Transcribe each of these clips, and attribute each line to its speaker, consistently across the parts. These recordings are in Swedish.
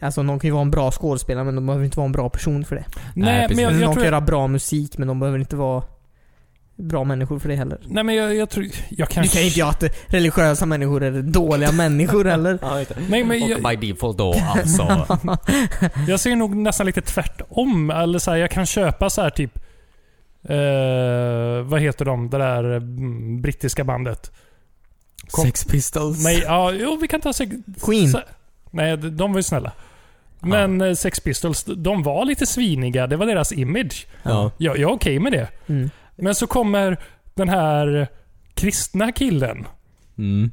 Speaker 1: Alltså någon kan ju vara en bra skådespelare men de behöver inte vara en bra person för det.
Speaker 2: Nej,
Speaker 3: precis.
Speaker 2: men jag,
Speaker 1: Eller någon
Speaker 2: jag
Speaker 1: kan
Speaker 2: tror...
Speaker 1: göra bra musik men de behöver inte vara bra människor för det heller.
Speaker 2: Nej men jag, jag tror... Jag
Speaker 1: Du
Speaker 2: kanske...
Speaker 1: kan ju inte göra att religiösa människor är dåliga människor heller.
Speaker 3: Ja, inte.
Speaker 2: Nej, men
Speaker 3: Och
Speaker 2: jag-
Speaker 3: by default då alltså.
Speaker 2: Jag ser nog nästan lite tvärtom. Eller så här, jag kan köpa så här typ... Eh, vad heter de? Det där mm, brittiska bandet. Kom-
Speaker 3: Sex Pistols.
Speaker 2: Nej, ja, jo, vi kan ta sex...
Speaker 1: Queen.
Speaker 2: Så, nej, de de var ju snälla. Men eh, Sex Pistols, de var lite sviniga. Det var deras image.
Speaker 3: Ja.
Speaker 2: Jag, jag är okej med det.
Speaker 1: Mm.
Speaker 2: Men så kommer den här kristna killen.
Speaker 3: Mm.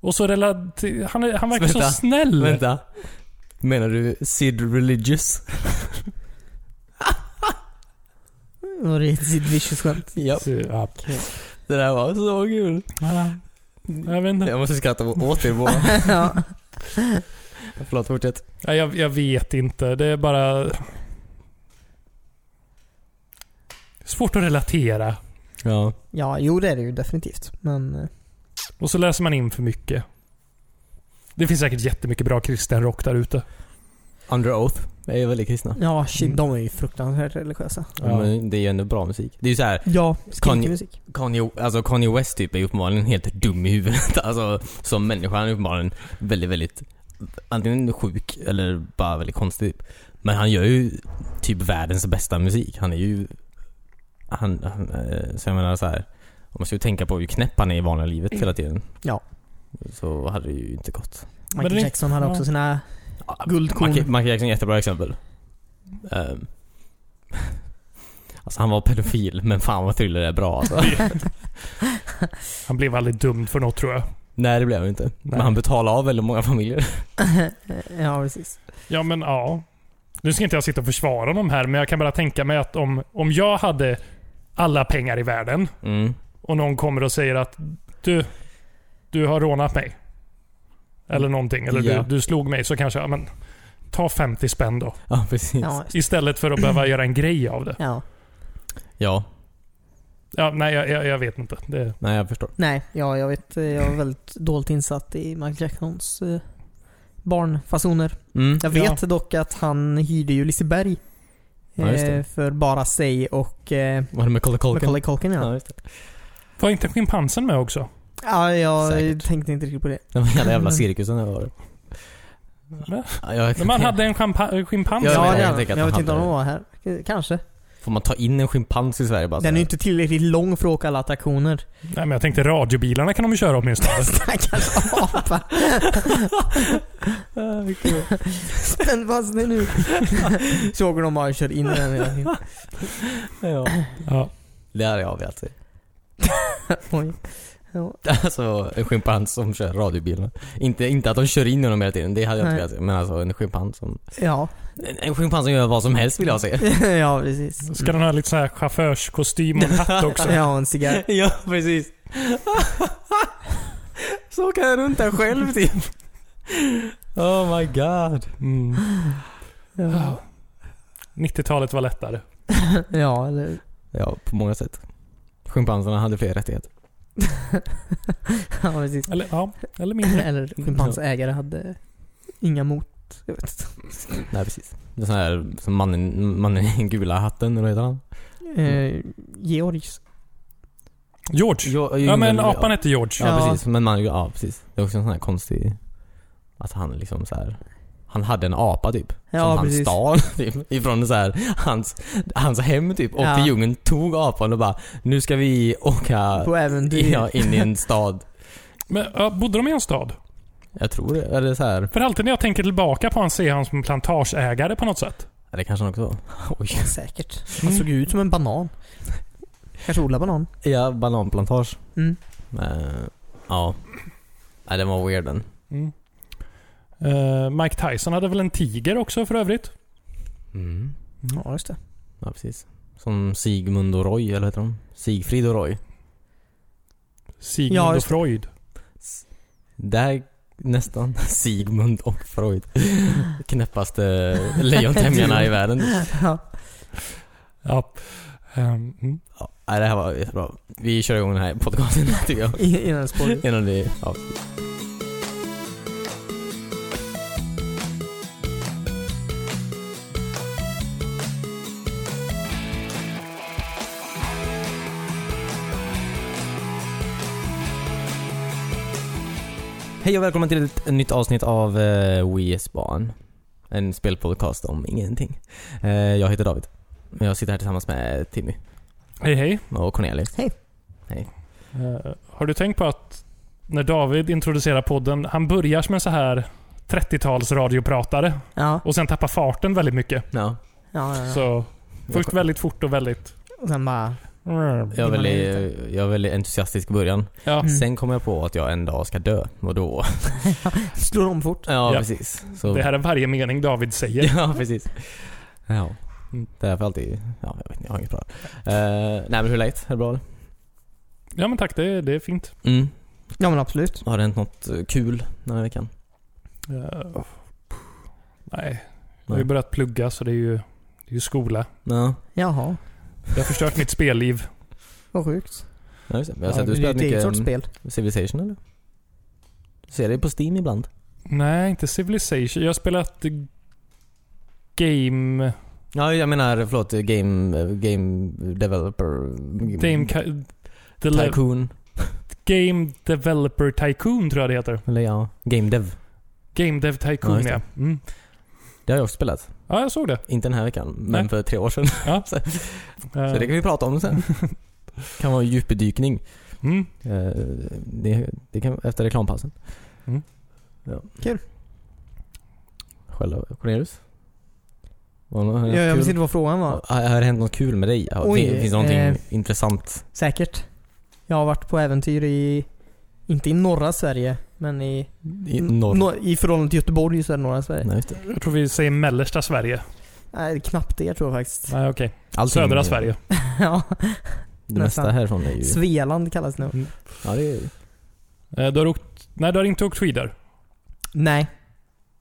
Speaker 2: Och så relater- han, är- han verkar så
Speaker 3: Vänta.
Speaker 2: snäll.
Speaker 3: Vänta. Menar du Sid Religious?
Speaker 1: Det var ett Sid Vicious-skämt.
Speaker 3: Ja.
Speaker 2: Så, ja.
Speaker 3: Det där var så kul.
Speaker 2: Ja, Jag vet inte.
Speaker 3: Jag måste skratta åt er båda.
Speaker 1: ja.
Speaker 3: Förlåt, fortsätt.
Speaker 2: Ja, jag, jag vet inte. Det är bara... Svårt att relatera.
Speaker 3: Ja.
Speaker 1: ja, jo det är det ju definitivt. Men eh,
Speaker 2: Och så läser man in för mycket. Det finns säkert jättemycket bra kristen rock där ute.
Speaker 3: Under Oath är ju väldigt kristna.
Speaker 1: ja, shit, de är ju fruktansvärt religiösa.
Speaker 2: Ja.
Speaker 3: Men det är ju ändå bra musik. Det är ju så här.
Speaker 1: Ja,
Speaker 3: Kanye-
Speaker 1: skrikig musik.
Speaker 3: Kanye, alltså Kanye West typ är ju uppenbarligen helt dum i huvudet. Alltså som människa. Han är uppenbarligen väldigt, väldigt antingen sjuk eller bara väldigt konstig. Typ. Men han gör ju typ världens bästa musik. Han är ju... Han, han eh, så jag menar så här. Om man skulle tänka på hur knäpp han är i vanliga livet hela tiden.
Speaker 1: Ja.
Speaker 3: Så hade det ju inte gått.
Speaker 1: Michael
Speaker 2: det-
Speaker 1: Jackson hade också
Speaker 2: ja.
Speaker 1: sina guldkorn.
Speaker 3: Michael Michael Jackson är ett jättebra exempel. Ehm. Alltså han var pedofil, men fan vad thriller är bra alltså.
Speaker 2: Han blev aldrig dömd för något tror jag.
Speaker 3: Nej det blev han inte. Men
Speaker 2: Nej.
Speaker 3: han betalade av väldigt många familjer.
Speaker 1: ja, precis.
Speaker 2: Ja, men ja. Nu ska inte jag sitta och försvara dem här, men jag kan bara tänka mig att om, om jag hade alla pengar i världen
Speaker 3: Mm.
Speaker 2: och någon kommer och säger att du, du har rånat mig. Eller någonting. Eller
Speaker 3: Ja.
Speaker 2: du, du slog mig. Så kanske, ja, men ta 50 spänn då.
Speaker 3: Ja precis. Ja.
Speaker 1: Ja,
Speaker 2: Istället för att behöva göra en grej av det.
Speaker 1: ja.
Speaker 2: Ja, nej, jag, jag, jag vet inte. Det,
Speaker 3: nej jag förstår.
Speaker 1: Nej, ja, jag vet. eh, Jag är väldigt dåligt insatt i Michael Jacksons eh, barnfasoner.
Speaker 3: Mm.
Speaker 1: Jag
Speaker 2: Ja.
Speaker 1: vet dock att han hyrde ju Liseberg.
Speaker 3: Ja, just det.
Speaker 1: eh, för bara sig och eh,
Speaker 3: Var det Macaulay Culkin?
Speaker 1: Macaulay Culkin ja.
Speaker 3: Ja, just det.
Speaker 2: var inte schimpansen med också?
Speaker 1: Ja, jag
Speaker 3: Säkert.
Speaker 1: tänkte inte riktigt på det.
Speaker 3: Den jävla, jävla
Speaker 1: Mm.
Speaker 3: cirkusen där var det.
Speaker 2: Va?
Speaker 3: Ja, jag
Speaker 2: Men
Speaker 3: kan-
Speaker 2: man hade en champa- schimpans
Speaker 3: Ja,
Speaker 1: Ja,
Speaker 3: men jag
Speaker 1: det
Speaker 2: med.
Speaker 1: är
Speaker 3: tänker
Speaker 1: han. Men
Speaker 3: att han
Speaker 1: jag vet inte om
Speaker 3: hade-
Speaker 1: de var här. K- Kanske.
Speaker 3: Får man ta in en schimpans i Sverige bara så
Speaker 1: Den är
Speaker 3: här?
Speaker 1: ju inte tillräckligt lång för att åka alla attraktioner.
Speaker 2: Nej, men jag tänkte radiobilarna kan de ju köra åtminstone.
Speaker 1: Stackars apa.
Speaker 3: Ah,
Speaker 1: Spänn fast dig nu. Så åker de bara och kör in i den. hela tiden.
Speaker 3: Ja.
Speaker 2: Ja.
Speaker 3: Det hade jag velat se.
Speaker 1: Oj. Ja.
Speaker 3: Alltså en schimpans som kör radiobilen. Inte, inte att de kör in i honom hela tiden, det hade jag inte
Speaker 1: Nej.
Speaker 3: velat se. Men alltså en schimpans som...
Speaker 1: Ja.
Speaker 3: En, en schimpans som gör vad som helst vill jag se.
Speaker 1: ja, precis.
Speaker 2: Ska den ha lite så här chaufförskostym och en hatt också?
Speaker 1: Ja, en cigarr.
Speaker 3: ja, precis. så kan jag runt där själv typ. Oh my god.
Speaker 2: Mm.
Speaker 1: Ja,
Speaker 2: 90-talet var lättare.
Speaker 1: ja eller
Speaker 3: Ja, på många sätt. Schimpanserna hade fler rättigheter.
Speaker 1: Ja, precis.
Speaker 2: Eller, ja, eller mindre.
Speaker 1: Eller schimpansägare hade inga mot... Jag vet inte.
Speaker 3: Nej, precis. Det är sån här som mannen, mannen i den gula hatten, eller vad heter han?
Speaker 1: Eh, Georgs.
Speaker 2: George.
Speaker 3: Jo,
Speaker 2: Ja, men apan hette George.
Speaker 3: Ja,
Speaker 1: Ja.
Speaker 3: precis. Men man, ja, precis. Det är också en sån här konstig... Att han liksom så här. Han hade en apa typ.
Speaker 1: Ja,
Speaker 3: som
Speaker 1: precis.
Speaker 3: han stal typ, ifrån så här, hans, hans hem typ. Och
Speaker 1: Ja.
Speaker 3: djungeln tog apan och bara Nu ska vi åka
Speaker 1: På äventyr.
Speaker 3: ja, in i en stad.
Speaker 2: Men, ja, bodde de i en stad?
Speaker 3: Jag tror det. Eller så här.
Speaker 2: För alltid när jag tänker tillbaka på honom ser jag honom som en plantageägare på något sätt.
Speaker 3: Ja, det kanske han också var. Oj.
Speaker 1: Säkert. Han såg ju ut som en banan. Kanske odlar banan.
Speaker 3: Ja, bananplantage.
Speaker 1: Mm.
Speaker 3: Eh, ja. Nej, den var weird den.
Speaker 2: Mm. Eh, Mike Tyson hade väl en tiger också för övrigt?
Speaker 3: Mm.
Speaker 1: Ja, just det.
Speaker 3: Ja, precis. Som Sigmund och Roy, eller heter de? Sigfrid och Roy.
Speaker 2: Sigmund
Speaker 1: Ja,
Speaker 2: och
Speaker 1: just det.
Speaker 2: Freud.
Speaker 3: Där nästan. Sigmund och Freud. Knäppaste lejontämjarna i världen.
Speaker 1: Ja.
Speaker 2: Ja. Ehm, mm.
Speaker 3: Ja, nej, det här var jättebra. Vi kör igång den här podcasten tycker jag.
Speaker 1: I, innan spåret.
Speaker 3: Innan det... Ja. Hej och välkommen till ett nytt avsnitt av uh, WeS Barn. En spelpodcast om ingenting. Eh, jag heter David. Jag sitter här tillsammans med Timmy
Speaker 2: Hej hej.
Speaker 3: och Cornelius.
Speaker 2: Eh, har du tänkt på att när David introducerar podden, han börjar som en så här 30-tals radiopratare
Speaker 1: Ja,
Speaker 2: och sen tappar farten väldigt mycket.
Speaker 3: Ja.
Speaker 1: ja, ja. ja.
Speaker 2: Så först
Speaker 3: Jag-
Speaker 2: väldigt fort och väldigt...
Speaker 1: Och sen bara...
Speaker 3: Jag är,
Speaker 1: Innan
Speaker 3: väldigt,
Speaker 1: det
Speaker 3: jag är väldigt entusiastisk i början.
Speaker 2: Ja.
Speaker 1: Mm.
Speaker 3: Sen kom jag på att jag en dag ska dö. Och då...
Speaker 1: Slår om fort.
Speaker 3: Ja,
Speaker 2: Ja.
Speaker 3: precis. Så,
Speaker 2: Det här är varje mening David säger.
Speaker 3: Ja, precis. Ja.
Speaker 2: Mm.
Speaker 3: Det är därför alltid... Ja, jag vet inte. Jag har inget bra. Uh, nej men hur är läget? Är det bra eller?
Speaker 2: Ja men tack, det, det är fint.
Speaker 3: Mm.
Speaker 1: Ja men absolut.
Speaker 3: Har det hänt något eh, kul den här veckan?
Speaker 2: Eh, nej, jag har ju
Speaker 3: Nej.
Speaker 2: börjat plugga så det är ju, det är ju skola.
Speaker 3: Ja.
Speaker 1: Jaha.
Speaker 2: Jag har förstört mitt spelliv.
Speaker 1: Vad sjukt.
Speaker 3: Ja, just det. Jag har
Speaker 2: Ja,
Speaker 3: sett att
Speaker 1: Det är
Speaker 3: du
Speaker 1: ju
Speaker 3: spelat
Speaker 1: ett eget
Speaker 3: mycket
Speaker 1: sorts
Speaker 3: mm,
Speaker 1: spel.
Speaker 3: Civilization eller? Du ser det på Steam ibland.
Speaker 2: Nej, inte Civilization. Jag har spelat eh, Game...
Speaker 3: Ja, jag menar förlåt, eh, game, eh, game developer... mm,
Speaker 2: Game, Ki- Dele-
Speaker 3: Tycoon.
Speaker 2: game Developer Tycoon tror jag det heter.
Speaker 3: Eller ja, Game Dev.
Speaker 2: Game Dev
Speaker 3: Ja,
Speaker 2: Tycoon
Speaker 3: just
Speaker 2: ja.
Speaker 3: det.
Speaker 2: Mm.
Speaker 3: Det har jag också spelat.
Speaker 2: Ja, jag såg det.
Speaker 3: Inte den här veckan, men
Speaker 2: Nej.
Speaker 3: för tre år sedan.
Speaker 2: Ja.
Speaker 3: så, så
Speaker 2: Eh,
Speaker 3: det kan vi prata om sen. kan vara djupdykning.
Speaker 2: mm.
Speaker 3: Eh, det, det kan, efter reklampausen.
Speaker 2: Mm.
Speaker 3: Ja.
Speaker 1: Kul.
Speaker 3: Själv, Cornelius? Var det något-
Speaker 1: Ja, jag
Speaker 3: kul?
Speaker 1: visste inte vad frågan var.
Speaker 3: Har, har det hänt något kul med dig? Har-
Speaker 1: Oj,
Speaker 3: fin- finns det någonting
Speaker 1: eh,
Speaker 3: intressant?
Speaker 1: Säkert. Jag har varit på äventyr i... Inte i norra Sverige, men i...
Speaker 3: I norr?
Speaker 1: no- I förhållande till Göteborg så är det norra Sverige.
Speaker 3: Nej, just det.
Speaker 2: Jag tror vi säger mellersta Sverige.
Speaker 1: Nej, knappt det tror jag faktiskt.
Speaker 2: Nej, okej.
Speaker 3: Allting-
Speaker 2: Södra Sverige.
Speaker 1: ja,
Speaker 3: Det mesta
Speaker 1: Nästan.
Speaker 3: härifrån är ju...
Speaker 1: Svealand kallas det nog.
Speaker 3: Ja, det är,
Speaker 2: Eh, Du har åkt... Nej, du har inte åkt skidor.
Speaker 1: Nej.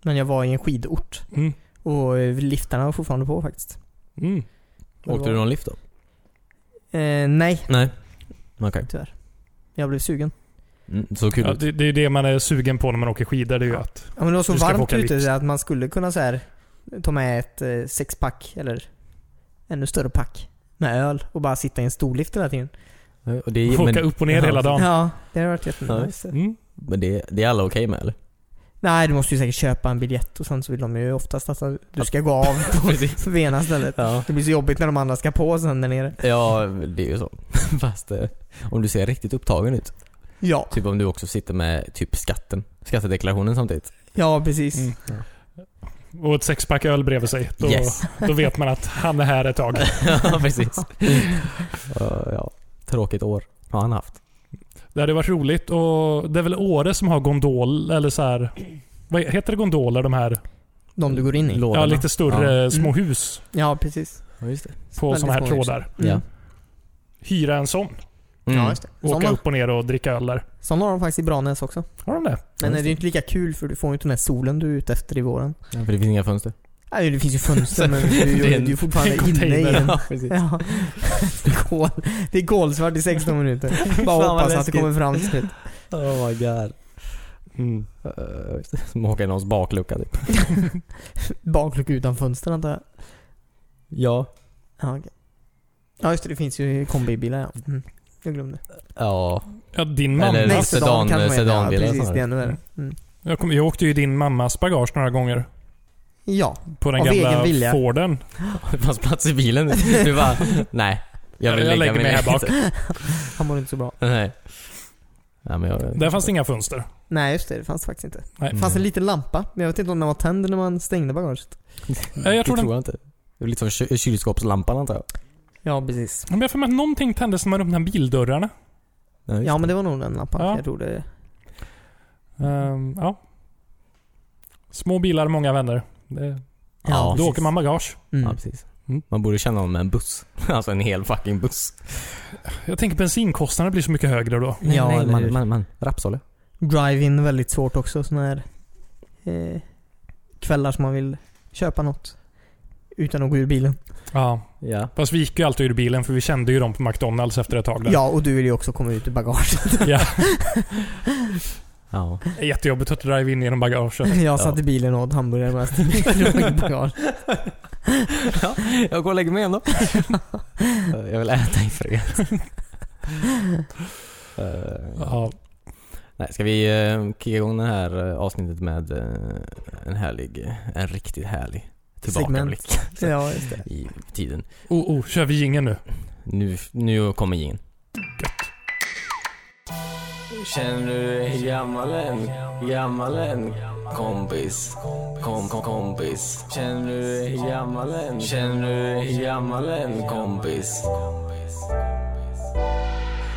Speaker 1: Men jag var i en skidort.
Speaker 2: Mm.
Speaker 1: Och eh, liftarna var fortfarande på faktiskt.
Speaker 2: Mm.
Speaker 1: Det
Speaker 3: åkte du
Speaker 1: var-
Speaker 3: någon lift då?
Speaker 1: Eh, nej,
Speaker 3: Nej. Okej.
Speaker 1: tyvärr. Jag blev sugen.
Speaker 3: Mm, så kul
Speaker 2: Ja,
Speaker 3: ut.
Speaker 2: det, det är ju det man är sugen på när man åker skidor. Det är ju att...
Speaker 1: Ja, men det var så
Speaker 2: Du ska få
Speaker 1: varmt
Speaker 2: åka
Speaker 1: ute
Speaker 2: lift.
Speaker 1: att man skulle kunna så här, ta med ett eh, sexpack eller ännu större pack med öl och bara sitta i en storlift hela tiden.
Speaker 3: Och det är-
Speaker 2: Få åka upp och ner
Speaker 3: Ja.
Speaker 2: hela dagen.
Speaker 1: Ja, det hade varit
Speaker 3: Ja,
Speaker 1: jättenice.
Speaker 3: just det.
Speaker 2: Mm.
Speaker 3: Men det, det är alla okej med eller?
Speaker 1: Nej, du måste ju säkert köpa en biljett och sen så vill de ju oftast att du ska gå av
Speaker 3: Precis.
Speaker 1: på det ena stället.
Speaker 3: Ja.
Speaker 1: Det blir så jobbigt när de andra ska på sen där nere.
Speaker 3: ja, det är ju så. Fast eh, om du ser riktigt upptagen ut.
Speaker 1: Ja,
Speaker 3: Typ om du också sitter med typ skatten, skattedeklarationen samtidigt.
Speaker 1: ja precis.
Speaker 2: Mm. Och ett sexpack öl bredvid sig. Då,
Speaker 3: Yes.
Speaker 2: då vet man att han är här ett tag.
Speaker 3: ja, precis. Ja, ja. Tråkigt år har han haft.
Speaker 2: Det hade varit roligt och det är väl Åre som har gondol, eller så här... Vad heter det gondoler de här?
Speaker 1: De du går in i.
Speaker 3: Lådorna.
Speaker 2: Ja, lite större
Speaker 3: Ja. Mm.
Speaker 2: små hus
Speaker 1: Ja, precis.
Speaker 3: Ja, just det.
Speaker 2: på
Speaker 1: Väldigt
Speaker 2: sådana här
Speaker 1: små hus.
Speaker 2: trådar.
Speaker 1: Mm.
Speaker 3: Ja.
Speaker 2: Hyra en sån.
Speaker 1: Ja,
Speaker 3: Mm.
Speaker 1: just det.
Speaker 2: Åka
Speaker 1: Sådana,
Speaker 2: upp och ner och dricka öl där.
Speaker 1: sådana har de faktiskt i Branäs också.
Speaker 2: Har de det?
Speaker 1: Men det
Speaker 3: Ja,
Speaker 1: är
Speaker 3: just
Speaker 1: ju inte lika kul för du får ju inte den här solen du är ute efter i våren.
Speaker 3: Ja, för det finns inga fönster.
Speaker 1: Nej, det finns ju fönster men du,
Speaker 3: Det är
Speaker 1: du,
Speaker 3: en-
Speaker 1: du är fortfarande
Speaker 2: en container.
Speaker 1: inne i den.
Speaker 3: precis.
Speaker 1: Ja. Det är kol, det är kolsvart i 16 minuter.
Speaker 3: vad
Speaker 1: Bara hoppas att det
Speaker 3: läskigt.
Speaker 1: kommer fram till slut.
Speaker 3: Oh my god. Mm. Eh, just det. Som att åka i någons baklucka typ.
Speaker 1: Baklucka utan fönster antar jag.
Speaker 3: Ja.
Speaker 1: Ja, okej. ja just det, det finns ju kombibilar ja. Mm. Jag glömde.
Speaker 3: Ja.
Speaker 2: Ja, din mamma.
Speaker 3: Eller-
Speaker 1: Nej,
Speaker 3: sedan-
Speaker 1: kanske man heter.
Speaker 3: sedanbilar
Speaker 1: Ja, precis.
Speaker 3: snarare.
Speaker 1: Det är ännu värre. Mm.
Speaker 2: Jag, kom, jag åkte ju i din mammas bagage några gånger.
Speaker 1: Ja,
Speaker 2: På den
Speaker 1: Av egen
Speaker 2: gamla
Speaker 1: vilja.
Speaker 2: Forden.
Speaker 3: Det fanns plats i bilen. Du bara, nej. Jag vill
Speaker 2: Jag
Speaker 3: lägga
Speaker 2: lägger mig här
Speaker 3: ner.
Speaker 2: bak.
Speaker 1: han mår inte så bra.
Speaker 3: Nej. Nej men jag... Mm.
Speaker 2: Där fanns det inga fönster.
Speaker 1: Nej just det, det fanns det faktiskt inte.
Speaker 2: Nej.
Speaker 1: Det fanns en liten lampa, men jag vet inte om den var tänd när man stängde bagaget.
Speaker 2: Nej, jag tror
Speaker 3: det
Speaker 2: den-
Speaker 3: tror jag inte. Det är lite som kö- kylskåpslampan antar jag.
Speaker 1: Ja precis.
Speaker 2: Men jag får med att någonting tändes när man öppnade bildörrarna.
Speaker 3: Nej, just
Speaker 1: Ja men det var nog den lampan.
Speaker 2: Ja.
Speaker 1: Jag tror det.
Speaker 2: Ehm, ja. Små bilar, många vänner. Det,
Speaker 3: Ja,
Speaker 2: då
Speaker 1: precis.
Speaker 2: åker man bagage.
Speaker 1: Mm.
Speaker 3: Ja, precis.
Speaker 2: Mm.
Speaker 3: Man borde känna honom med en buss. Alltså en hel fucking buss.
Speaker 2: Jag tänker bensinkostnaderna blir så mycket högre då.
Speaker 1: Nej, Ja, nej, eller man- hur?
Speaker 3: man, man, Rapsolja.
Speaker 1: Drive-in är väldigt svårt också. Såna här eh, kvällar som man vill köpa något utan att gå ur bilen.
Speaker 2: Ja.
Speaker 3: Ja.
Speaker 2: Fast vi gick ju alltid ur bilen för vi kände ju dem på McDonalds efter ett tag. Där.
Speaker 1: Ja, och du vill ju också komma ut ur bagaget.
Speaker 3: Ja.
Speaker 2: Det är Jättejobbigt att driva in genom bagaget.
Speaker 1: Jag satt i bilen och åt hamburgare medan jag låg i bagage.
Speaker 3: Jag går och lägger mig igen då. jag vill äta i fred. Eh,
Speaker 2: Ja.
Speaker 3: Nej, ska vi eh, kicka igång det här eh, avsnittet med eh, en härlig, en riktigt härlig tillbakablick
Speaker 1: Ja, just det.
Speaker 3: i tiden.
Speaker 2: Oh, oh, kör vi jingeln nu?
Speaker 3: Nu, nu kommer ingen. Känner du dig gammal än? Gammal än? Kompis? Kom, kom, kompis? Känner du dig gammal än? Känner du dig gammal än? Kompis?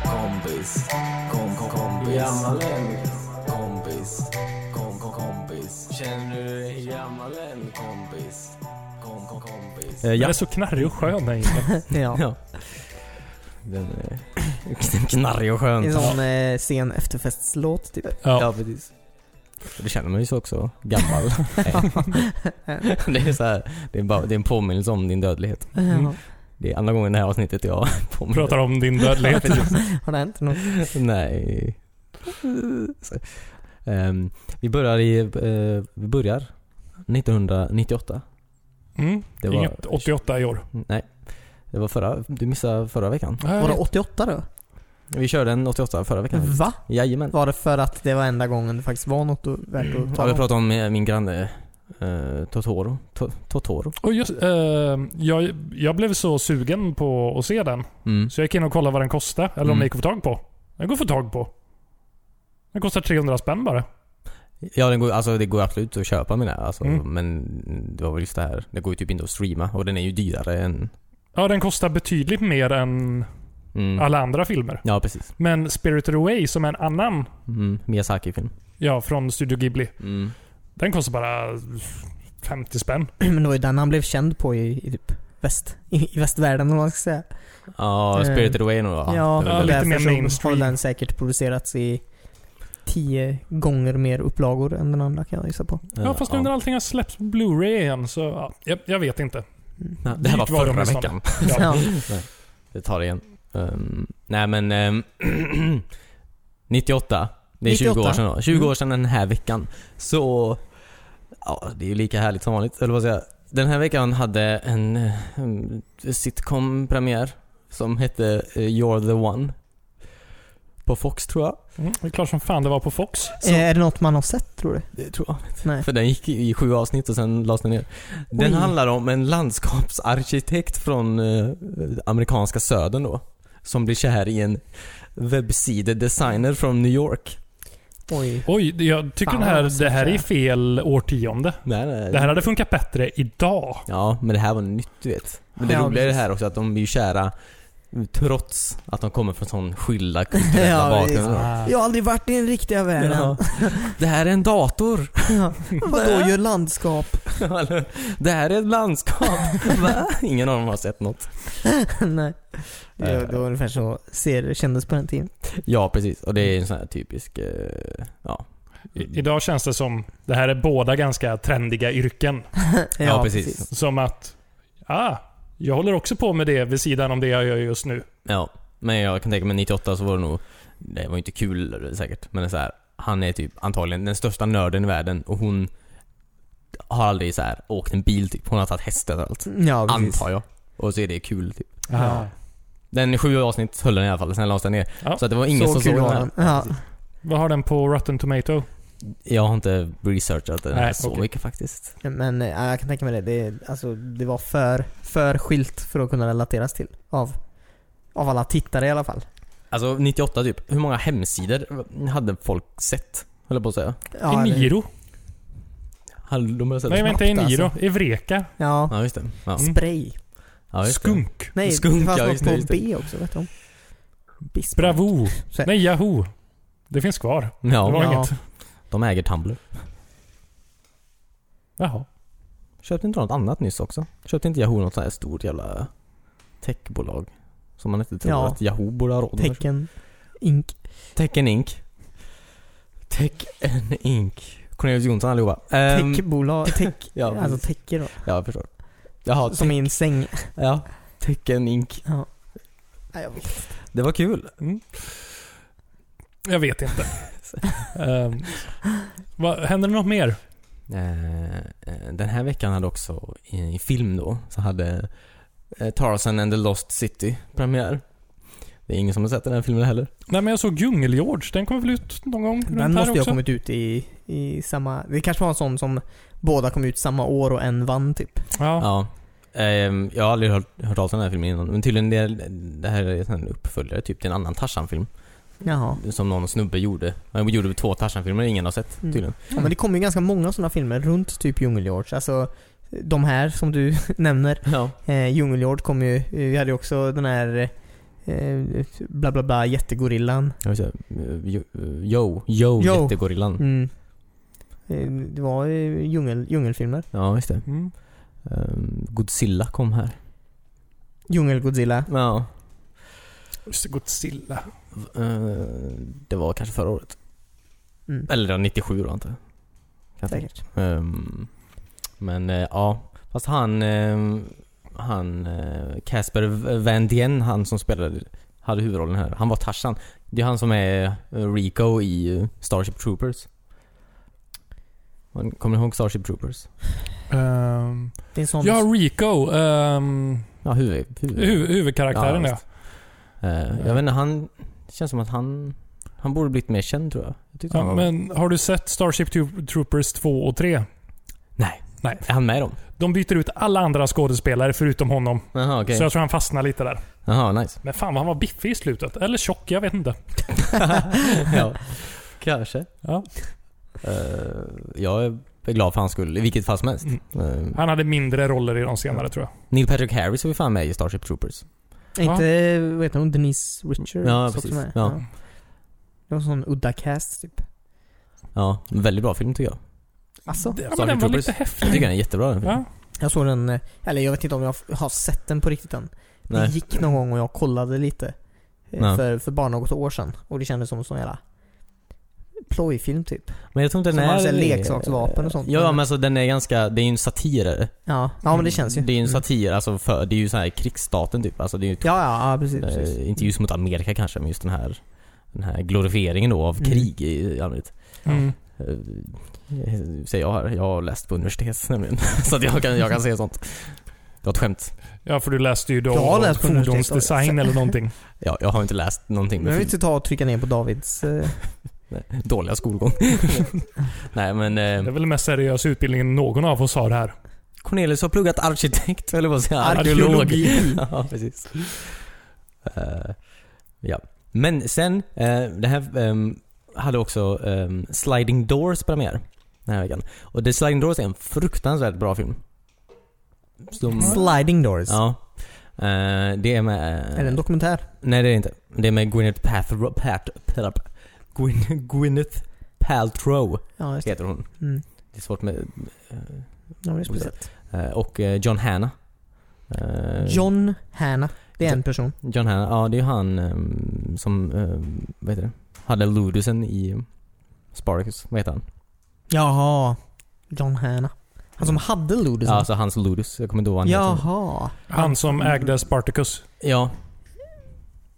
Speaker 3: Kompis? Kom, kom, kompis? Gammal än? Kompis? Kom, kom, kompis? Känner du dig gammal än? Kompis? Kom, kom, kompis?
Speaker 2: Den är så knarrig och skön den jingeln.
Speaker 1: Ja.
Speaker 3: Ja. Den är knarrig och skön.
Speaker 1: En sån eh, sen efterfestslåt typ.
Speaker 2: Ja.
Speaker 3: precis. Det känner man ju så också, gammal. Nej. det är så här, det är, bara, det är en påminnelse om din dödlighet.
Speaker 2: Mm.
Speaker 3: Det är andra gången det här avsnittet jag påminner.
Speaker 2: Pratar om din dödlighet.
Speaker 1: Har det hänt något?
Speaker 3: Nej. Så, ehm, vi börjar i, eh, vi börjar 1998.
Speaker 2: Mm.
Speaker 3: Det var-
Speaker 2: Inget 88 i år.
Speaker 3: Nej. Det var förra, du missade förra veckan.
Speaker 1: Var det 88 då?
Speaker 3: Vi körde en 88 förra veckan.
Speaker 1: Va?
Speaker 3: Jajamän.
Speaker 1: Var det för att det var enda gången det faktiskt var något att- värt
Speaker 2: Mm.
Speaker 1: att
Speaker 3: Mm. Ja, vi
Speaker 1: ta om?
Speaker 3: pratade om eh, min granne eh, Totoro. To- Totoro.
Speaker 2: Och just, eh, jag, jag blev så sugen på att se den.
Speaker 3: Mm.
Speaker 2: Så jag gick in och kollade vad den kostade. Eller om
Speaker 3: Mm.
Speaker 2: den gick att få tag på. Den går att få tag på. Den kostar 300 spänn bara.
Speaker 3: Ja, den går, alltså, det går absolut att köpa med den här, alltså,
Speaker 2: Mm.
Speaker 3: men det var väl just det här. Det går ju typ inte att streama och den är ju dyrare än...
Speaker 2: Ja, den kostar betydligt mer än
Speaker 3: Mm.
Speaker 2: alla andra filmer.
Speaker 3: Ja, precis.
Speaker 2: Men Spirited Away, som är en annan
Speaker 3: Mm. Miyazaki-film.
Speaker 2: ja, från Studio Ghibli,
Speaker 3: Mm.
Speaker 2: den kostar bara 50 spänn.
Speaker 1: Men det var ju den han blev känd på i, i typ väst, i, i västvärlden om man ska säga.
Speaker 3: Ja,
Speaker 1: Eh,
Speaker 3: Spirited Away nog va?
Speaker 1: ja,
Speaker 3: Det
Speaker 2: ja,
Speaker 3: var
Speaker 1: och
Speaker 3: väl-
Speaker 2: lite
Speaker 1: därför
Speaker 2: mer
Speaker 1: så
Speaker 2: mainstream.
Speaker 1: har den säkert producerats i tio gånger mer upplagor än den andra kan jag gissa på.
Speaker 2: Ja, fast nu när allting har släppts på Blu-ray igen så... Ja, jag, jag vet inte.
Speaker 3: Ja, Det här var
Speaker 2: Dyrt var de
Speaker 3: förra
Speaker 2: i
Speaker 3: veckan.
Speaker 2: Ja.
Speaker 1: Mm. Ja.
Speaker 3: Det tar det igen. Ehm, nej men... ehm, 98. Det är 20 år
Speaker 1: 98.
Speaker 3: sedan då. 20
Speaker 1: Mm.
Speaker 3: år sedan den här veckan. Så... Ja, det är ju lika härligt som vanligt, eller vad säga. Den här veckan hade en eh, en sitcom-premiär som hette eh, You're the one. På Fox tror jag.
Speaker 2: Mm, det är klart som fan det var på Fox.
Speaker 3: Så-
Speaker 1: Eh, Är det något man har sett tror du?
Speaker 3: Det tror jag.
Speaker 1: Nej.
Speaker 3: För den gick i sju avsnitt och sen lades den ner. Den
Speaker 1: Oj.
Speaker 3: handlar om en landskapsarkitekt från eh, amerikanska södern då. Som blir kär i en webbsidedesigner från New York.
Speaker 1: Oj.
Speaker 2: Oj, det- jag tycker
Speaker 1: Fan,
Speaker 2: den här,
Speaker 1: alltså,
Speaker 2: det här är
Speaker 1: sådär.
Speaker 2: fel årtionde.
Speaker 3: Nej, nej, nej.
Speaker 2: Det här hade funkat bättre idag.
Speaker 3: Ja, men det här var nytt du vet. Men det
Speaker 1: Ja,
Speaker 3: roliga är det
Speaker 1: precis.
Speaker 3: här också att de blir kära mm, trots att de kommer från sån skilda kulturella
Speaker 1: Ja,
Speaker 3: bakgrunder. då.
Speaker 2: Ah.
Speaker 1: Jag har aldrig varit i den riktiga världen.
Speaker 3: Ja. Det här är en dator!
Speaker 1: Ja. Vadå gör landskap?
Speaker 3: det här är ett landskap! Va? Ingen av dem har sett något.
Speaker 1: Nej. Det det var ungefär så ser, kändes på den tiden.
Speaker 3: Ja, precis. Och det är en sån här typisk, eh, ja.
Speaker 2: I, idag känns det som, det här är båda ganska trendiga yrken.
Speaker 3: Ja, precis.
Speaker 2: Som att, ah, jag håller också på med det vid sidan om det jag gör just nu.
Speaker 3: Ja, men jag kan tänka mig 98 så var det nog, det var ju inte kul säkert, men så här, han är typ antagligen den största nörden i världen och hon har aldrig så här, åkt en bil typ, hon har tagit häst överallt.
Speaker 1: Ja, precis.
Speaker 3: Antar jag. Och så är det kul typ.
Speaker 1: Ja.
Speaker 3: Den i sju avsnitt höll den i alla fall, sen lades den ner.
Speaker 2: Ja.
Speaker 3: Så att det var ingen som såg
Speaker 1: kul
Speaker 3: den
Speaker 1: var
Speaker 3: här.
Speaker 1: den. Ja.
Speaker 2: Vad har den på Rotten Tomato?
Speaker 3: Jag har inte researchat den här
Speaker 2: Nej,
Speaker 3: så
Speaker 2: okej.
Speaker 3: mycket faktiskt.
Speaker 1: Men eh, jag kan tänka mig det. Det, alltså, det var för, för skilt för att kunna relateras till. Av, av alla tittare i alla fall.
Speaker 3: Alltså 98 typ, hur många hemsidor hade folk sett? Höll jag på att säga.
Speaker 1: Ja, eller-
Speaker 2: Eniro?
Speaker 3: Hade de börjat sätta
Speaker 2: Nej,
Speaker 3: snabbt,
Speaker 2: vänta. Eniro.
Speaker 3: alltså?
Speaker 2: Evreka.
Speaker 1: Ja.
Speaker 3: Ja, just det. Ja.
Speaker 2: Mm.
Speaker 1: Spray.
Speaker 3: Ja, just det.
Speaker 2: Skunk.
Speaker 1: Nej,
Speaker 3: Skunk,
Speaker 1: det fanns
Speaker 3: ja,
Speaker 1: något
Speaker 3: just det,
Speaker 1: på
Speaker 3: just det.
Speaker 1: B också. Vet du om? Bismarck.
Speaker 2: Bravo.
Speaker 1: Så-
Speaker 2: Nej, Yahoo. Det finns kvar. Det var
Speaker 3: Ja,
Speaker 1: Ja.
Speaker 2: inget.
Speaker 3: de äger Tumblr.
Speaker 2: Jaha.
Speaker 3: Köpte inte något annat nyss också? Köpte inte Yahoo något sånt här stort jävla techbolag? Som man inte tror
Speaker 1: Ja.
Speaker 3: att Yahoo borde ha råd med.
Speaker 1: Tecken. Ink.
Speaker 3: Tecken Inc. Tecken Inc. Cornelius Jonsson allihopa. Ehm,
Speaker 1: Techbolag. Tech,
Speaker 3: ja,
Speaker 1: alltså
Speaker 3: precis.
Speaker 1: tecker då.
Speaker 3: ja, jag förstår. Jaha,
Speaker 1: Som
Speaker 3: te-
Speaker 1: i en säng.
Speaker 3: ja. Tecken Inc.
Speaker 1: Ja. Nej, jag vet.
Speaker 3: Det var kul.
Speaker 2: Jag vet inte. Ehm, vad, händer det något mer?
Speaker 3: Eh, eh, den här veckan hade också, i, i film då, så hade eh, Tarzan and the Lost City premiär. Det är ingen som har sett den här filmen heller.
Speaker 2: Nej men jag såg Djungel-George. Den kommer väl ut någon gång runt här
Speaker 1: Den måste ju
Speaker 2: också?
Speaker 1: ha kommit ut i, i samma... Det kanske var en sån som båda kom ut samma år och en vann typ.
Speaker 2: Ja.
Speaker 3: Ja. Ehm, jag har aldrig hört, hört talas om den här filmen innan. Men tydligen det, det här är en uppföljare typ till en annan Tarzan-film.
Speaker 1: Jaha.
Speaker 3: Som någon snubbe gjorde. Han gjorde två Tarzan-filmer ingen har sett
Speaker 1: Mm.
Speaker 3: tydligen.
Speaker 1: Ja, men det kommer ju ganska många sådana filmer runt typ Djungelgeorge. Alltså de här som du nämner.
Speaker 3: Ja.
Speaker 1: Eh, Djungelgeorge kom ju... Vi hade ju också den här eh, bla bla bla jättegorillan.
Speaker 3: Jag vill säga, eh, Jo, eh, Yo, Yo,
Speaker 1: Yo.
Speaker 3: jättegorillan.
Speaker 1: Mm. Eh, Det var eh, djungel, djungelfilmer.
Speaker 3: Ja, just det.
Speaker 2: Mm.
Speaker 3: Ehm, Godzilla kom här.
Speaker 1: Djungelgodzilla.
Speaker 3: Ja.
Speaker 2: Just det, Godzilla.
Speaker 3: Eh, det var kanske förra året.
Speaker 1: Mm.
Speaker 3: Eller 97 då antar jag. jag tänka.
Speaker 1: Säkert.
Speaker 3: Ehm, men eh, ja, fast han, ehm, han eh, Casper V- Van Dien, han som spelade, hade huvudrollen här. Han var Tarzan. Det är han som är eh, Rico i eh, Starship Troopers. Man kommer ni ihåg Starship Troopers?
Speaker 2: Ehm,
Speaker 1: Det är en sån...
Speaker 2: ja, Rico. Um,
Speaker 3: Ja, huvud, huvud.
Speaker 2: hu- huvudkaraktären
Speaker 3: Ja,
Speaker 2: ja.
Speaker 3: Eh, jag vet inte, han, det känns som att han, han borde blivit mer känd tror jag. jag tyckte han
Speaker 2: ja.
Speaker 3: var-
Speaker 2: Men har du sett Starship Tro- Troopers 2 och 3?
Speaker 3: Nej.
Speaker 2: Nej.
Speaker 3: Är han med i dem?
Speaker 2: De byter ut alla andra skådespelare förutom honom.
Speaker 3: Jaha, okej.
Speaker 2: Så jag tror han fastnar lite där.
Speaker 3: Jaha, nice.
Speaker 2: Men fan vad han var biffig i slutet. Eller tjock, jag vet inte.
Speaker 3: ja. Kanske.
Speaker 2: Ja.
Speaker 3: Eh, jag är glad för hans skull, i vilket fall som helst.
Speaker 2: Mm.
Speaker 3: Eh,
Speaker 2: Han hade mindre roller i de senare tror jag.
Speaker 3: Neil Patrick Harris är vi fan med i Starship Troopers.
Speaker 1: Är Inte, vad heter hon, Denise Richards?
Speaker 3: Ja,
Speaker 1: också
Speaker 3: precis.
Speaker 1: med?
Speaker 3: Ja.
Speaker 1: Det var en sån udda cast typ.
Speaker 3: Ja, en väldigt bra film tycker jag.
Speaker 1: Alltså?
Speaker 2: Ja, men
Speaker 3: Starship
Speaker 2: den var
Speaker 3: Troopers.
Speaker 2: lite
Speaker 3: Jag
Speaker 2: häftig.
Speaker 3: tycker den är jättebra den filmen.
Speaker 2: Ja.
Speaker 1: Jag såg den, eh, eller jag vet inte om jag f- har sett den på riktigt än. Det
Speaker 3: Nej.
Speaker 1: gick någon gång och jag kollade lite. eh,
Speaker 3: Ja.
Speaker 1: För, för bara något år sedan. Och det kändes som en sån jävla plojfilm typ.
Speaker 3: Men jag tror inte
Speaker 1: Som
Speaker 3: den
Speaker 1: har
Speaker 3: är...
Speaker 1: så här leksaksvapen och sånt.
Speaker 3: Ja, men alltså den är ganska... Det är ju en satir.
Speaker 1: Ja, ja men det känns ju.
Speaker 3: Det är ju en
Speaker 1: Mm.
Speaker 3: satir, alltså för, det är ju så här krigsstaten typ. Alltså det är ju...
Speaker 1: Ja, ja, ja precis. precis.
Speaker 3: Eh, inte just mot Amerika kanske, men just den här... Den här glorifieringen då av
Speaker 1: Mm.
Speaker 3: krig i allmänhet.
Speaker 2: Mm.
Speaker 3: Eh, Säger jag här. Jag har läst på universitet nämligen. Så att jag kan, jag kan säga sånt. Det var ett skämt.
Speaker 2: Ja, för du läste ju då
Speaker 1: Jag har läst på Mm. universitetet.
Speaker 2: fordonsdesign eller någonting.
Speaker 3: Jag, jag har inte läst någonting
Speaker 1: Nu
Speaker 3: med
Speaker 1: vill
Speaker 3: film.
Speaker 1: inte ta och trycka ner på Davids... eh,
Speaker 3: Nej, Dåliga skolgång. Nej men
Speaker 2: Det är
Speaker 3: eh,
Speaker 2: väl den mest seriösa utbildningen någon av oss har här.
Speaker 3: Cornelius har pluggat arkitekt, eller vad säger jag?
Speaker 1: Arkeologi.
Speaker 3: Arkeolog. ja, precis. Eh, ja. Men sen, eh, det här ehm, hade också ehm, Sliding Doors premiär den här veckan. Och The Sliding Doors är en fruktansvärt bra film. Som,
Speaker 1: Sliding Doors.
Speaker 3: Mm. ja. Eh, det är med... eh,
Speaker 1: Är det en dokumentär?
Speaker 3: Nej det är det inte. Det är med Gwyneth Paltrow. Pat, Pat, Gwyn, Gwyneth Paltrow
Speaker 1: Ja, just det.
Speaker 3: heter hon.
Speaker 1: Mm.
Speaker 3: Det är svårt med...
Speaker 1: Ja, det är speciellt.
Speaker 3: eh, Och eh, John Hanna. Eh,
Speaker 1: John Hanna. Det är en person.
Speaker 3: John Hanna, ja det är ju han ehm, som, um, vad heter det? Hade Ludusen i Spartacus, vad heter han?
Speaker 1: Jaha. John Hanna. Han som hade Ludus.
Speaker 3: Ja, alltså hans Ludus, jag kommer inte ihåg vad han heter.
Speaker 1: Jaha.
Speaker 2: Han som
Speaker 1: Mm.
Speaker 2: ägde Spartacus.
Speaker 3: Ja.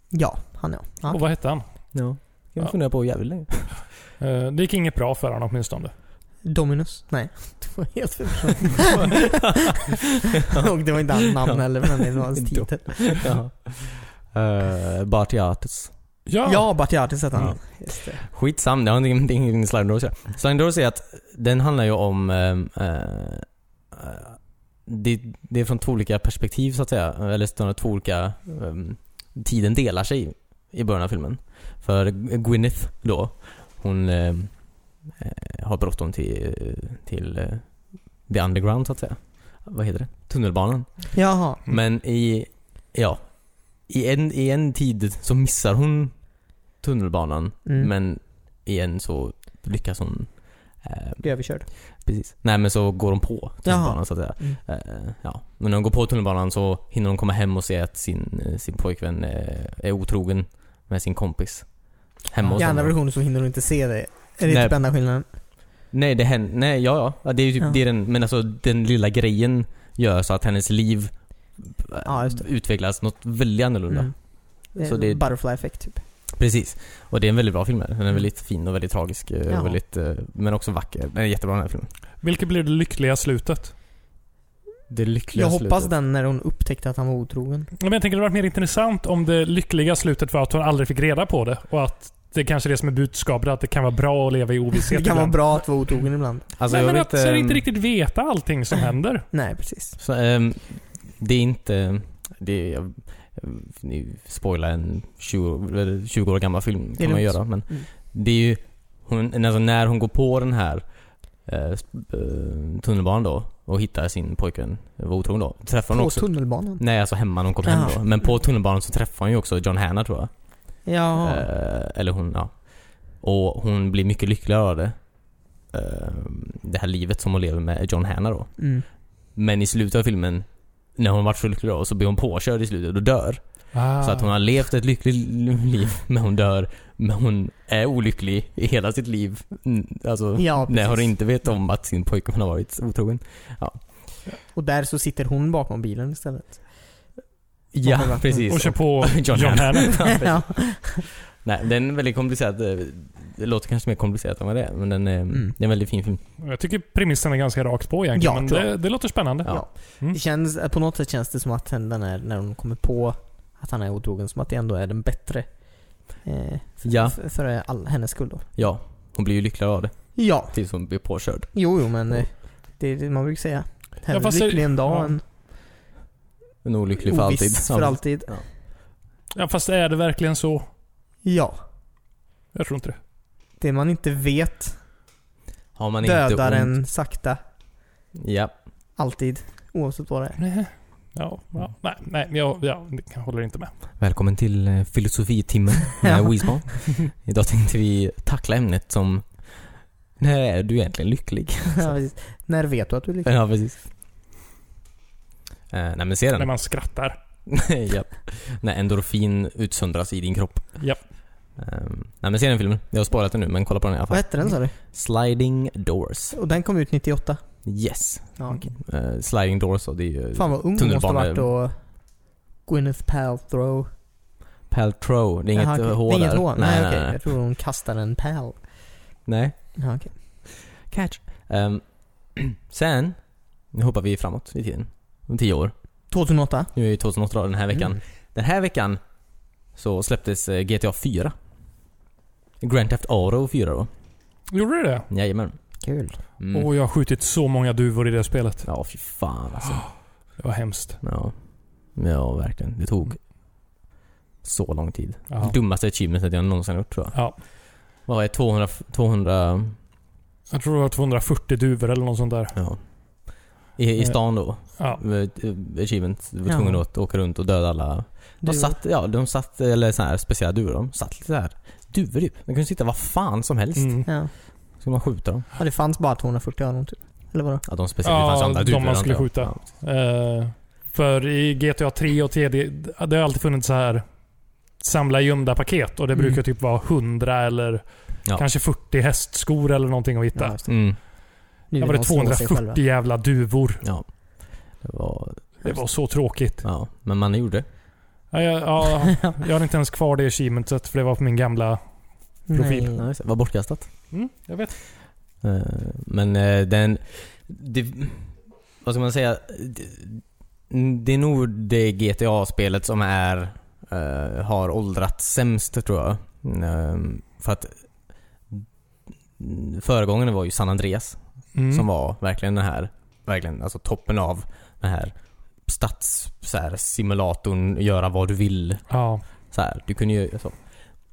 Speaker 1: Ja, han ja.
Speaker 2: Och
Speaker 1: ja.
Speaker 2: vad hette han?
Speaker 3: Ja. Jag
Speaker 2: Ja.
Speaker 3: har funderat på jävligt länge.
Speaker 2: Eh, Det gick inget bra för honom åtminstone.
Speaker 1: Dominus? Nej. Det var helt fel person. Och det var inte hans namn heller, men det var hans titel.
Speaker 3: ja. Uh, Bartiatus.
Speaker 2: Ja,
Speaker 1: Ja, Battiatis hette han.
Speaker 3: Ja.
Speaker 1: Just det.
Speaker 3: Skitsam, det har inte- ingenting ingenting med Sliding Doors att göra. Sliding Doors är att den handlar ju om... ehm, eh, eh, det, det är från två olika perspektiv så att säga. Eller snarare två olika... ehm, tiden delar sig i början av filmen. För Gwyneth då, hon ehm, eh, har bråttom till, till eh, the underground så att säga. Vad heter det? Tunnelbanan.
Speaker 1: Jaha.
Speaker 3: Men i, ja, i en, i en tid så missar hon tunnelbanan.
Speaker 1: Mm.
Speaker 3: Men igen så lyckas hon... Eh,
Speaker 1: Blev överkörd.
Speaker 3: precis. Nej men så går hon på tunnelbanan
Speaker 1: Jaha.
Speaker 3: så att säga.
Speaker 1: Mm.
Speaker 3: Eh, ja. Men när hon går på tunnelbanan så hinner hon komma hem och se att sin, eh, sin pojkvän eh, är otrogen med sin kompis. Hemma hos
Speaker 1: I andra
Speaker 3: henne.
Speaker 1: versionen så hinner du inte se det. Är det
Speaker 3: Nej.
Speaker 1: typ enda skillnaden?
Speaker 3: Nej, det händer, nej ja, ja. ja. Det är ju typ
Speaker 1: Ja.
Speaker 3: det är den, men alltså den lilla grejen gör så att hennes liv eh,
Speaker 1: Ja, just det.
Speaker 3: utvecklas något väldigt annorlunda.
Speaker 1: Mm.
Speaker 3: Så
Speaker 1: Så
Speaker 3: det-
Speaker 1: Butterfly effekt typ.
Speaker 3: Precis. Och det är en väldigt bra film. här. Den är
Speaker 1: Mm.
Speaker 3: väldigt fin och väldigt tragisk. eh,
Speaker 1: Ja.
Speaker 3: Och väldigt, eh, men också vacker. Den är jättebra den här filmen.
Speaker 2: Vilket blir det lyckliga slutet?
Speaker 4: Det lyckliga
Speaker 1: Jag hoppas
Speaker 4: slutet.
Speaker 1: den när hon upptäckte att han var otrogen.
Speaker 2: Men jag tänker det hade varit mer intressant om det lyckliga slutet var att hon aldrig fick reda på det. Och att det kanske är det som är budskapet, att det kan vara bra att leva i ovisshet
Speaker 1: Det kan vara
Speaker 2: ibland.
Speaker 1: bra att vara otrogen ibland.
Speaker 3: Alltså,
Speaker 2: Nej, men
Speaker 3: jag vill
Speaker 2: att så inte
Speaker 3: ehm,
Speaker 2: riktigt veta allting som händer.
Speaker 1: Nej, precis.
Speaker 3: Så, ehm, det är inte... Det är, jag, nu spoilar en 20, eller 20 år gammal film
Speaker 1: Det är
Speaker 3: kan man
Speaker 1: lugnt.
Speaker 3: göra. Men
Speaker 1: Mm.
Speaker 3: det är ju... Hon, alltså när hon går på den här eh, sp- eh, tunnelbanan då och hittar sin pojkvän, eh, var otrogen då. Träffar hon
Speaker 1: På
Speaker 3: också...
Speaker 1: tunnelbanan. Ah.
Speaker 3: Nej, alltså hemma när hon kommer
Speaker 1: Jaha.
Speaker 3: hem då. Men på tunnelbanan så träffar hon ju också John Hannah tror jag.
Speaker 1: Ja.
Speaker 3: Eh, eller hon, ja. Och hon blir mycket lyckligare av det. Ehm, det här livet som hon lever med John Hannah då.
Speaker 1: Mm.
Speaker 3: Men i slutet av filmen, när hon varit så lycklig då, så blir hon påkörd i slutet och dör.
Speaker 1: Ah.
Speaker 3: Så att hon har levt ett lyckligt liv, men hon dör. Men hon är olycklig i hela sitt liv. Mm, Alltså,
Speaker 1: Ja,
Speaker 3: när hon
Speaker 1: precis.
Speaker 3: inte vet om att sin pojkvän har varit otrogen.
Speaker 1: Och där så sitter hon bakom bilen istället.
Speaker 3: Ja,
Speaker 1: Bakom ratten.
Speaker 3: precis.
Speaker 2: och kör på
Speaker 3: John
Speaker 2: John,
Speaker 3: Hannah.
Speaker 2: Hannah.
Speaker 1: ja.
Speaker 3: Nej, den är en väldigt komplicerad. eh, Det låter kanske mer komplicerat än vad det är, men den är,
Speaker 1: Mm.
Speaker 3: det är en väldigt fin film.
Speaker 2: Jag tycker premissen är ganska rakt på egentligen,
Speaker 1: Ja,
Speaker 2: men
Speaker 1: tror
Speaker 2: det, det låter spännande.
Speaker 3: Ja.
Speaker 2: Mm.
Speaker 1: Det känns, på något sätt känns det som att den är, när hon kommer på att han är otrogen, som att det ändå är den bättre. Eh, för,
Speaker 3: Ja.
Speaker 1: för, för all, hennes skull då.
Speaker 3: Ja, hon blir ju lyckligare av det
Speaker 1: Ja,
Speaker 3: tills hon blir påkörd.
Speaker 1: jo, jo men eh, det är det man brukar säga. Hellre
Speaker 2: fast det-
Speaker 1: lycklig en dag
Speaker 2: ja.
Speaker 1: än
Speaker 3: En olycklig för alltid.
Speaker 1: oviss för
Speaker 3: Ja.
Speaker 1: alltid.
Speaker 2: Ja, fast är det verkligen så?
Speaker 1: Ja.
Speaker 2: Jag tror inte det.
Speaker 1: Det man inte vet
Speaker 3: Har man inte
Speaker 1: dödar
Speaker 3: ont.
Speaker 1: en sakta.
Speaker 3: Ja.
Speaker 1: Alltid. Oavsett vad det är.
Speaker 2: Nej. Ja, ja, nej, nej jag, jag, jag håller inte med.
Speaker 3: Välkommen till eh, filosofitimmen med
Speaker 1: Ja.
Speaker 3: Weezball. Idag tänkte vi tackla ämnet som När är du egentligen lycklig?
Speaker 1: Ja, precis. När vet du att du är lycklig?
Speaker 3: ja, precis. Eh, nej men se
Speaker 2: När
Speaker 3: den.
Speaker 2: man skrattar.
Speaker 3: Japp. När endorfin utsöndras i din kropp.
Speaker 2: Japp.
Speaker 3: Ehm, nej men se den filmen. Jag har sparat den nu men kolla på den i alla
Speaker 1: Vad
Speaker 3: fall.
Speaker 1: hette den sa du?
Speaker 3: Sliding Doors.
Speaker 1: Och den kom ut 98?
Speaker 3: Yes.
Speaker 1: Ja, okej.
Speaker 3: Eh, sliding Doors då, det är ju
Speaker 1: Fan vad ung hon måste ha varit och Gwyneth Paltrow.
Speaker 3: Paltrow. Det är inget eh,
Speaker 1: Jaha, okej. Det
Speaker 3: H
Speaker 1: är
Speaker 3: där.
Speaker 1: inget H? Nej, okej.
Speaker 3: nej.
Speaker 1: Jag tror hon kastade en pal.
Speaker 3: nej.
Speaker 1: Ja, okej.
Speaker 3: Catch. Ehm, sen, nu hoppar vi framåt i tiden. Om tio år.
Speaker 1: 2008?
Speaker 3: Nu är det 2008 då, den här veckan.
Speaker 1: Mm.
Speaker 3: Den här veckan så släpptes eh, GTA 4. Grand Theft Auto 4 då.
Speaker 2: Gjorde du det?
Speaker 3: Jajamän.
Speaker 1: Kul.
Speaker 3: Mm.
Speaker 2: Åh, jag har skjutit så många duvor i det spelet.
Speaker 3: Ja, fy fan alltså.
Speaker 2: Det var hemskt.
Speaker 3: Ja. ja, verkligen. Det tog så lång tid.
Speaker 2: Ja.
Speaker 3: Dummaste achievementet jag någonsin har gjort tror jag.
Speaker 2: Ja.
Speaker 3: Vad är 200... 200
Speaker 2: Jag tror det var 240 duvor eller något sånt där.
Speaker 3: ja. I, I
Speaker 2: Eh.
Speaker 3: stan då.
Speaker 2: Ja.
Speaker 3: Eh, Achievement. Du var
Speaker 1: Ja.
Speaker 3: tvungen att åka runt och döda alla De satt, ja, de satt, eller så här speciella duvor, de satt lite så här duvor typ. De kunde sitta vad fan som helst.
Speaker 2: Mm.
Speaker 1: Ja.
Speaker 3: Så skulle man skjuta dem.
Speaker 1: ja, det fanns bara 240 öron typ. Eller vadå?
Speaker 3: Ja, de speciella, det
Speaker 2: Ja,
Speaker 3: fanns ju andra
Speaker 2: de
Speaker 3: duvor.
Speaker 2: man skulle
Speaker 3: antar jag.
Speaker 2: skjuta.
Speaker 3: Ja.
Speaker 2: Eh, för i GTA 3 och 3, det, det har alltid funnits så här samla gömda paket och det
Speaker 1: Mm.
Speaker 2: brukar typ vara 100 eller
Speaker 3: Ja.
Speaker 2: kanske 40 hästskor eller någonting att hitta.
Speaker 1: Ja, just det.
Speaker 3: Mm,
Speaker 1: Nu
Speaker 2: Där var
Speaker 1: vill
Speaker 2: det
Speaker 1: de slå sig själva.
Speaker 2: 240 jävla duvor.
Speaker 3: ja. Det var,
Speaker 2: Det var så tråkigt.
Speaker 3: ja. Men man gjorde det.
Speaker 2: Ja, jag, ja, jag har inte ens kvar det achievementet för det var på min gamla profil.
Speaker 1: Nej.
Speaker 3: Ja, just det. Det var bortkastat.
Speaker 2: Mm, jag vet.
Speaker 3: Eh, Men eh, den... Det, vad ska man säga? Det, det är nog det GTA-spelet som är... eh, har åldrats sämst tror jag. Mm, för att... Föregångaren var ju San Andreas.
Speaker 2: Mm.
Speaker 3: som var verkligen den här, verkligen alltså toppen av den här stads, så här, simulatorn, göra vad du vill.
Speaker 2: ja.
Speaker 3: Så här, du kunde ju så.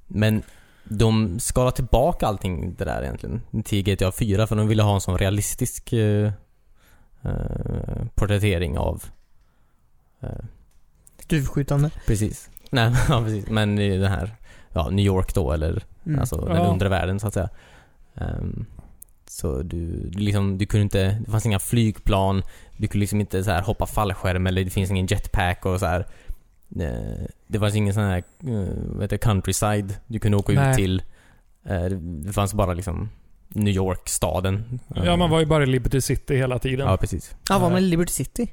Speaker 3: Men de skalar tillbaka allting det där egentligen till GTA 4 för de ville ha en sån realistisk eh, eh, porträttering av eh,
Speaker 1: Duvskjutande.
Speaker 3: Precis. Nej, ja, precis. Men i den här ja, New York då eller
Speaker 1: Mm.
Speaker 3: Alltså den
Speaker 2: Ja.
Speaker 3: undre världen så att säga. Ehm, så du, du liksom, du kunde inte, det fanns inga flygplan, du kunde liksom inte så här hoppa fallskärm eller det finns ingen jetpack och så här. Eh, Det fanns ingen sån här, eh, vad heter det, countryside du kunde åka
Speaker 2: Nej.
Speaker 3: ut till. Eh, det- Det fanns bara liksom New York-staden.
Speaker 2: ja, man var ju bara i Liberty City hela tiden.
Speaker 3: Ja,
Speaker 2: Ja,
Speaker 3: precis.
Speaker 1: Ja, var man i Liberty City?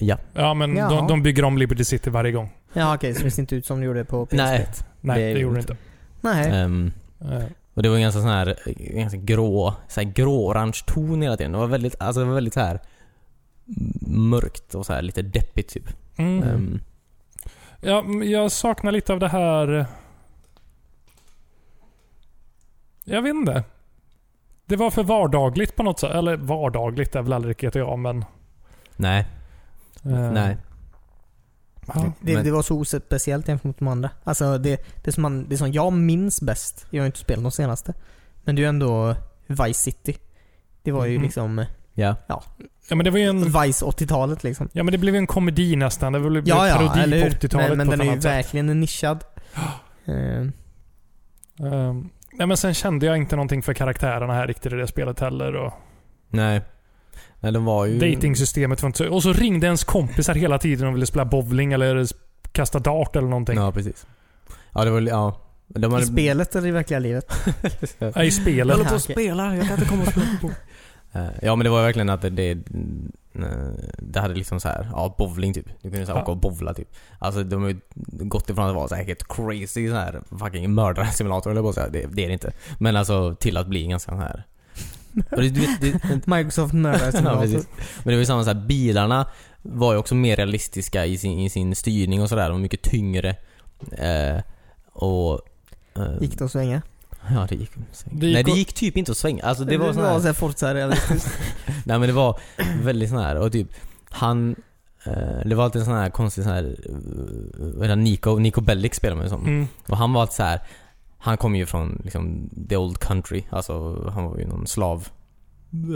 Speaker 3: Ja.
Speaker 2: men
Speaker 1: Ja.
Speaker 2: de, de bygger om Liberty City varje gång.
Speaker 1: Ja, okej. så det ser inte ut som det gjorde på PS1?
Speaker 3: Nej.
Speaker 2: Nej,
Speaker 3: Det
Speaker 2: det,
Speaker 3: är
Speaker 2: gjorde det
Speaker 3: inte.
Speaker 2: inte.
Speaker 1: Nej.
Speaker 3: Ehm,
Speaker 2: Eh,
Speaker 3: Och det var en ganska sån här, ganska grå, så här grå-orange ton hela tiden. Det var väldigt, alltså det var väldigt så här mörkt och så här lite deppigt typ.
Speaker 2: Mm.
Speaker 3: Ehm,
Speaker 2: Ja, men jag saknar lite av det här... Jag vet inte. Det var för vardagligt på något sätt. Eller vardagligt är väl aldrig GTA, men...
Speaker 3: nej,
Speaker 2: eh,
Speaker 3: nej.
Speaker 2: Ja.
Speaker 1: Det,
Speaker 3: Men-
Speaker 1: det var så ospeciellt jämfört med de andra. Alltså det, det, som man, det som jag minns bäst, jag har ju inte spelat de senaste, men det är ju ändå Vice City. Det var ju
Speaker 2: Mhm.
Speaker 1: liksom
Speaker 3: Ja.
Speaker 2: ja, men det var ju en...
Speaker 1: Vice 80-talet liksom.
Speaker 2: Ja, men det blev ju en komedi nästan. Det blev
Speaker 1: Ja,
Speaker 2: en
Speaker 1: ja, eller
Speaker 2: parodi på
Speaker 1: hur?
Speaker 2: 80-talet
Speaker 1: Men, men
Speaker 2: på
Speaker 1: den
Speaker 2: ett
Speaker 1: är ju
Speaker 2: annat sätt.
Speaker 1: verkligen nischad. Eh,
Speaker 2: Eh, Nej, men sen kände jag inte någonting för karaktärerna här riktigt i det spelet heller. Och
Speaker 3: Nej. Nej, de var ju...
Speaker 2: Datingsystemet var inte så... Och så ringde ens kompisar hela tiden och ville spela bowling eller s- kasta dart eller någonting.
Speaker 3: Ja, precis. Ja, det var... Ja. De
Speaker 1: I spelet eller i verkliga livet?
Speaker 2: Ja, I
Speaker 3: Jag
Speaker 2: spelet.
Speaker 1: håller
Speaker 3: håller
Speaker 1: på
Speaker 3: på
Speaker 1: att
Speaker 3: att spela, jag kan inte komma och spela Eh, Ja men det var verkligen att det, det, eh, det hade liksom så här, ja bowling typ. Du kunde så här
Speaker 2: Ja.
Speaker 3: åka och bowla typ. Alltså de har ju gått ifrån att vara så här helt crazy så här fucking mördarsimulator eller på att säga. Det, det är det inte. Men alltså till att bli ganska så här. Och det, du vet, det,
Speaker 1: Microsoft mördar sin
Speaker 3: ja,
Speaker 1: dator.
Speaker 3: precis. Men det var ju samma så här, bilarna var ju också mer realistiska i sin, i sin styrning och sådär. De var mycket tyngre. Eh, och... eh,
Speaker 1: Gick det att svänga?
Speaker 3: Ja det gick,
Speaker 2: Det gick
Speaker 3: Nej det
Speaker 2: och-
Speaker 3: gick typ inte att svänga. Alltså det var
Speaker 1: så
Speaker 3: sån här,
Speaker 1: här Forza-realistiskt.
Speaker 3: Nej men det var väldigt sån här och typ han eh, det var alltid en sån här konstig sån här, eh, vad heter han, Nico, Nico Bellic spelar man ju som.
Speaker 2: Mm.
Speaker 3: Och han var alltid så här han kom ju från liksom the old country, alltså han var ju någon slav,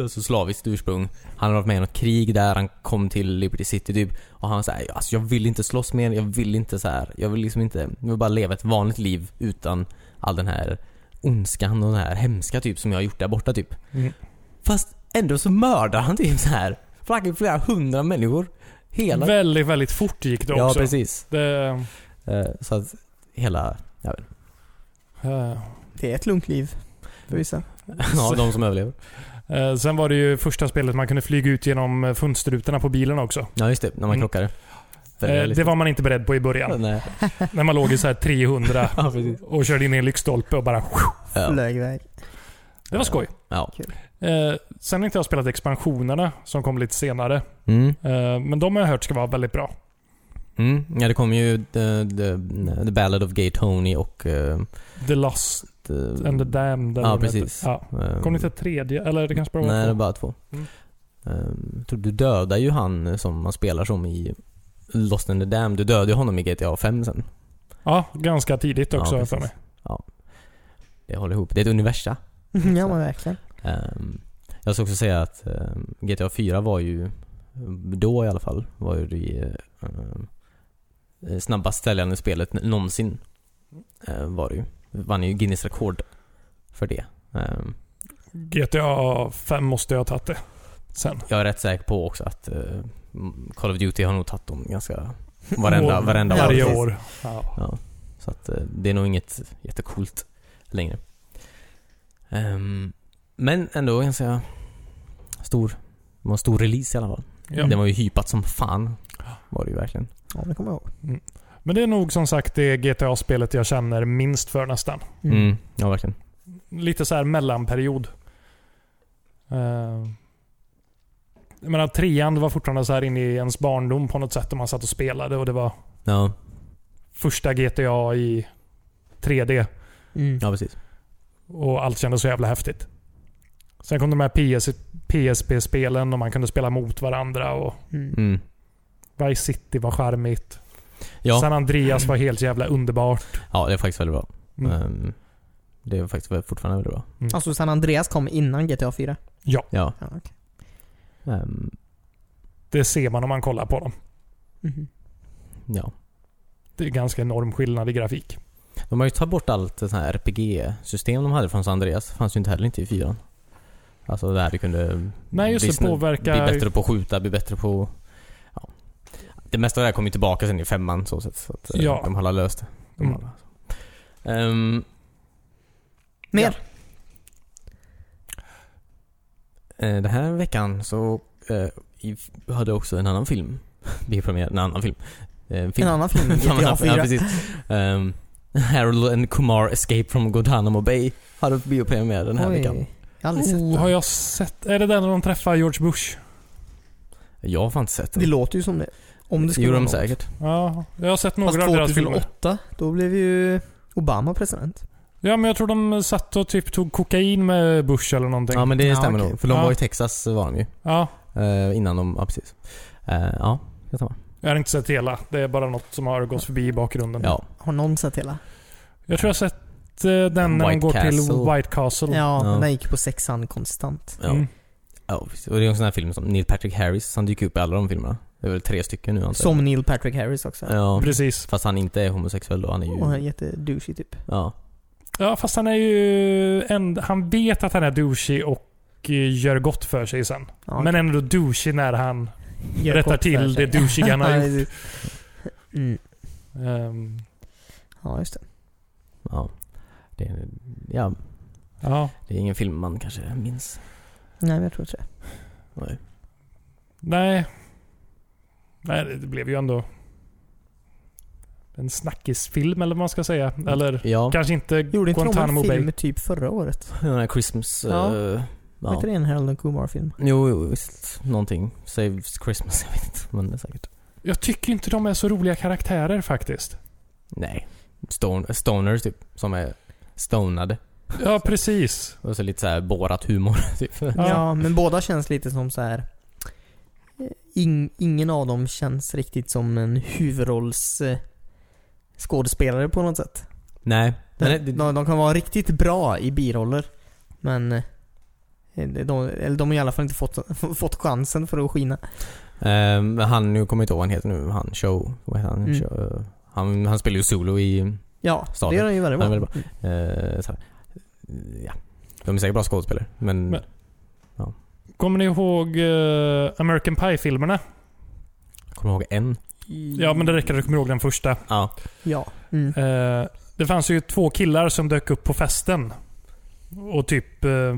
Speaker 3: alltså slaviskt ursprung. Han hade varit med i något krig där, han kom till Liberty City typ. Och han var såhär, alltså jag vill inte slåss mer, jag vill inte så här. jag vill liksom inte, jag vill bara leva ett vanligt liv utan all den här ondskan och den här hemska typ som jag har gjort där borta typ.
Speaker 2: Mm.
Speaker 3: Fast ändå så mördar han typ så här fucking flera hundra människor. Hela...
Speaker 2: Väldigt, väldigt fort gick det
Speaker 3: Ja
Speaker 2: också.
Speaker 3: precis.
Speaker 2: Det,
Speaker 3: Eh, Så att hela, jag vet inte.
Speaker 2: eh,
Speaker 1: det är ett lugnt liv. För vissa.
Speaker 3: ja, de som överlever.
Speaker 2: eh, sen var det ju första spelet man kunde flyga ut genom eh, fönsterrutorna på bilen också.
Speaker 3: Ja just det, när man
Speaker 2: Mm.
Speaker 3: krockade.
Speaker 2: Eh, det var man inte beredd på i början.
Speaker 3: Nej.
Speaker 2: när man låg i så här 300
Speaker 3: Ja, precis.
Speaker 2: och körde in i en lyktstolpe och bara...
Speaker 3: Ja.
Speaker 1: Flög iväg.
Speaker 2: Det var skoj.
Speaker 3: ja.
Speaker 2: Eh, sen har inte jag spelat expansionerna som kom lite senare.
Speaker 3: Mm.
Speaker 2: Eh, men de har jag hört ska vara väldigt bra.
Speaker 3: Mm. ja, det kom ju The, the, the Ballad of Gay Tony och... eh,
Speaker 2: The Lost
Speaker 3: the,
Speaker 2: and the Damned. eller
Speaker 3: Ja,
Speaker 2: vad de
Speaker 3: precis.
Speaker 2: heter. Ja.
Speaker 3: eh,
Speaker 2: Kom det inte ett tredje? Eller det kanske bara var
Speaker 3: Nej, det
Speaker 2: två?
Speaker 3: var bara två.
Speaker 2: Mm.
Speaker 3: Eh, tror du dödar ju han som man spelar som i Lost in the Dam. Du dödar ju honom i GTA 5 sen.
Speaker 2: Ja, ganska tidigt också
Speaker 3: Ja,
Speaker 2: för mig.
Speaker 3: precis. Ja. Det håller ihop. Det är ett universum.
Speaker 1: ja men verkligen.
Speaker 3: Ehm, jag ska också säga att ehm, GTA 4 var ju, då i alla fall, var ju det ehm, snabbast säljande spelet n- någonsin. Ehm, var det ju. Vann ju Guinness rekord för det. Ehm,
Speaker 2: GTA 5 måste jag ha tagit det. Sen.
Speaker 3: jag är rätt säker på också att eh, Call of Duty har nog tagit dem ganska varenda,
Speaker 2: År-
Speaker 3: varenda år.
Speaker 2: Varje
Speaker 1: precis.
Speaker 2: år. Ja.
Speaker 3: Ja, så att eh, det är nog inget jättecoolt längre. Ehm, men ändå ganska stor. Det var en stor release i alla fall.
Speaker 2: Ja.
Speaker 3: Den var ju hypat som fan. Var det ju verkligen.
Speaker 1: Ja, det kommer jag ihåg.
Speaker 2: Men det är nog som sagt det GTA-spelet jag känner minst för nästan.
Speaker 3: Mm. Ja, verkligen.
Speaker 2: Lite så här mellanperiod. Uh, jag menar, trean var fortfarande så här inne i ens barndom på något sätt. Och man satt och spelade och det var
Speaker 3: Ja,
Speaker 2: första GTA i 3D.
Speaker 1: Mm.
Speaker 3: ja precis.
Speaker 2: Och allt kändes så jävla häftigt. Sen kom de här PS, PSP-spelen och man kunde spela mot varandra. och
Speaker 1: Mm.
Speaker 3: Mm.
Speaker 2: Vice City var charmigt.
Speaker 3: Ja,
Speaker 2: San Andreas var helt jävla underbart.
Speaker 3: ja, det är faktiskt väldigt bra.
Speaker 2: Mm.
Speaker 3: Ehm, det är faktiskt väl- fortfarande väldigt bra.
Speaker 1: Alltså San Andreas kom innan GTA 4?
Speaker 3: Ja.
Speaker 1: Ja, okej.
Speaker 3: Ehm,
Speaker 2: Det ser man om man kollar på dem.
Speaker 1: Mhm.
Speaker 3: ja.
Speaker 2: Det är ganska enorm skillnad i grafik.
Speaker 3: De har ju tagit bort allt det här RPG-system de hade från San Andreas. Fanns ju inte heller inte i fyran. Alltså där vi kunde
Speaker 2: Nej, just det,
Speaker 3: bli snö-
Speaker 2: påverkar-
Speaker 3: Bli bättre på att skjuta, bli bättre på... Ja. Det mesta av det här kom ju tillbaka sen i femman så sett. Så att eh,
Speaker 2: Ja.
Speaker 3: de har löst det. De
Speaker 2: Mm.
Speaker 3: har löst det. Ehm,
Speaker 1: Mer?
Speaker 3: eh, den här veckan så eh, i- hade också en annan film biopremiär. En annan film. Eh, film.
Speaker 1: En annan film än
Speaker 3: Ja, men,
Speaker 1: GTA 4.
Speaker 3: Ja, precis. Ehm, Harold and Kumar Escape from Guantanamo Bay hade biopremiär den här
Speaker 1: Oj.
Speaker 3: veckan.
Speaker 1: Jag har aldrig sett
Speaker 2: Oh,
Speaker 1: den.
Speaker 2: har jag sett? Är det där när de träffar George Bush?
Speaker 3: Jag har fan inte sett
Speaker 1: Det
Speaker 3: den.
Speaker 1: låter ju som det. Om det skulle
Speaker 3: gjorde
Speaker 1: vara
Speaker 3: de
Speaker 1: något.
Speaker 3: säkert.
Speaker 2: Ja, jag har sett några
Speaker 1: Fast
Speaker 2: av deras filmer.
Speaker 1: 2008, då blev ju Obama president.
Speaker 2: Ja, men jag tror de satt och typ tog kokain med Bush eller någonting.
Speaker 3: Ja men det
Speaker 1: Ja,
Speaker 3: stämmer
Speaker 1: okej.
Speaker 3: nog. För de
Speaker 2: Ja.
Speaker 3: var i Texas var de ju.
Speaker 2: ja,
Speaker 3: Eh, innan de, ja precis. Eh, ja, jag tar med.
Speaker 2: jag har inte sett hela. Det är bara något som har gått förbi i
Speaker 1: Mm.
Speaker 2: bakgrunden.
Speaker 3: Ja.
Speaker 1: Har någon sett hela?
Speaker 2: Jag tror jag har sett eh, den när de
Speaker 3: White
Speaker 2: går till
Speaker 3: Castle.
Speaker 2: White Castle.
Speaker 1: Ja,
Speaker 3: Ja.
Speaker 1: den där gick på sexan konstant.
Speaker 3: Ja.
Speaker 2: Mm.
Speaker 3: ja precis. Och det är en sån här film som Neil Patrick Harris, han dyker upp i alla de filmerna. Det är väl tre stycken nu antar jag.
Speaker 1: Som Neil Patrick Harris också.
Speaker 3: Ja.
Speaker 2: Precis.
Speaker 3: Fast han inte är homosexuell då, han är ju...
Speaker 1: Och han är jättedouchig typ.
Speaker 3: Ja.
Speaker 2: Ja, fast han är ju... En, han vet att han är douchig och eh, gör gott för sig sen.
Speaker 1: Ja,
Speaker 2: Men ändå douchig när han...
Speaker 1: gör
Speaker 2: rättar
Speaker 1: kort för
Speaker 2: till
Speaker 1: sig.
Speaker 2: det douchiga han har
Speaker 1: Ja, mm.
Speaker 2: ehm,
Speaker 1: Ja, just det.
Speaker 3: Ja. Det, ja.
Speaker 2: ja.
Speaker 3: det är ingen film man kanske minns.
Speaker 1: Nej, men jag tror inte det.
Speaker 3: Nej.
Speaker 2: Nej. Nej, det blev ju ändå en snackisfilm eller vad man ska säga. Eller
Speaker 3: Ja.
Speaker 2: kanske inte
Speaker 1: Mm. Gjorde inte de
Speaker 2: Guantanamo
Speaker 1: en
Speaker 2: Bay.
Speaker 1: film typ förra året?
Speaker 3: Den här Christmas...
Speaker 1: Ja.
Speaker 3: Ja.
Speaker 1: Var
Speaker 3: ja.
Speaker 1: inte det en Harold and Kumar-film?
Speaker 3: Jo, jo, visst. Någonting. Saves Christmas, jag vet inte. Men det är säkert.
Speaker 2: Jag tycker inte de är så roliga karaktärer faktiskt.
Speaker 3: Nej. Stone, stoners typ. Som är stonade.
Speaker 2: Ja, precis.
Speaker 3: Och så lite så här borat humor typ.
Speaker 2: Ja.
Speaker 1: Ja. men båda känns lite som så här. In, ingen av dem känns riktigt som en huvudrolls eh, skådespelare på något sätt.
Speaker 3: Nej.
Speaker 1: De,
Speaker 3: Men det,
Speaker 1: de, de kan vara riktigt bra i biroller. Men eh, de, eller de har i alla fall inte fått, fått chansen för att skina.
Speaker 3: ehm, han, nu kommer jag inte ihåg vad han heter nu. Han, show. Vad heter han?
Speaker 1: Mm.
Speaker 3: Show, eh, han, han spelar ju solo i...
Speaker 1: Ja,
Speaker 3: Staden.
Speaker 1: det gör de ju väldigt bra.
Speaker 3: Ja, väldigt Eh, så här. Ja. De är säkert bra skådespelare, men...
Speaker 2: Men- Kommer ni ihåg eh, American Pie-filmerna?
Speaker 3: Jag kommer ihåg en.
Speaker 2: Ja, men det räcker att du kommer ihåg den första.
Speaker 3: Ja.
Speaker 1: Mm. Ja. Mm.
Speaker 2: Eh, det fanns ju två killar som dök upp på festen. Och typ eh,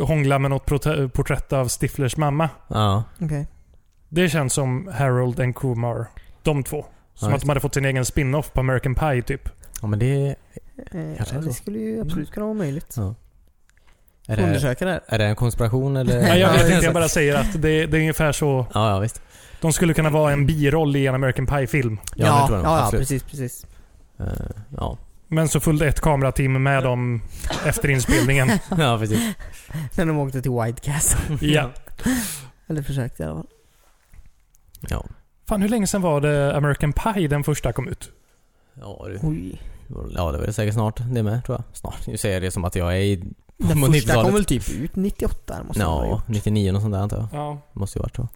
Speaker 2: hånglade med något prote- porträtt av Stiflers mamma.
Speaker 3: Ja.
Speaker 1: Okej.
Speaker 2: Det känns som Harold and Kumar. De två. Som
Speaker 3: Ja,
Speaker 2: att de hade fått sin egen spin-off på American Pie typ.
Speaker 3: ja men det...
Speaker 1: Eh,
Speaker 3: Kanske
Speaker 1: ja,
Speaker 3: är
Speaker 1: det
Speaker 3: så.
Speaker 1: skulle ju absolut kunna vara möjligt.
Speaker 3: Ja. Är det,
Speaker 1: Undersöka det här.
Speaker 3: är det en konspiration eller?
Speaker 2: Ja, jag vet
Speaker 1: det är
Speaker 2: inte,
Speaker 1: så.
Speaker 2: jag bara säger att det, det är ungefär så.
Speaker 3: Ja, ja visst.
Speaker 2: De skulle kunna vara en biroll i en American Pie-film.
Speaker 3: Ja, det tror jag nog,
Speaker 1: ja, ja
Speaker 3: absolut.
Speaker 1: precis, precis.
Speaker 3: Eh, ja.
Speaker 2: Men så följde ett kamerateam med dem efter inspelningen.
Speaker 3: ja, precis.
Speaker 1: När de åkte till White Castle.
Speaker 2: Ja.
Speaker 1: Eller försökte i alla fall.
Speaker 3: Ja.
Speaker 2: Fan, hur länge sedan var det American Pie den första kom ut?
Speaker 3: Ja, det,
Speaker 1: Oj.
Speaker 3: ja, det var det säkert snart det med tror jag. Snart. Nu säger jag det som att jag är i...
Speaker 1: Den
Speaker 3: På
Speaker 1: första
Speaker 3: 90-talet.
Speaker 1: kom väl typ ut 98? här, Måste no.
Speaker 3: Ja, 99 och sånt där antar jag.
Speaker 2: Ja.
Speaker 3: Måste ju varit så.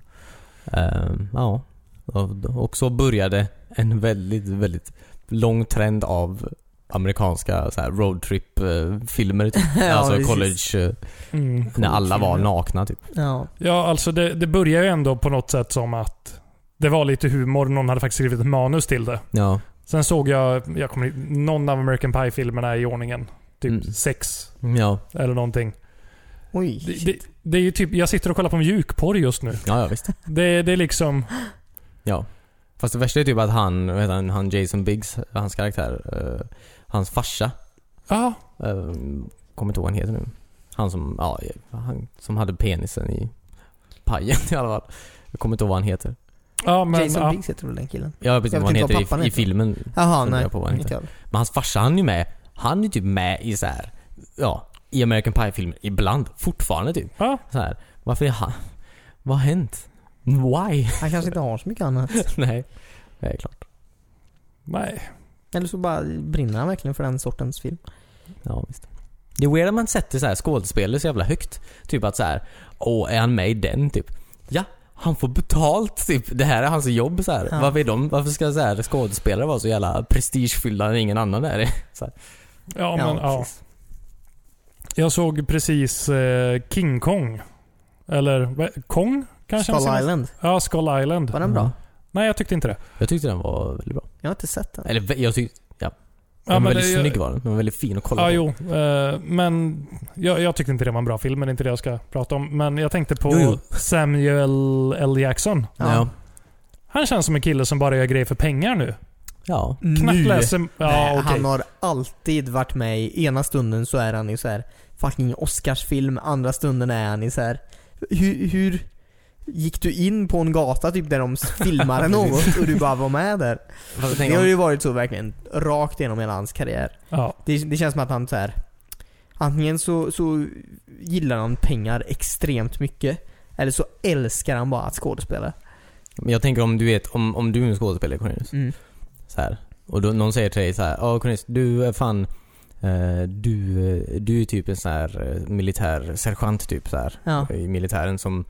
Speaker 3: Ehm, ja. Och- Och så började en väldigt, väldigt lång trend av amerikanska så här roadtrip-filmer. Typ.
Speaker 1: Ja,
Speaker 3: alltså
Speaker 1: precis.
Speaker 3: college, eh,
Speaker 2: Mm.
Speaker 3: när alla var
Speaker 1: Collegefilmer.
Speaker 3: nakna typ.
Speaker 1: ja.
Speaker 2: Ja, alltså det, det börjar ju ändå på något sätt som att det var lite humor. Någon hade faktiskt skrivit ett manus till det.
Speaker 3: Ja.
Speaker 2: Sen såg jag, jag kommer inte- någon av American Pie-filmerna i ordningen. Typ
Speaker 3: Mm.
Speaker 2: sex
Speaker 3: Ja,
Speaker 2: eller någonting.
Speaker 1: Oj.
Speaker 2: Det, det, det är ju typ, jag sitter och kollar på mjukporr just nu.
Speaker 3: ja, ja visst.
Speaker 2: Det, det är liksom...
Speaker 3: Ja. Fast det värsta är typ att han, vad heter han, han Jason Biggs, hans karaktär, eh, hans farsa,
Speaker 2: Ja,
Speaker 3: eh, kommer inte ihåg vad han heter nu. Han som, ja, han som hade penisen i pajen i alla fall. Jag kommer inte ihåg vad han heter.
Speaker 2: ja men...
Speaker 1: Jason
Speaker 2: ja.
Speaker 1: Biggs heter väl den killen?
Speaker 3: Jag vet inte
Speaker 1: Jag vet
Speaker 3: vad han
Speaker 1: inte vad
Speaker 3: heter
Speaker 1: pappan
Speaker 3: i, i
Speaker 1: heter.
Speaker 3: filmen.
Speaker 1: Jaha,
Speaker 3: Funderar
Speaker 1: nej.
Speaker 3: på vad han
Speaker 1: inte jag.
Speaker 3: Men hans farsa han är ju med. Han är ju typ med i så här, ja, i American Pie-filmer ibland. Fortfarande typ.
Speaker 2: Ja.
Speaker 3: Så här, varför är han... Vad har hänt? Why?
Speaker 1: Han kanske inte har så mycket annat.
Speaker 3: Nej. Det är klart.
Speaker 2: Nej.
Speaker 1: Eller så bara brinner han verkligen för den sortens film.
Speaker 3: Ja, visst. Det är weird att man sätter så här skådespelare så jävla högt. Typ att så här, åh, är han med i den typ? Ja, han får betalt typ. Det här är hans jobb så här.
Speaker 1: Ja.
Speaker 3: Varför, är de, varför ska så här, skådespelare vara så jävla prestigefyllda när ingen annan är det? Så här.
Speaker 2: Ja, men, ja.
Speaker 1: precis.
Speaker 2: Jag såg precis eh, King Kong. Eller vad- Kong? Kanske?
Speaker 1: Skull Island.
Speaker 2: Ja, Skull Island.
Speaker 1: Var den bra?
Speaker 3: Mm.
Speaker 2: Nej, jag tyckte inte det.
Speaker 3: Jag tyckte den var väldigt bra.
Speaker 1: Jag har inte sett den.
Speaker 3: Eller vä- jag tyckte...
Speaker 2: Ja, men
Speaker 3: Den var väldigt
Speaker 2: det-
Speaker 3: snygg var den. Den var väldigt fin att kolla
Speaker 2: Ja,
Speaker 3: på.
Speaker 2: jo. Eh, men jag, jag tyckte inte det var en bra film, men det är inte det jag ska prata om. Men jag tänkte på
Speaker 3: Jo, jo.
Speaker 2: Samuel L. Jackson.
Speaker 1: Ja.
Speaker 3: Ja.
Speaker 2: Han känns som en kille som bara gör grejer för pengar nu.
Speaker 3: Ja.
Speaker 2: Knappt
Speaker 1: Nu.
Speaker 2: läser... Ja,
Speaker 1: Mm. Nej,
Speaker 2: okej.
Speaker 1: Han har alltid varit med i ena stunden så är han i så här fucking Oscarsfilm, andra stunden är han i så här hur, hur Gick du in på en gata typ där de filmade något och du bara var med där?
Speaker 3: Fast jag
Speaker 1: Det
Speaker 3: tänker
Speaker 1: har
Speaker 3: om-
Speaker 1: ju varit så verkligen rakt igenom hela hans karriär.
Speaker 2: Ja.
Speaker 1: Det, det känns som att han så här. Antingen så, så gillar han pengar extremt mycket. Eller så älskar han bara att skådespela.
Speaker 3: Men jag tänker om du vet, om, om du är en skådespelare Cornelius,
Speaker 1: Mm.
Speaker 3: så här, och då, någon säger till dig så här, ja Cornelius, du är fan, eh, du, eh, du är typ en sån här eh, militär sergeant typ så här,
Speaker 1: Ja.
Speaker 3: i militären som,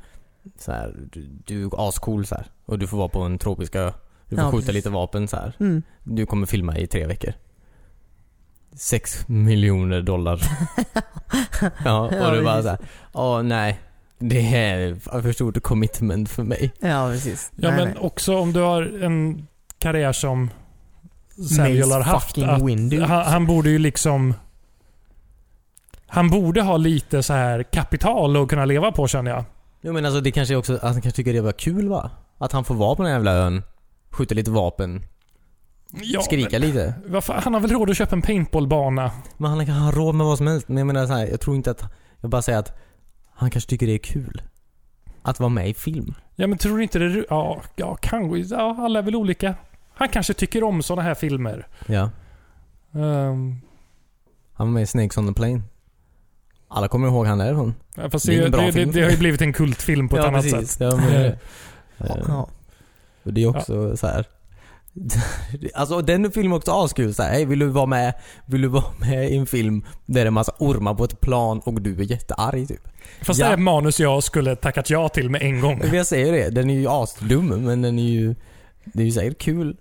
Speaker 3: så här, du, du är ascool så här, och du får vara på en tropisk ö, du får
Speaker 1: Ja,
Speaker 3: skjuta
Speaker 1: precis.
Speaker 3: lite vapen så här,
Speaker 1: Mm.
Speaker 3: du kommer filma i tre veckor. Sex miljoner dollar. ja,
Speaker 1: Ja,
Speaker 3: och du bara
Speaker 1: precis.
Speaker 3: så här, ja nej, det är för stort commitment för mig.
Speaker 1: Ja, precis.
Speaker 2: Ja,
Speaker 1: Nej,
Speaker 2: men
Speaker 1: nej.
Speaker 2: också om du har en karriär som Samuel
Speaker 1: Mace
Speaker 2: har haft.
Speaker 1: fucking
Speaker 2: Att
Speaker 1: Windu.
Speaker 2: han, han borde ju liksom... Han borde ha lite så här kapital att kunna leva på känner jag.
Speaker 3: Jo men alltså det kanske är också, att han kanske tycker det var kul va? Att han får vara på den här jävla ön, skjuta lite vapen,
Speaker 2: Ja,
Speaker 3: skrika lite.
Speaker 2: men vad fan, han har väl råd att köpa en paintballbana?
Speaker 3: Men han kan ha råd med vad som helst. Men jag menar så här, jag tror inte att, jag bara säger att han kanske tycker det är kul. Att vara med i film.
Speaker 2: Ja men tror du inte det... är- Ja, ja kanske. Ja, alla är väl olika. Han kanske tycker om sådana här filmer.
Speaker 3: Ja.
Speaker 2: Ehm,
Speaker 3: Han var med i Snakes on the Plane. Alla kommer ihåg han därifrån.
Speaker 2: ja, fast
Speaker 3: Det
Speaker 2: det,
Speaker 3: är
Speaker 2: det,
Speaker 3: en bra
Speaker 2: det, det,
Speaker 3: film.
Speaker 2: har ju blivit en kultfilm på ett annat sätt.
Speaker 3: Ja, men,
Speaker 2: Eh,
Speaker 3: eh,
Speaker 1: Ja.
Speaker 3: och det är också så här. Alltså och den filmen är också askul såhär, hej vill du vara med? Vill du vara med i en film där det är en massa ormar på ett plan och du är jättearg typ?
Speaker 2: Fast
Speaker 3: Ja.
Speaker 2: det är ett manus jag skulle tackat ja till med en gång.
Speaker 3: Men jag säger det, den är ju asdum men den är ju... Det är ju säkert kul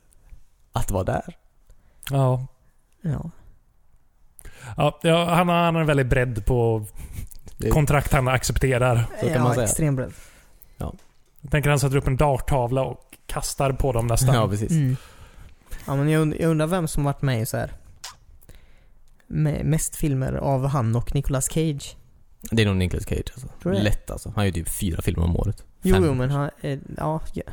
Speaker 3: att vara där.
Speaker 2: Ja.
Speaker 1: Ja.
Speaker 2: Ja, ja, han, har- han har en väldig bredd på
Speaker 3: Det,
Speaker 2: kontrakt han accepterar.
Speaker 3: Så kan
Speaker 1: ja,
Speaker 3: man säga.
Speaker 1: extrem bredd.
Speaker 2: Jag tänker han sätter upp en darttavla och kastar på dem nästan.
Speaker 3: ja, precis.
Speaker 1: Mm. Ja, men jag, und- jag undrar vem som varit med i så här. Med mest filmer av han och Nicolas Cage.
Speaker 3: Det är nog Nicolas Cage alltså.
Speaker 1: Tror du det?
Speaker 3: Lätt alltså. Han gör typ fyra filmer om året.
Speaker 1: Jo,
Speaker 3: Fem.
Speaker 1: jo men han, eh, ja, ja.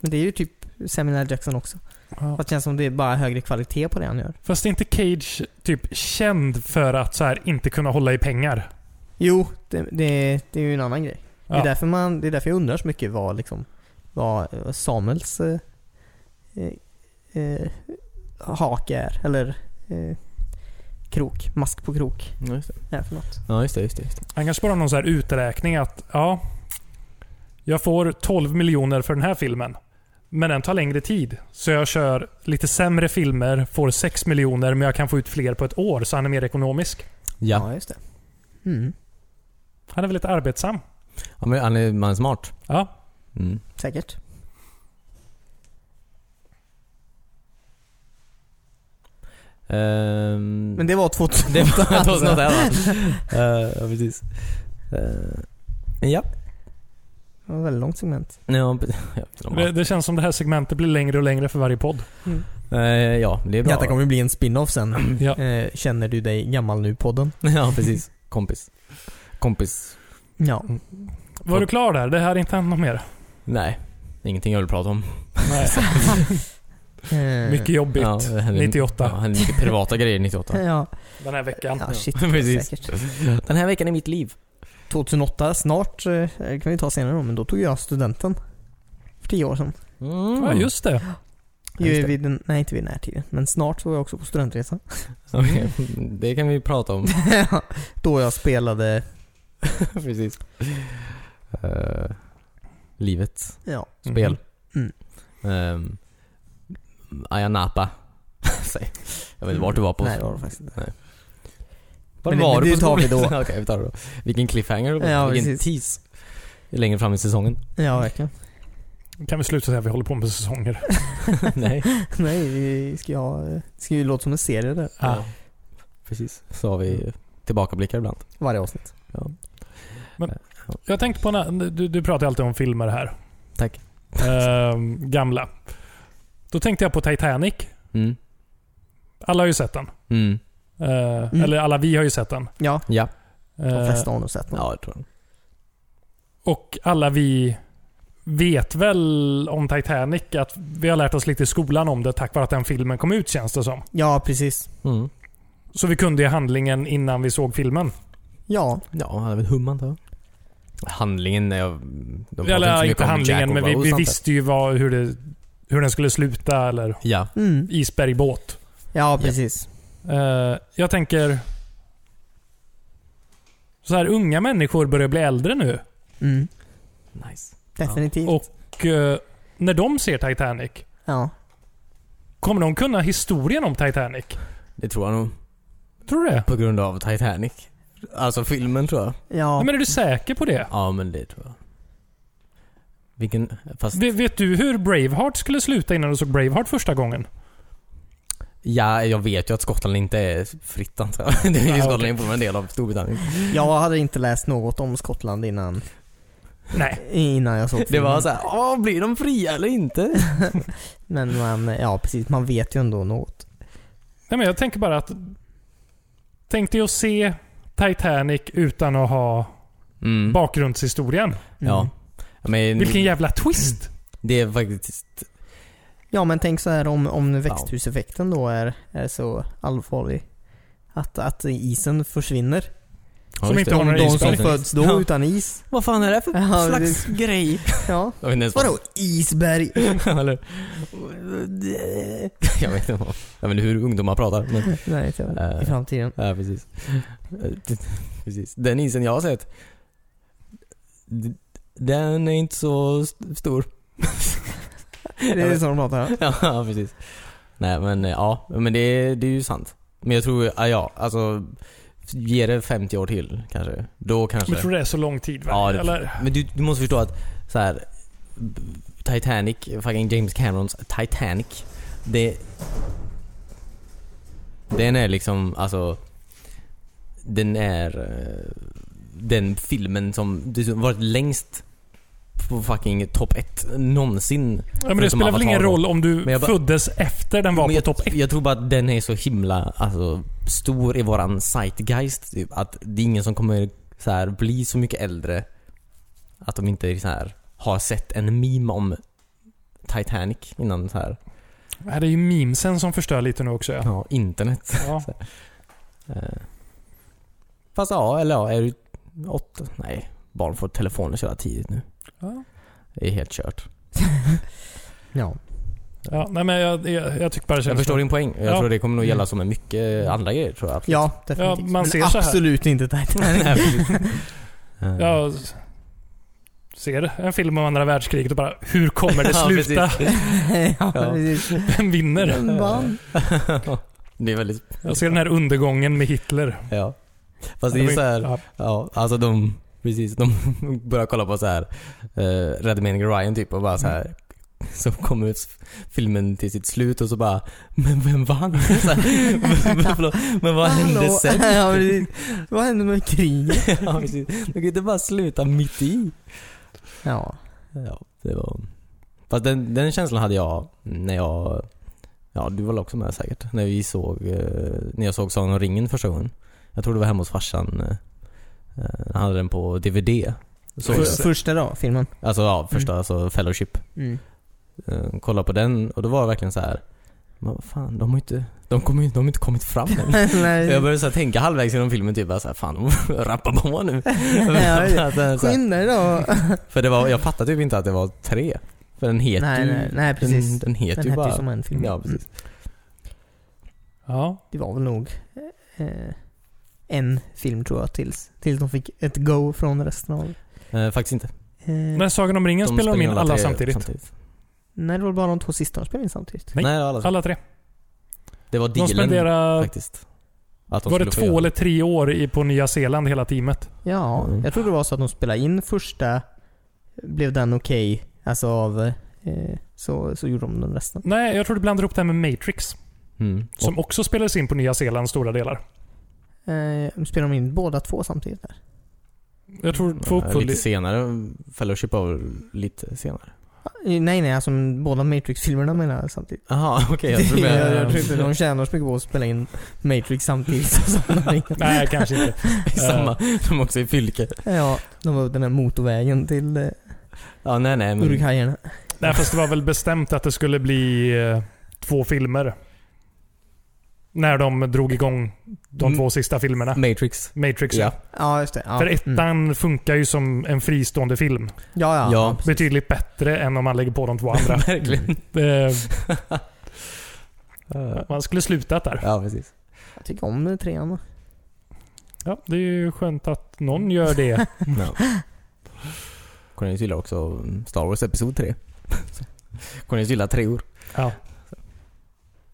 Speaker 1: Men det är ju typ Samuel L. Jackson också.
Speaker 2: Ja.
Speaker 1: Fast det känns som det är bara högre kvalitet på det han gör.
Speaker 2: Fast är inte Cage typ känd för att så här inte kunna hålla i pengar?
Speaker 1: Jo, det, det, det är ju en annan grej. Det,
Speaker 2: Ja.
Speaker 1: är därför man, det är därför jag undrar så mycket vad, liksom, vad eh, Samuels eh, eh, eh, hake är. Eller eh, krok. Mask på krok.
Speaker 3: Ja, just det.
Speaker 1: Är för något.
Speaker 3: Ja, just det, just det. Just det.
Speaker 2: Han kanske bara har någon så här uträkning att ja, jag får 12 miljoner för den här filmen. Men den tar längre tid. Så jag kör lite sämre filmer, får 6 miljoner men jag kan få ut fler på ett år så han är mer ekonomisk.
Speaker 3: Ja.
Speaker 1: just det. Mm,
Speaker 2: Han är väldigt arbetsam.
Speaker 3: ja men han är, man är smart.
Speaker 2: Ja.
Speaker 3: Mm.
Speaker 1: säkert.
Speaker 3: Ehm,
Speaker 1: Men det var 2000.
Speaker 3: det var det var något annat. Eh, Ja, precis. Eh, ja.
Speaker 1: Det var ett väldigt långt segment.
Speaker 3: Ja, precis. Ja, de
Speaker 2: Det,
Speaker 3: bara-
Speaker 2: det känns som det här segmentet blir längre och längre för varje podd.
Speaker 3: Eh, ja, det är bra.
Speaker 1: ju bli en spin-off sen.
Speaker 2: Ja.
Speaker 1: Eh, känner du dig gammal nu-podden?
Speaker 3: Ja, precis. Kompis. Kompis.
Speaker 1: Ja.
Speaker 2: Var du klar där? Det här är inte hänt något mer?
Speaker 3: Nej. Ingenting jag vill prata om.
Speaker 2: Nej.
Speaker 1: Eh,
Speaker 2: Mycket jobbigt.
Speaker 3: Ja, det händer-
Speaker 2: 98.
Speaker 3: Ja, händer mycket privata grejer 98.
Speaker 1: Ja,
Speaker 2: Den här veckan.
Speaker 1: ja shit.
Speaker 3: Precis.
Speaker 1: Säkert.
Speaker 3: Den här veckan i mitt liv.
Speaker 1: 2008 snart, eh, det kan vi ta senare då, men då tog jag studenten. För tio år sedan.
Speaker 3: Mm.
Speaker 1: Mm.
Speaker 2: Ja, just det.
Speaker 1: Ju
Speaker 3: Just det.
Speaker 1: vid den, nej, inte vid den här tiden, men snart så var jag också på studentresa.
Speaker 3: Okej, Det kan vi prata om.
Speaker 1: då jag spelade,
Speaker 3: Precis. Eh, livet.
Speaker 1: ja.
Speaker 3: Spel. Mhm.
Speaker 1: Mm.
Speaker 3: Ehm, Ayanapa. Säg. jag vet inte vart du var på.
Speaker 1: Nej, det var det faktiskt inte.
Speaker 3: Nej. Var
Speaker 1: Men det-
Speaker 3: var
Speaker 1: men
Speaker 3: du
Speaker 1: det
Speaker 3: på
Speaker 1: tar vi då.
Speaker 3: Okej, vi tar det då. Vilken cliffhanger.
Speaker 1: Ja,
Speaker 3: Vilken
Speaker 1: precis.
Speaker 3: tease. Längre fram i säsongen.
Speaker 1: Ja, verkligen.
Speaker 2: Mm. Kan vi sluta säga att vi håller på med säsonger?
Speaker 3: Nej.
Speaker 1: nej, vi ska ju ha, det ska ju låta som en serie där.
Speaker 2: Ja.
Speaker 3: Precis. Så har vi tillbakablickar ibland.
Speaker 1: Varje avsnitt.
Speaker 2: Jag tänkte på när, du, du pratar ju alltid om filmer här.
Speaker 3: Tack.
Speaker 2: Ehm, gamla. Då tänkte jag på Titanic.
Speaker 3: Mm.
Speaker 2: Alla har ju sett den.
Speaker 3: Mm.
Speaker 2: Ehm,
Speaker 1: Mm.
Speaker 2: Eller alla vi har ju sett den.
Speaker 1: Ja,
Speaker 3: Ja.
Speaker 1: de
Speaker 2: Ehm,
Speaker 1: flesta har nog sett någon.
Speaker 3: Eh, Ja, jag tror det.
Speaker 2: Och alla vi vet väl om Titanic att vi har lärt oss lite i skolan om det tack vare att den filmen kom ut känns det som.
Speaker 1: Ja, precis.
Speaker 3: Mm.
Speaker 2: Så vi kunde ju handlingen innan vi såg filmen.
Speaker 1: Ja,
Speaker 3: Ja, han är väl humman då? handlingen när jag... De pratade så
Speaker 2: Eller
Speaker 3: mycket
Speaker 2: inte
Speaker 3: om
Speaker 2: handlingen,
Speaker 3: Jack och
Speaker 2: men vi,
Speaker 3: Rose
Speaker 2: vi
Speaker 3: antar jag.
Speaker 2: visste ju vad, hur, det, hur den skulle sluta. Eller
Speaker 3: Ja.
Speaker 1: Mm.
Speaker 2: isbergbåt.
Speaker 1: Ja, precis.
Speaker 2: Eh, jag tänker... Så här, unga människor börjar bli äldre nu.
Speaker 1: Mm.
Speaker 3: Nice.
Speaker 1: Definitivt.
Speaker 2: Och eh, när de ser Titanic,
Speaker 1: Ja.
Speaker 2: kommer de kunna historien om Titanic?
Speaker 3: Det tror jag nog.
Speaker 2: Tror du det?
Speaker 3: På grund av Titanic. Alltså filmen tror jag.
Speaker 1: Ja.
Speaker 2: Nej, Men är du säker på det?
Speaker 3: Ja, men det tror jag. Vilken... Fast...
Speaker 2: Ve- vet du hur Braveheart skulle sluta innan du såg Braveheart första gången?
Speaker 3: Ja, jag vet ju att Skottland inte är fritt antar jag. Det är ju
Speaker 2: Ja,
Speaker 3: Skottland
Speaker 2: okej.
Speaker 3: är fortfarande en del av Storbritannien.
Speaker 1: Jag hade inte läst något om Skottland innan,
Speaker 2: Nej.
Speaker 1: innan jag såg
Speaker 3: Det
Speaker 1: filmen.
Speaker 3: var såhär, åh blir de fria eller inte?
Speaker 1: Men man, ja precis, man vet ju ändå något.
Speaker 2: Nej, men jag tänker bara att... Tänk dig att se Titanic utan att ha
Speaker 3: Mm.
Speaker 2: bakgrundshistorien.
Speaker 1: Mm.
Speaker 3: Ja. Men,
Speaker 2: Vilken jävla twist!
Speaker 3: Det är faktiskt...
Speaker 1: Ja men tänk så här om, om nu växthuseffekten då är, är så allvarlig. Att, att isen försvinner.
Speaker 3: Ja,
Speaker 2: Som
Speaker 3: just
Speaker 2: inte
Speaker 3: det.
Speaker 2: har några
Speaker 1: De som
Speaker 2: isberg.
Speaker 1: föds då
Speaker 3: Ja.
Speaker 1: utan is.
Speaker 3: Vad fan är det här för
Speaker 1: Ja,
Speaker 3: slags grej?
Speaker 1: Ja.
Speaker 3: Jag vet inte ens vad-
Speaker 1: Vadå isberg?
Speaker 3: Eller- jag vet inte vad. Jag vet inte hur ungdomar pratar. Men,
Speaker 1: Nej, inte jag vet. I
Speaker 3: Eh.
Speaker 1: framtiden.
Speaker 3: ja, precis. precis. Den isen jag har sett, d- den är inte så st- stor.
Speaker 1: Det är så de pratar.
Speaker 3: ja, precis. Nej men eh, ja, men det, det är ju sant. Men jag tror, ja, ja alltså, ge det 50 år till kanske. Då kanske.
Speaker 2: Men tror du det är så lång tid? Va?
Speaker 3: Ja, det-
Speaker 2: Eller?
Speaker 3: Men du, du måste förstå att så här, b- Titanic, eh, fucking James Camerons Titanic. Det... Den är liksom, alltså... Den är eh, den filmen som dessutom varit längst på fucking topp 1 någonsin.
Speaker 2: Ja, men det
Speaker 3: Förutom
Speaker 2: spelar väl ingen
Speaker 3: Avatar då.
Speaker 2: roll om du
Speaker 3: Men jag bara-
Speaker 2: föddes efter den var
Speaker 3: Men
Speaker 2: på
Speaker 3: jag,
Speaker 2: topp 1?
Speaker 3: jag tror bara att den är så himla alltså, stor i våran zeitgeist typ, att det är ingen som kommer så här, bli så mycket äldre att de inte så här, har sett en meme om Titanic innan så här.
Speaker 2: Det här är ju memesen som förstör lite nu också. Ja.
Speaker 3: Ja, internet.
Speaker 2: Ja.
Speaker 3: Eh. Fast ja, eller ja, är du åtta? Nej, barn får telefoner så jävla tidigt nu.
Speaker 2: Ja.
Speaker 3: Det är helt kört.
Speaker 1: Ja.
Speaker 2: Ja, nej, men jag, jag, jag tycker bara det
Speaker 3: Jag
Speaker 2: känns
Speaker 3: förstår
Speaker 2: bra.
Speaker 3: din poäng. Jag
Speaker 2: Ja. Mm.
Speaker 3: tror det kommer nog gälla som en mycket andra grejer tror jag. absolut.
Speaker 1: Ja, definitivt.
Speaker 2: Ja, man ser
Speaker 1: men
Speaker 2: så här.
Speaker 1: absolut inte Titanic.
Speaker 3: Nej, precis. Eh.
Speaker 2: Jag s- ser en film om andra världskriget och bara, hur kommer det
Speaker 3: Ja,
Speaker 2: sluta?
Speaker 3: precis.
Speaker 1: ja,
Speaker 3: Ja.
Speaker 1: precis.
Speaker 2: Vem vinner?
Speaker 1: Vem vann?
Speaker 3: det är väldigt...
Speaker 2: Jag ser den här undergången med Hitler.
Speaker 3: Ja. Fast det
Speaker 2: Ja,
Speaker 3: är
Speaker 2: var
Speaker 3: ju så här,
Speaker 2: ja.
Speaker 3: ja, alltså de, precis, de börjar kolla på så här eh, Rädda meningen Ryan typ och bara så här så kommer filmen till sitt slut och så bara Men vem vann? Så här, förlåt, men vad hände
Speaker 1: Hallå.
Speaker 3: sen?
Speaker 1: ja, precis. Vad hände med kriget?
Speaker 3: ja, precis. De kan ju inte bara sluta mitt i.
Speaker 1: Ja.
Speaker 3: Ja, det var... Fast den, den känslan hade jag när jag... Ja, du var väl också med säkert? När vi såg... eh, När jag såg Sagan om ringen första gången. Jag tror det var hemma hos farsan. eh, eh, Han hade den på DVD. Så,
Speaker 1: För, första då, filmen.
Speaker 3: alltså ja, första alltså Fellowship.
Speaker 1: Mm.
Speaker 3: Eh, Kolla på den och då var det verkligen så här. Men vad fan, de har ju inte... De, kommer, ju- de har inte kommit fram än. Jag
Speaker 1: Nej.
Speaker 3: började så här tänka halvvägs genom filmen typ bara så här, fan de rappar på nu.
Speaker 1: det-
Speaker 3: Att den så här-
Speaker 1: Skynda dig då.
Speaker 3: för det var, jag fattade typ inte att det var tre. För den heter
Speaker 1: Nej,
Speaker 3: ju...
Speaker 1: nej, nej, precis.
Speaker 3: Den, den heter
Speaker 1: Den
Speaker 3: ju
Speaker 1: hette
Speaker 3: bara...
Speaker 1: ju som en film.
Speaker 3: Ja, precis.
Speaker 2: Ja.
Speaker 1: Det var väl nog eh, en film tror jag tills, tills de fick ett go från resten av...
Speaker 3: Eh, faktiskt inte.
Speaker 1: Eh,
Speaker 2: När Sagan om ringen spelar de in alla
Speaker 3: tre
Speaker 2: samtidigt.
Speaker 1: nej, det var bara de två sista de spelade in samtidigt.
Speaker 3: Nej,
Speaker 2: Nej,
Speaker 3: alla,
Speaker 2: Alla tre.
Speaker 3: Det var
Speaker 2: De
Speaker 3: dealen
Speaker 2: spenderar
Speaker 3: alltså, faktiskt. Att de
Speaker 2: var det
Speaker 3: skulle få göra
Speaker 2: två eller tre år i, på Nya Zeeland hela teamet.
Speaker 1: Ja,
Speaker 3: Mm.
Speaker 1: jag tror det var så att de spelade in första, blev den okej, alltså av... Eh, så, så gjorde de den resten.
Speaker 2: Nej, jag tror du blandar ihop det här med Matrix.
Speaker 3: Mm. Och,
Speaker 2: Som också spelades in på Nya Zeeland stora delar.
Speaker 1: Eh, spelade de in båda två samtidigt där?
Speaker 2: Jag tror två
Speaker 3: eh, lite
Speaker 2: uppföljningar.
Speaker 3: senare. Fellowship var väl lite senare.
Speaker 1: Eh, Nej nej, alltså båda Matrix-filmerna menar jag samtidigt.
Speaker 3: Jaha, okej. jag
Speaker 1: Jag,
Speaker 3: tror
Speaker 1: jag,
Speaker 3: jag,
Speaker 1: tror inte de tjänar så mycket på att spela in Matrix samtidigt som de ringer.
Speaker 2: Nej, kanske inte.
Speaker 3: samma. De också i fylke.
Speaker 1: Ja, de var den här motorvägen till eh,
Speaker 3: Ja, nej, nej. Men,
Speaker 1: Urukhajarna.
Speaker 2: Nej, fast det var väl bestämt att det skulle bli eh, två filmer. När de drog igång de
Speaker 3: Mm.
Speaker 2: två sista filmerna.
Speaker 3: Matrix.
Speaker 2: Matrix.
Speaker 3: Ja.
Speaker 1: Ja, just det. Ja.
Speaker 2: För
Speaker 1: Mm.
Speaker 2: ettan funkar ju som en fristående film.
Speaker 1: Ja, ja.
Speaker 3: Ja.
Speaker 1: precis.
Speaker 2: Betydligt bättre än om man lägger på de två andra.
Speaker 3: Verkligen.
Speaker 2: Eh, man skulle slutat där.
Speaker 3: Ja, precis.
Speaker 1: Jag tycker om eh, trean.
Speaker 2: Ja, det är ju skönt att någon gör det.
Speaker 3: Ja. Cornelius gillar också Star Wars Episod 3. Så. Cornelius gillar treor.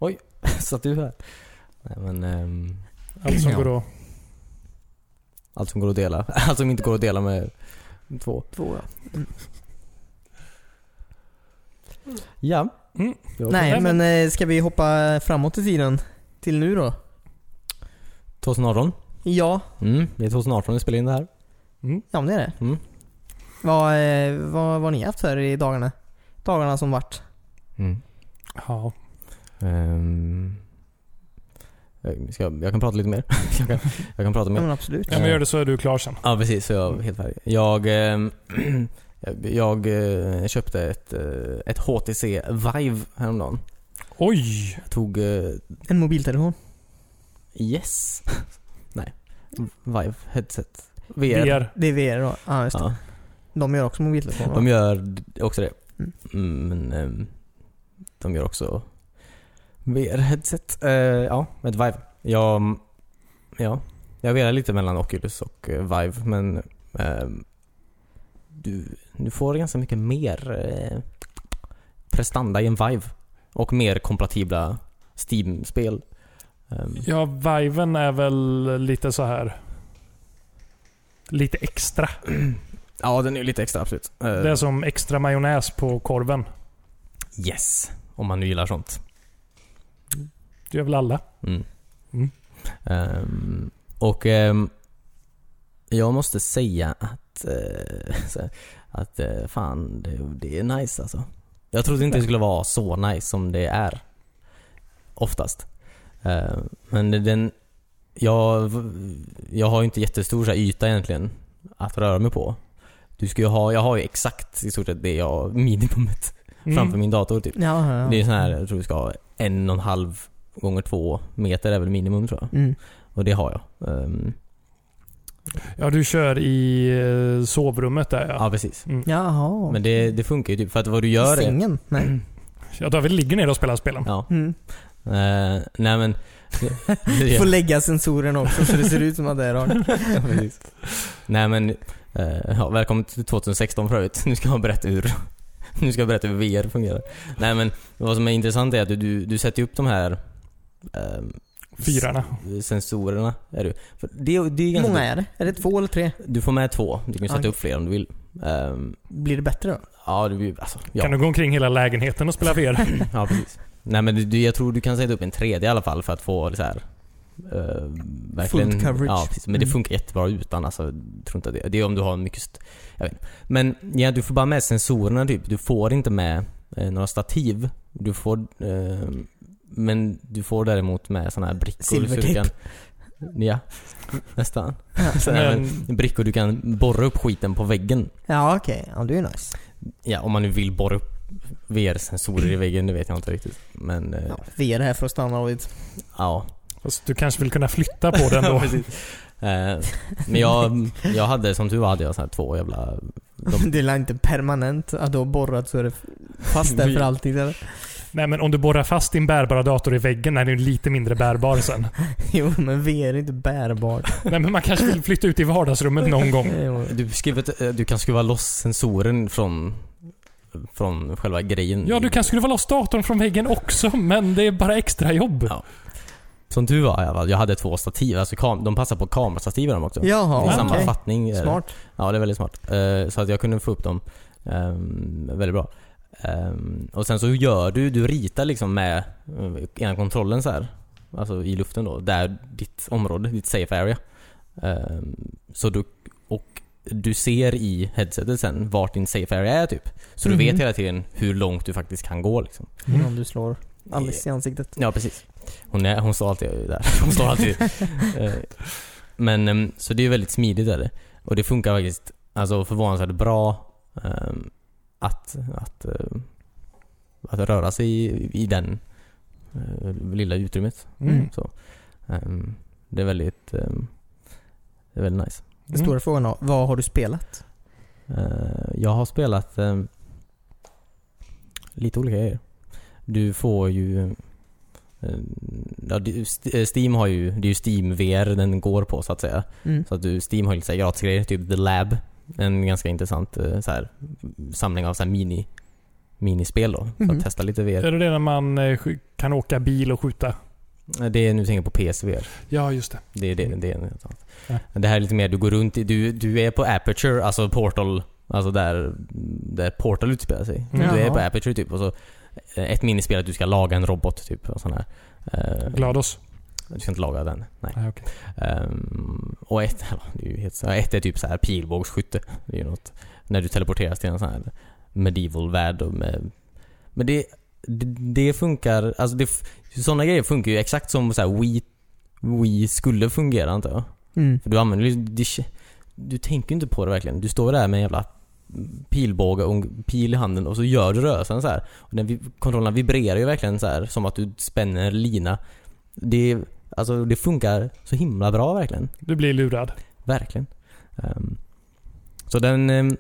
Speaker 2: Ja,
Speaker 3: Satt du här? Nej men, ehm,
Speaker 2: allt som
Speaker 3: Ja.
Speaker 2: går att...
Speaker 3: allt som går att dela. Allt som inte går att dela med två.
Speaker 1: Två, ja.
Speaker 3: Ja.
Speaker 2: Mm.
Speaker 3: Det var
Speaker 1: Nej,
Speaker 2: Nej, men-
Speaker 1: men eh, ska vi hoppa framåt i tiden? Till nu då?
Speaker 3: 2018.
Speaker 1: Ja,
Speaker 3: Mm, det är 2018 vi spelar in det här.
Speaker 2: Mm.
Speaker 1: ja men det är det.
Speaker 3: Mm.
Speaker 1: Vad, eh, vad, vad har ni haft här i dagarna? Dagarna som vart?
Speaker 3: Mm.
Speaker 2: Ja.
Speaker 3: Ehm, jag, ska, jag kan prata lite mer. jag, kan, jag kan prata
Speaker 1: Ja
Speaker 3: mer.
Speaker 1: men absolut.
Speaker 2: ja, men gör det så är du klar sen.
Speaker 3: Ja precis, så jag är helt färdig. Jag, ehm, jag eh, köpte ett, eh, ett HTC Vive häromdagen.
Speaker 2: Oj!
Speaker 3: Jag tog eh,
Speaker 1: En mobiltelefon.
Speaker 3: Yes. Nej. Vive headset. VR.
Speaker 2: VR.
Speaker 1: Det är VR då. Ja, just det.
Speaker 3: Ja,
Speaker 1: De gör också mobiltelefoner.
Speaker 3: de
Speaker 1: va?
Speaker 3: gör också det.
Speaker 1: Mm.
Speaker 3: Mm, Men ehm, de gör också VR headset. Eh, Ja, ett Vive. Jag, ja, jag velar lite mellan Oculus och eh, Vive men ehm, du, du får ganska mycket mer eh, prestanda i en Vive. Och mer kompatibla Steam-spel. Ehm,
Speaker 2: Ja, Viven är väl lite så här... Lite extra.
Speaker 3: Ja, den är ju lite extra absolut. Eh,
Speaker 2: Det är som extra majonnäs på korven.
Speaker 3: Yes. Om man nu gillar sånt.
Speaker 2: Det gör väl alla.
Speaker 3: Mm.
Speaker 2: Mm.
Speaker 3: Ehm, och ehm, jag måste säga att, eh, så här, att eh, fan, det, det är nice alltså. Jag trodde inte det skulle vara så nice som det är. Oftast. Ehm, men den, jag, jag har ju inte jättestor så här, yta egentligen att röra mig på. Du ska ju ha, jag har ju exakt i stort sett det jag, minimumet
Speaker 2: Mm.
Speaker 3: framför min dator typ.
Speaker 1: Ja, ja, ja.
Speaker 3: Det är sån här, jag tror vi ska ha en och en halv gånger två meter är väl minimum tror jag.
Speaker 1: Mm.
Speaker 3: Och det har jag. Ehm,
Speaker 2: Ja, du kör i eh, sovrummet där ja.
Speaker 3: ja precis.
Speaker 2: Mm.
Speaker 1: Jaha.
Speaker 3: Men det, det funkar ju typ för att vad du gör Mm. är...
Speaker 1: Sängen? Nej.
Speaker 2: Ja, David ligger ner och spelar spelen.
Speaker 3: Ja.
Speaker 1: Mm.
Speaker 3: Eh, nej men...
Speaker 1: Får lägga sensorerna också så det ser ut som att det är rakt.
Speaker 3: Ja, precis. nej men, eh, ja, välkommen till 2016 för övrigt. Nu ska jag berätta hur, nu ska jag berätta hur VR fungerar. Nej men, vad som är intressant är att du, du, du sätter ju upp de här ehm,
Speaker 2: Fyrarna.
Speaker 3: sensorerna. Är du. För det, det är ganska
Speaker 1: Många är det? Är det två eller tre?
Speaker 3: Du får med två. Du kan ju sätta
Speaker 1: Okej.
Speaker 3: upp fler om du vill. Ehm,
Speaker 1: Blir det bättre då?
Speaker 3: ja, det blir ju- alltså, ja.
Speaker 2: Kan du gå omkring hela lägenheten och spela VR?
Speaker 3: ja, precis. Nej men du- du, jag tror du kan sätta upp en tredje i alla fall för att få så här. eh, verkligen,
Speaker 1: Full coverage.
Speaker 3: Ja, precis. Men det
Speaker 1: Mm.
Speaker 3: funkar jättebra utan alltså. jag Tror inte att det, det är om du har mycket... St- jag vet inte. Men ja, du får bara med sensorerna typ. Du får inte med eh, några stativ. Du får... eh, men du får däremot med sådana här brickor. så du
Speaker 1: Silvertejp.
Speaker 3: kan- Ja, nästan. Så här,
Speaker 2: Men,
Speaker 3: men, brickor du kan borra upp skiten på väggen.
Speaker 1: Ja okej, ja det är ju nice.
Speaker 3: Ja, om man nu vill borra upp VR-sensorer i väggen, det vet jag inte riktigt. Men eh,
Speaker 1: Ja, vi är här för att stanna David.
Speaker 3: ja.
Speaker 2: fast du kanske vill kunna flytta på den då?
Speaker 3: Eh, men jag, jag hade, som tur var, hade jag så här två jävla... De,
Speaker 1: Det är inte permanent att du har borrat så är det fast där för alltid eller?
Speaker 2: Nej, men om du borrar fast din bärbara dator i väggen är den ju lite mindre bärbar sen.
Speaker 1: Jo men VR är inte bärbart.
Speaker 2: Nej, men man kanske vill flytta ut i vardagsrummet någon
Speaker 3: Mm.
Speaker 2: gång.
Speaker 1: Jo.
Speaker 3: du, skrivit, eh, du kan skruva loss sensoren från, från själva grejen.
Speaker 2: Ja, du kan skruva loss datorn från väggen också, men det är bara extra jobb.
Speaker 3: Ja. Som tur var, i alla fall, jag hade två stativ. Alltså kam, de passar på kamerastativen de också. Det är
Speaker 1: Jaha,
Speaker 3: samma
Speaker 1: okej.
Speaker 3: fattning. eh,
Speaker 1: Smart.
Speaker 3: Ja, det är väldigt smart. Eh, Så att jag kunde få upp dem ehm, väldigt bra. Ehm, Och sen så gör du, du ritar liksom med eh, ena kontrollen så här. Alltså i luften då, där ditt område, ditt safe area. Ehm, Så du, och du ser i headsetet sen vart din safe area är typ. Så du
Speaker 1: Mhm.
Speaker 3: vet hela tiden hur långt du faktiskt kan gå liksom.
Speaker 2: Mm.
Speaker 1: Innan du slår Alice i ansiktet.
Speaker 3: Ja, precis. Hon, är, hon står alltid där. Hon står alltid. Eh, Men, ehm, så det är väldigt smidigt är det. Och det funkar faktiskt alltså, förvånansvärt bra eh, ehm, att, att, ehm, att röra sig i, i den eh, lilla utrymmet.
Speaker 2: Mm.
Speaker 1: Mm.
Speaker 3: Så, ehm, det är väldigt ehm, det är väldigt nice.
Speaker 1: Den stora frågan är, vad har du spelat?
Speaker 3: Eh, jag har spelat eh, lite olika grejer. Du får ju... eh, ja, du, St- eh, Steam har ju... Det är ju Steam VR den går på så att säga.
Speaker 1: Mm.
Speaker 3: Så att du, Steam har ju lite så här gratisgrejer, typ The Lab. En ganska intressant eh, så här, samling av så här mini, minispel då. För
Speaker 1: Mhm.
Speaker 3: att testa lite VR.
Speaker 2: Är det det när man eh, sk- kan åka bil och skjuta?
Speaker 3: Eh, Det är nu tänker jag på PSVR.
Speaker 2: Ja, just det.
Speaker 3: Det är det.
Speaker 2: Mm.
Speaker 3: Det, är något annat.
Speaker 2: Ja.
Speaker 3: det här är lite mer, du går runt i, du, du är på Aperture, alltså Portal, alltså där, där Portal utspelar sig.
Speaker 2: Mm.
Speaker 3: Du är på
Speaker 1: Jaha.
Speaker 3: Aperture typ och så eh, ett minispel att du ska laga en robot typ och sån här. Eh,
Speaker 2: GLaDOS.
Speaker 3: Du ska inte laga den. Nej.
Speaker 2: Nej, okej.
Speaker 3: Ehm, och ett, det är ju helt, så- ett är typ så här pilbågsskytte. Det är ju något, när du teleporteras till en sån här medieval värld. och Med, men det, det, det funkar, alltså det, sådana grejer funkar ju exakt som så här Wii, Wii skulle fungera antar jag.
Speaker 1: Mm.
Speaker 3: För du använder ju, det, du tänker ju inte på det verkligen. Du står där med en jävla pilbåge och en pil i handen och så gör du rörelsen så här. Och den, vi- kontrollerna vibrerar ju verkligen så här som att du spänner en lina. Det, alltså, det funkar så himla bra verkligen.
Speaker 2: Du blir lurad.
Speaker 3: Verkligen. Ehm, så den... ehm,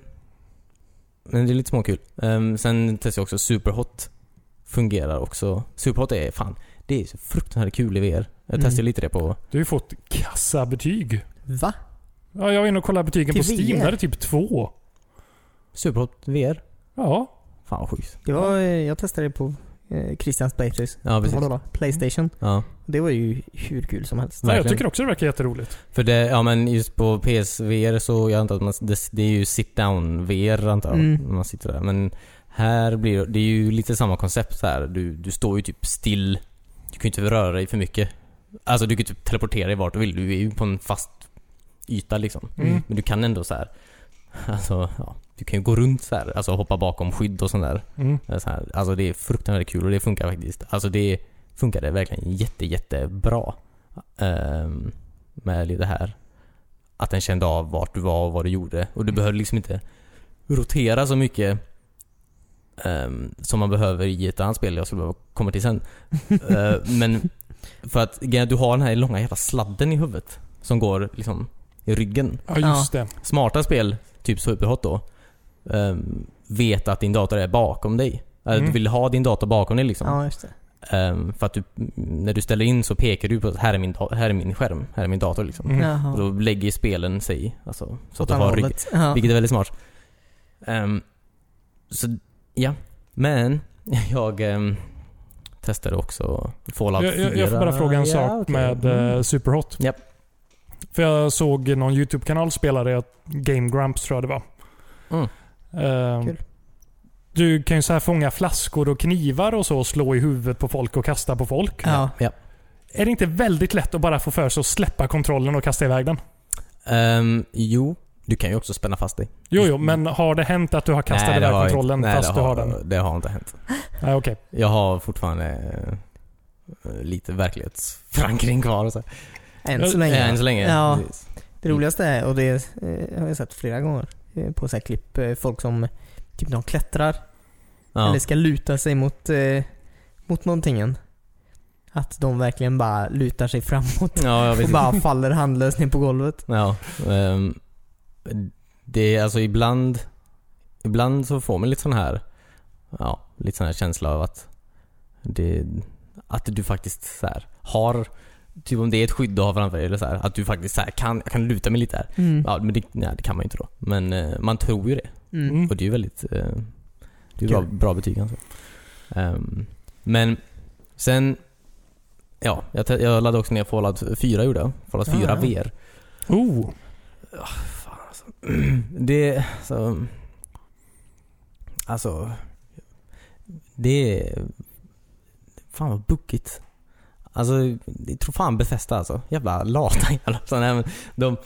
Speaker 3: men det är lite småkul. Um, sen testar jag också Superhot. Fungerar också. Superhot är fan, det är så fruktansvärt kul i VR. Jag
Speaker 1: Mm.
Speaker 3: testade lite det på...
Speaker 2: Du har ju fått kassa betyg.
Speaker 1: Va?
Speaker 2: Ja, jag var inne och kollade betygen på
Speaker 1: Till
Speaker 2: Steam.
Speaker 1: VR.
Speaker 2: Där är det typ två.
Speaker 3: Superhot VR.
Speaker 2: Ja.
Speaker 3: Fan vad sjukt.
Speaker 1: Det var, eh, jag testade det på eh, Christians Playstation.
Speaker 3: Ja, precis.
Speaker 1: Vadå då? Playstation.
Speaker 3: Ja.
Speaker 1: Det var ju hur kul som helst.
Speaker 2: Nej, jag
Speaker 3: Verkligen.
Speaker 2: tycker också det verkar jätteroligt.
Speaker 3: För det, ja men just på PSVR så, jag antar att man, det, det är ju sit down VR antar jag.
Speaker 1: Mm.
Speaker 3: Man sitter där. Men här blir det är ju lite samma koncept så här. Du, du står ju typ still. Du kan ju inte röra dig för mycket. Alltså du kan ju typ teleportera dig vart du vill. Du är ju på en fast yta liksom.
Speaker 2: Mm.
Speaker 3: Men du kan ändå så här. Alltså, ja. Du kan ju gå runt så här. Alltså hoppa bakom skydd och sånt där.
Speaker 2: Mm.
Speaker 3: Eller Så här. Alltså det är fruktansvärt kul och det funkar faktiskt. Alltså det funkade verkligen jätte, jättebra. Um, med det här. Att den kände av vart du var och vad du gjorde. Och du behövde liksom inte rotera så mycket ehm, som man behöver i ett annat spel jag skulle behöva komma till sen. Eh, men för att grejen är att du har den här långa jävla sladden i huvudet. Som går liksom i ryggen
Speaker 2: Ja, just det.
Speaker 3: smarta spel, typ Superhot då, ehm, vet att din dator är bakom dig. Eller
Speaker 2: Mm.
Speaker 3: du vill ha din dator bakom dig liksom.
Speaker 1: Ja, just det.
Speaker 3: Ehm, för att du, när du ställer in så pekar du på att här är min, da- här är min skärm, här är min dator liksom.
Speaker 2: Mm.
Speaker 1: Jaha.
Speaker 3: Och då lägger spelen sig, alltså, så att
Speaker 1: Åt
Speaker 3: du
Speaker 1: andra
Speaker 3: har rygg,
Speaker 1: hållet. Ja.
Speaker 3: vilket är väldigt smart. Ehm, så, ja. Men, jag ehm, testade också Fallout 4.
Speaker 2: Jag, jag, jag får bara fråga en
Speaker 3: Ja,
Speaker 2: sak
Speaker 3: okej. Mm.
Speaker 2: med eh, Superhot.
Speaker 3: Japp.
Speaker 2: För jag såg någon YouTube-kanal spela det, Game Grumps tror jag det var.
Speaker 3: Mm.
Speaker 2: Eh,
Speaker 1: Kul.
Speaker 2: Du kan ju så här fånga flaskor och knivar och så och slå i huvudet på folk och kasta på folk.
Speaker 1: Ja.
Speaker 2: Är det inte väldigt lätt att bara få för sig att släppa kontrollen och kasta iväg den?
Speaker 3: Ehm, jo, du kan ju också spänna fast dig.
Speaker 2: Jo, jo, men har det hänt att du har kastat
Speaker 3: det
Speaker 2: iväg
Speaker 3: har jag inte.
Speaker 2: kontrollen
Speaker 3: Nej,
Speaker 2: fast
Speaker 3: det
Speaker 2: du har den?
Speaker 3: Det har inte hänt.
Speaker 2: Nej, okej.
Speaker 3: Jag har fortfarande eh, lite verklighetsförankring kvar. och Så.
Speaker 1: Än så
Speaker 3: Eh,
Speaker 1: länge.
Speaker 3: Än så länge.
Speaker 1: Ja.
Speaker 3: precis.
Speaker 1: Det roligaste är, och det eh, har jag sett flera gånger eh, på så här klipp, eh, folk som typ de klättrar
Speaker 3: Ja.
Speaker 1: eller ska luta sig mot, eh, mot någonting. Att de verkligen bara lutar sig framåt
Speaker 3: ja, jag
Speaker 1: och
Speaker 3: vet.
Speaker 1: bara faller handlöst ner på golvet.
Speaker 3: Ja, ehm, det är alltså ibland, ibland så får man lite sån här, ja, lite sån här känsla av att det, att du faktiskt så här har, typ om det är ett skydd du har framför dig eller så här, att du faktiskt så här kan, jag kan luta mig lite här.
Speaker 1: Mm.
Speaker 3: Ja, men det, nej, det kan man ju inte då. Men eh, man tror ju det.
Speaker 1: Mm.
Speaker 2: Mm.
Speaker 3: Och det är ju väldigt... eh, Det är bra,
Speaker 1: Kul.
Speaker 3: bra betyg alltså. Ehm, men sen... Ja, jag, te- jag laddade också ner Fallout 4 gjorde jag. Fallout 4
Speaker 1: Ah,
Speaker 3: VR.
Speaker 2: Oh,
Speaker 3: alltså. Det... Så, alltså... Det är... Fan vad buckigt. Alltså, jag tror fan Bethesda alltså. Jävla lata jävla sådana här. men De,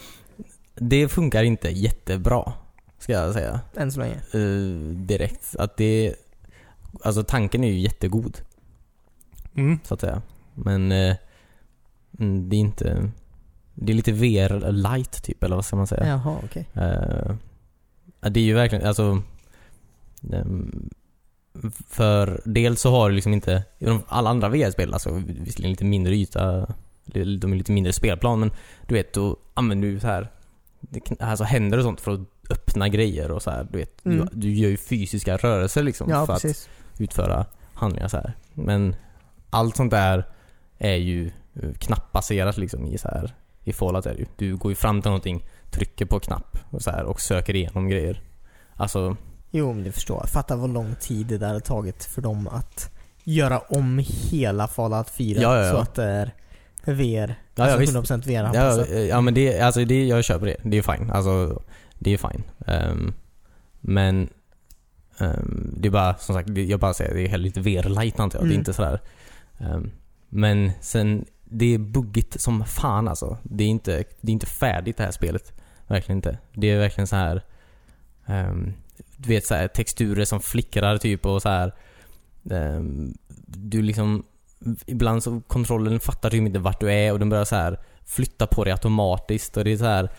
Speaker 3: det funkar inte jättebra. Ska jag säga.
Speaker 1: Än så länge.
Speaker 3: eh, direkt. Att det... Alltså tanken är ju jättegod,
Speaker 2: mm.
Speaker 3: så att säga. Men eh, mm, det är inte... Det är lite VR light typ, eller vad ska man säga?
Speaker 1: Jaha, okej.
Speaker 3: Eh, ja, det är ju verkligen, alltså... ehm, För dels så har du liksom inte, i de- alla andra VR-spel, alltså visserligen lite mindre yta, de är lite mindre spelplan, men du vet då använder du så här, det kn- alltså händer och sånt för att öppna grejer och så här, du vet.
Speaker 1: Mm.
Speaker 3: Du, du gör ju fysiska rörelser liksom
Speaker 1: Ja,
Speaker 3: för att
Speaker 1: precis.
Speaker 3: utföra handlingar så här. Men allt sånt där är ju eh, knappbaserat liksom i så här i Fallout är det ju. Du går ju fram till någonting, trycker på knapp och så här och söker igenom grejer. Alltså,
Speaker 1: Jo, men det förstår jag. Fatta vad lång tid det där har tagit för dem att göra om hela Fallout 4
Speaker 3: Ja, ja, ja.
Speaker 1: så att det är VR,
Speaker 3: ja, ja, visst.
Speaker 1: alltså 100%
Speaker 3: Ja,
Speaker 1: VR-anpassat.
Speaker 3: eh, ja men det, alltså det, jag köper det. Det är fine. Alltså, det är fine. Ehm, men ehm, det är bara, som sagt, det- jag bara säger det är heller lite VR-light antar jag. Det
Speaker 1: Mm.
Speaker 3: är inte sådär. ehm, men sen, det är buggigt som fan alltså. Det är inte, det är inte färdigt det här spelet. Verkligen inte. Det är verkligen så här. ehm, du vet så här, texturer som flickrar typ och så här. ehm, du liksom Ibland så kontrollen fattar typ inte vart du är och den börjar så här flytta på dig automatiskt och det är så här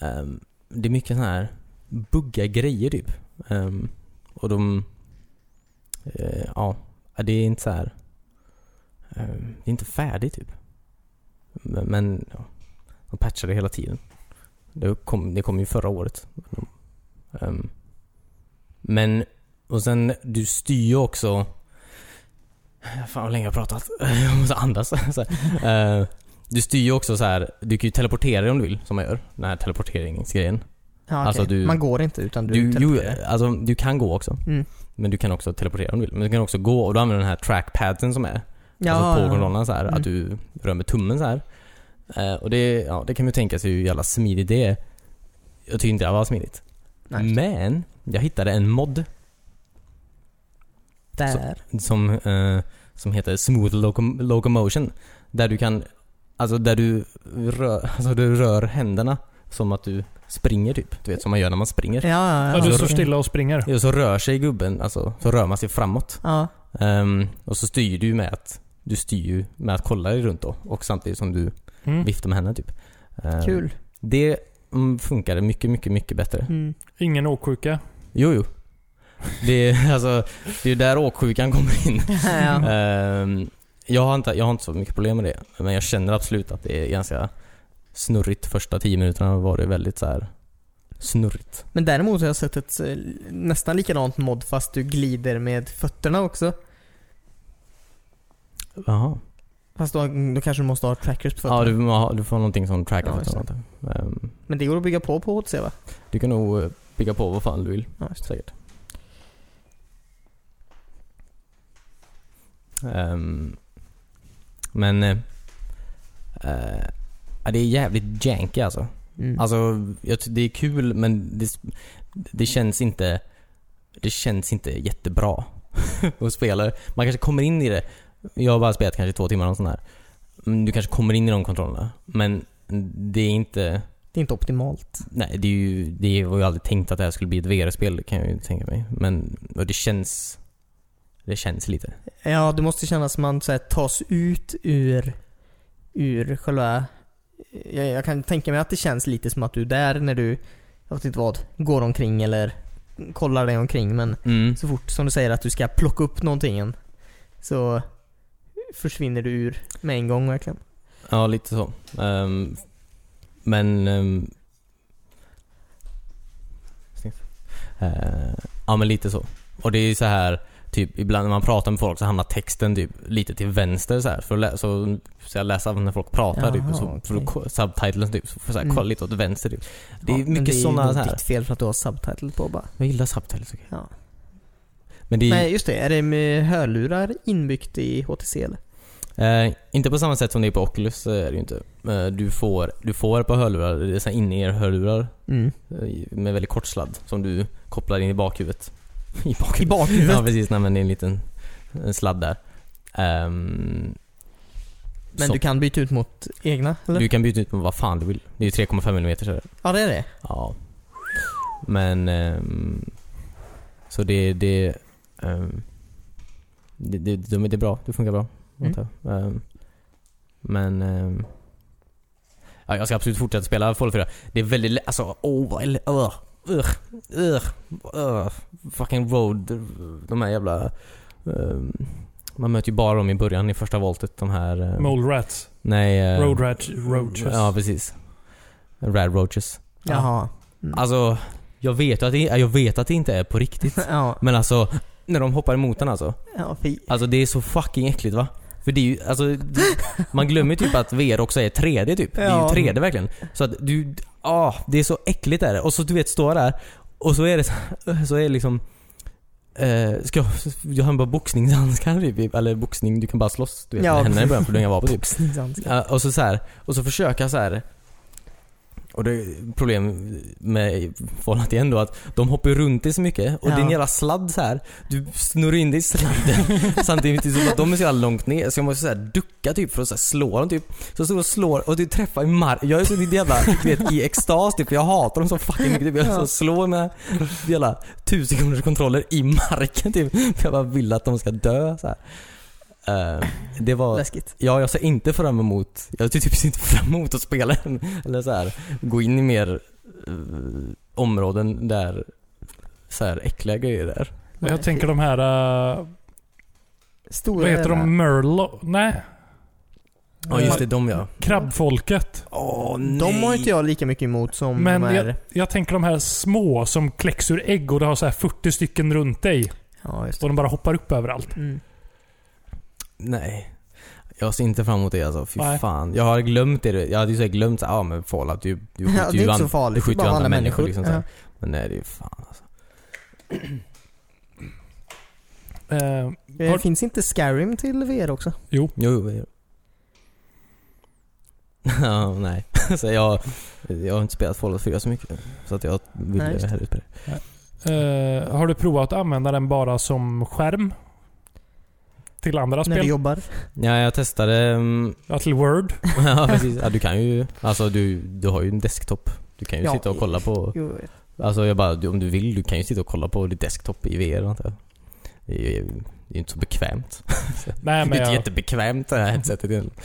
Speaker 3: ehm, Det är mycket så här bugga grejer typ. Ehm, och de eh, Ja, det är inte så här ehm, Det är inte färdigt typ. Men, men ja, de patchar det hela tiden. Det kom, det kom ju förra året. Ehm, men, och sen du styr ju också Fan vad länge jag har pratat. Jag måste andas. Så här. Eh, du styr ju också så här. du kan ju teleportera dig om du vill, som man gör. Den här teleporteringsgrejen.
Speaker 1: Ja, okej.
Speaker 3: alltså du-
Speaker 1: Man går inte utan du,
Speaker 3: Du, jo,
Speaker 1: teleporterar.
Speaker 3: alltså, du kan gå också.
Speaker 1: Mm.
Speaker 3: Men du kan också teleportera om du vill. Men du kan också gå och då använder du den här trackpadsen som är
Speaker 1: Ja,
Speaker 3: alltså på
Speaker 1: ja.
Speaker 3: kontrollerna så här,
Speaker 1: Mm.
Speaker 3: Att du rör med tummen så här. Eh, och det, ja, det kan man ju tänka sig hur jävla smidigt det är. Jag tycker inte det var smidigt.
Speaker 1: Nej,
Speaker 3: Men jag hittade en mod
Speaker 1: där.
Speaker 3: som, eh, som heter Smooth locom- Locomotion. Där du kan, alltså där du rör, alltså du rör händerna som att du springer typ. Du vet som man gör när man springer.
Speaker 1: Ja, ja,
Speaker 2: Ja,
Speaker 1: ja.
Speaker 2: du står stilla och springer.
Speaker 3: Ja, så rör sig gubben, alltså så rör man sig framåt.
Speaker 1: Ja,
Speaker 3: Ehm, och så styr du med att, du styr ju med att kolla dig runt då. Och samtidigt som du
Speaker 2: Mm.
Speaker 3: viftar med händerna typ. Ehm,
Speaker 1: kul.
Speaker 3: Det mm, funkade mycket, mycket, mycket bättre.
Speaker 1: Mm.
Speaker 2: Ingen åksjuka.
Speaker 3: Jo, jo. Det är, alltså, det är där åksjukan kommer in.
Speaker 1: ja.
Speaker 3: Ehm, jag, har inte, jag har inte så mycket problem med det. Men jag känner absolut att det är ganska snurrigt. Första tio minuterna var det väldigt så här snurrigt.
Speaker 1: Men däremot har jag sett ett eh, nästan likadant mod fast du glider med fötterna också.
Speaker 3: Jaha.
Speaker 1: Fast då, då kanske du måste ha trackers på fötterna.
Speaker 3: Ja, du, ja, du får någonting som trackar
Speaker 1: Ja,
Speaker 3: ja,
Speaker 1: just
Speaker 3: sånt. Ehm,
Speaker 1: Men det går att bygga på på HTC va?
Speaker 3: du kan nog eh, bygga på vad fan du vill.
Speaker 1: Ja,
Speaker 3: Säkert. Ehm, men... eh, eh, ja, det är jävligt janky alltså.
Speaker 1: Mm.
Speaker 3: Alltså, jag, ty- det är kul men det, det känns inte Det känns inte jättebra att spela. Man kanske kommer in i det. Jag har bara spelat kanske två timmar och sånt här. Mm, Du kanske kommer in i de kontrollerna. Men det är inte...
Speaker 1: Det är inte optimalt.
Speaker 3: Nej, det, är ju, det var ju aldrig tänkt att det här skulle bli ett VR-spel, kan jag ju tänka mig. Men och det känns... Det känns lite.
Speaker 1: Ja, det måste kännas som man så här, tas ut ur, ur själva... eh, Jag, jag kan tänka mig att det känns lite som att du är där när du, jag vet inte vad, går omkring eller kollar dig omkring. Men
Speaker 3: Mm.
Speaker 1: så fort som du säger att du ska plocka upp någonting igen, så försvinner du ur med en gång verkligen.
Speaker 3: Ja, lite så. Ehm, men... ehm, Eh, ja, men lite så. Och det är ju så här typ ibland när man pratar med folk så hamnar texten typ lite till vänster så här för att lä- så, så jag läser när folk pratar
Speaker 1: Jaha,
Speaker 3: typ, och så, för
Speaker 1: okej.
Speaker 3: att ko- subtitlen typ, så får jag så här,
Speaker 1: Mm.
Speaker 3: kolla lite åt vänster typ. Det är
Speaker 1: Ja, men
Speaker 3: mycket sådana
Speaker 1: nog
Speaker 3: så här.
Speaker 1: ditt fel för att du har subtitle på bara.
Speaker 3: Jag gillar subtitles, okej.
Speaker 1: Ja.
Speaker 3: Men det är
Speaker 1: Nej, just det. Är det med hörlurar inbyggt i HTC eller?
Speaker 3: Eh, inte på samma sätt som det är på Oculus eh, är det ju inte. Eh, du får, du får på hörlurar, det är så här in-ear-hörlurar
Speaker 1: Mm.
Speaker 3: eh, med väldigt kort sladd som du kopplar in i bakhuvudet. I bakhuvudet?
Speaker 1: I bakhuvudet?
Speaker 3: ja precis, nej, men det är en liten en sladd där. Ehm,
Speaker 1: Men
Speaker 3: så-
Speaker 1: du kan byta ut mot egna eller?
Speaker 3: du kan byta ut med vad fan du vill. Det är ju 3,5 mm så det.
Speaker 1: Ja, det är det.
Speaker 3: Ja. Men... ehm, så det... Det, ehm, det, det, de- det är bra. Det funkar bra.
Speaker 1: Mm.
Speaker 3: antar jag. Ehm, men... ehm, ja, jag ska absolut fortsätta spela Fall 4. Det är väldigt lätt. Alltså, oh, vad, eller, öh. Ugh, ugh, ugh, fucking road. De här jävla... eh, man möter ju bara dem i början i första voltet. De här... eh,
Speaker 2: Mole rats.
Speaker 3: nej... eh,
Speaker 2: Road rat, roaches.
Speaker 3: Ja, precis. Rad roaches.
Speaker 1: Jaha.
Speaker 3: Alltså, jag vet, ju att det, jag vet att det inte är på riktigt.
Speaker 1: Ja,
Speaker 3: Men alltså, när de hoppar emot den alltså.
Speaker 1: ja fy.
Speaker 3: Alltså det är så fucking äckligt va? För det är ju, alltså, det, man glömmer ju typ att VR också är 3D typ. Det
Speaker 1: Ja.
Speaker 3: är ju 3D verkligen. Så att du, ah, det är så äckligt är det. Och så du vet, stå där och så är det så- så är det liksom Eh, ska jag, jag har bara boxningshandskar typ, eller boxning, du kan bara slåss du vet,
Speaker 1: Ja.
Speaker 3: med händerna i början för du har inga vapen typ.
Speaker 1: Boxningshandskar.
Speaker 3: Ja, och så så här, och så försöka så här. Och det är problem med förhållandet igen då att de hoppar ju runt dig så mycket och
Speaker 1: Ja.
Speaker 3: din jävla sladd så här du snurrar in dig i sladden samtidigt som att de är så jävla långt ner så jag måste så här ducka typ för att så här slå dem typ. Så jag står och slår och du träffar i marken. Jag är så jävla, du vet, i extas typ för jag hatar dem så fucking mycket. Typ. Jag
Speaker 1: Ja.
Speaker 3: så slår med jävla tusenkronors kontroller i marken typ. För jag bara vill att de ska dö så här. Eh, det var
Speaker 1: Läskigt.
Speaker 3: Ja, jag ser inte fram emot, jag ser typ inte fram emot att spela en, eller så här, gå in i mer eh, områden där så här äckliga grejer är.
Speaker 2: Jag tänker de här... eh,
Speaker 1: Stora
Speaker 2: vad heter
Speaker 1: jävla-
Speaker 2: de? Merlo? Nej.
Speaker 3: Ja just det, de ja.
Speaker 2: Krabbfolket.
Speaker 3: Åh
Speaker 1: De har inte jag lika mycket emot som
Speaker 2: Men
Speaker 1: de här...
Speaker 2: jag, jag tänker de här små som kläcks ur ägg och du har så här 40 stycken runt dig.
Speaker 1: Ja, just
Speaker 2: Och de bara hoppar upp överallt.
Speaker 1: det. Mm.
Speaker 3: Nej. Jag ser inte fram emot det alltså, fy
Speaker 2: Nej.
Speaker 3: fan. Jag har glömt det, jag hade ju säkert glömt såhär, ja men Fallout, du, du
Speaker 1: Ja,
Speaker 3: skjuter
Speaker 1: det är
Speaker 3: ju
Speaker 1: inte så
Speaker 3: an-
Speaker 1: farligt.
Speaker 3: du skjuter
Speaker 1: Bara
Speaker 3: ju
Speaker 1: andra
Speaker 3: andra
Speaker 1: människor.
Speaker 3: människor liksom så här.
Speaker 1: Ja.
Speaker 3: Men nej det är ju fan alltså.
Speaker 2: Eh,
Speaker 1: Eh,
Speaker 2: Har-
Speaker 1: Finns inte Skyrim till VR också?
Speaker 3: Jo, jo, jo. Ja, nej. så jag, jag har inte spelat Fallout 4 så mycket. Så att jag vill
Speaker 1: Nej, just det.
Speaker 3: hellre spela det.
Speaker 2: eh, har du provat att använda den bara som skärm? Till andra
Speaker 1: När du
Speaker 2: spel?
Speaker 1: jobbar?
Speaker 3: Ja, jag testade... mm,
Speaker 2: Ja, till Word?
Speaker 3: ja, precis. Ja, du kan ju... Alltså du, du har ju en desktop. Du kan ju
Speaker 1: Ja.
Speaker 3: sitta och kolla på...
Speaker 1: Jo, jag vet.
Speaker 3: Alltså jag bara, du- om du vill, du kan ju sitta och kolla på din desktop i VR antar jag. Det är ju det är inte så bekvämt.
Speaker 2: Nej,
Speaker 3: det
Speaker 2: men
Speaker 3: är inte
Speaker 2: jag,
Speaker 3: jättebekvämt det här headsetet egentligen.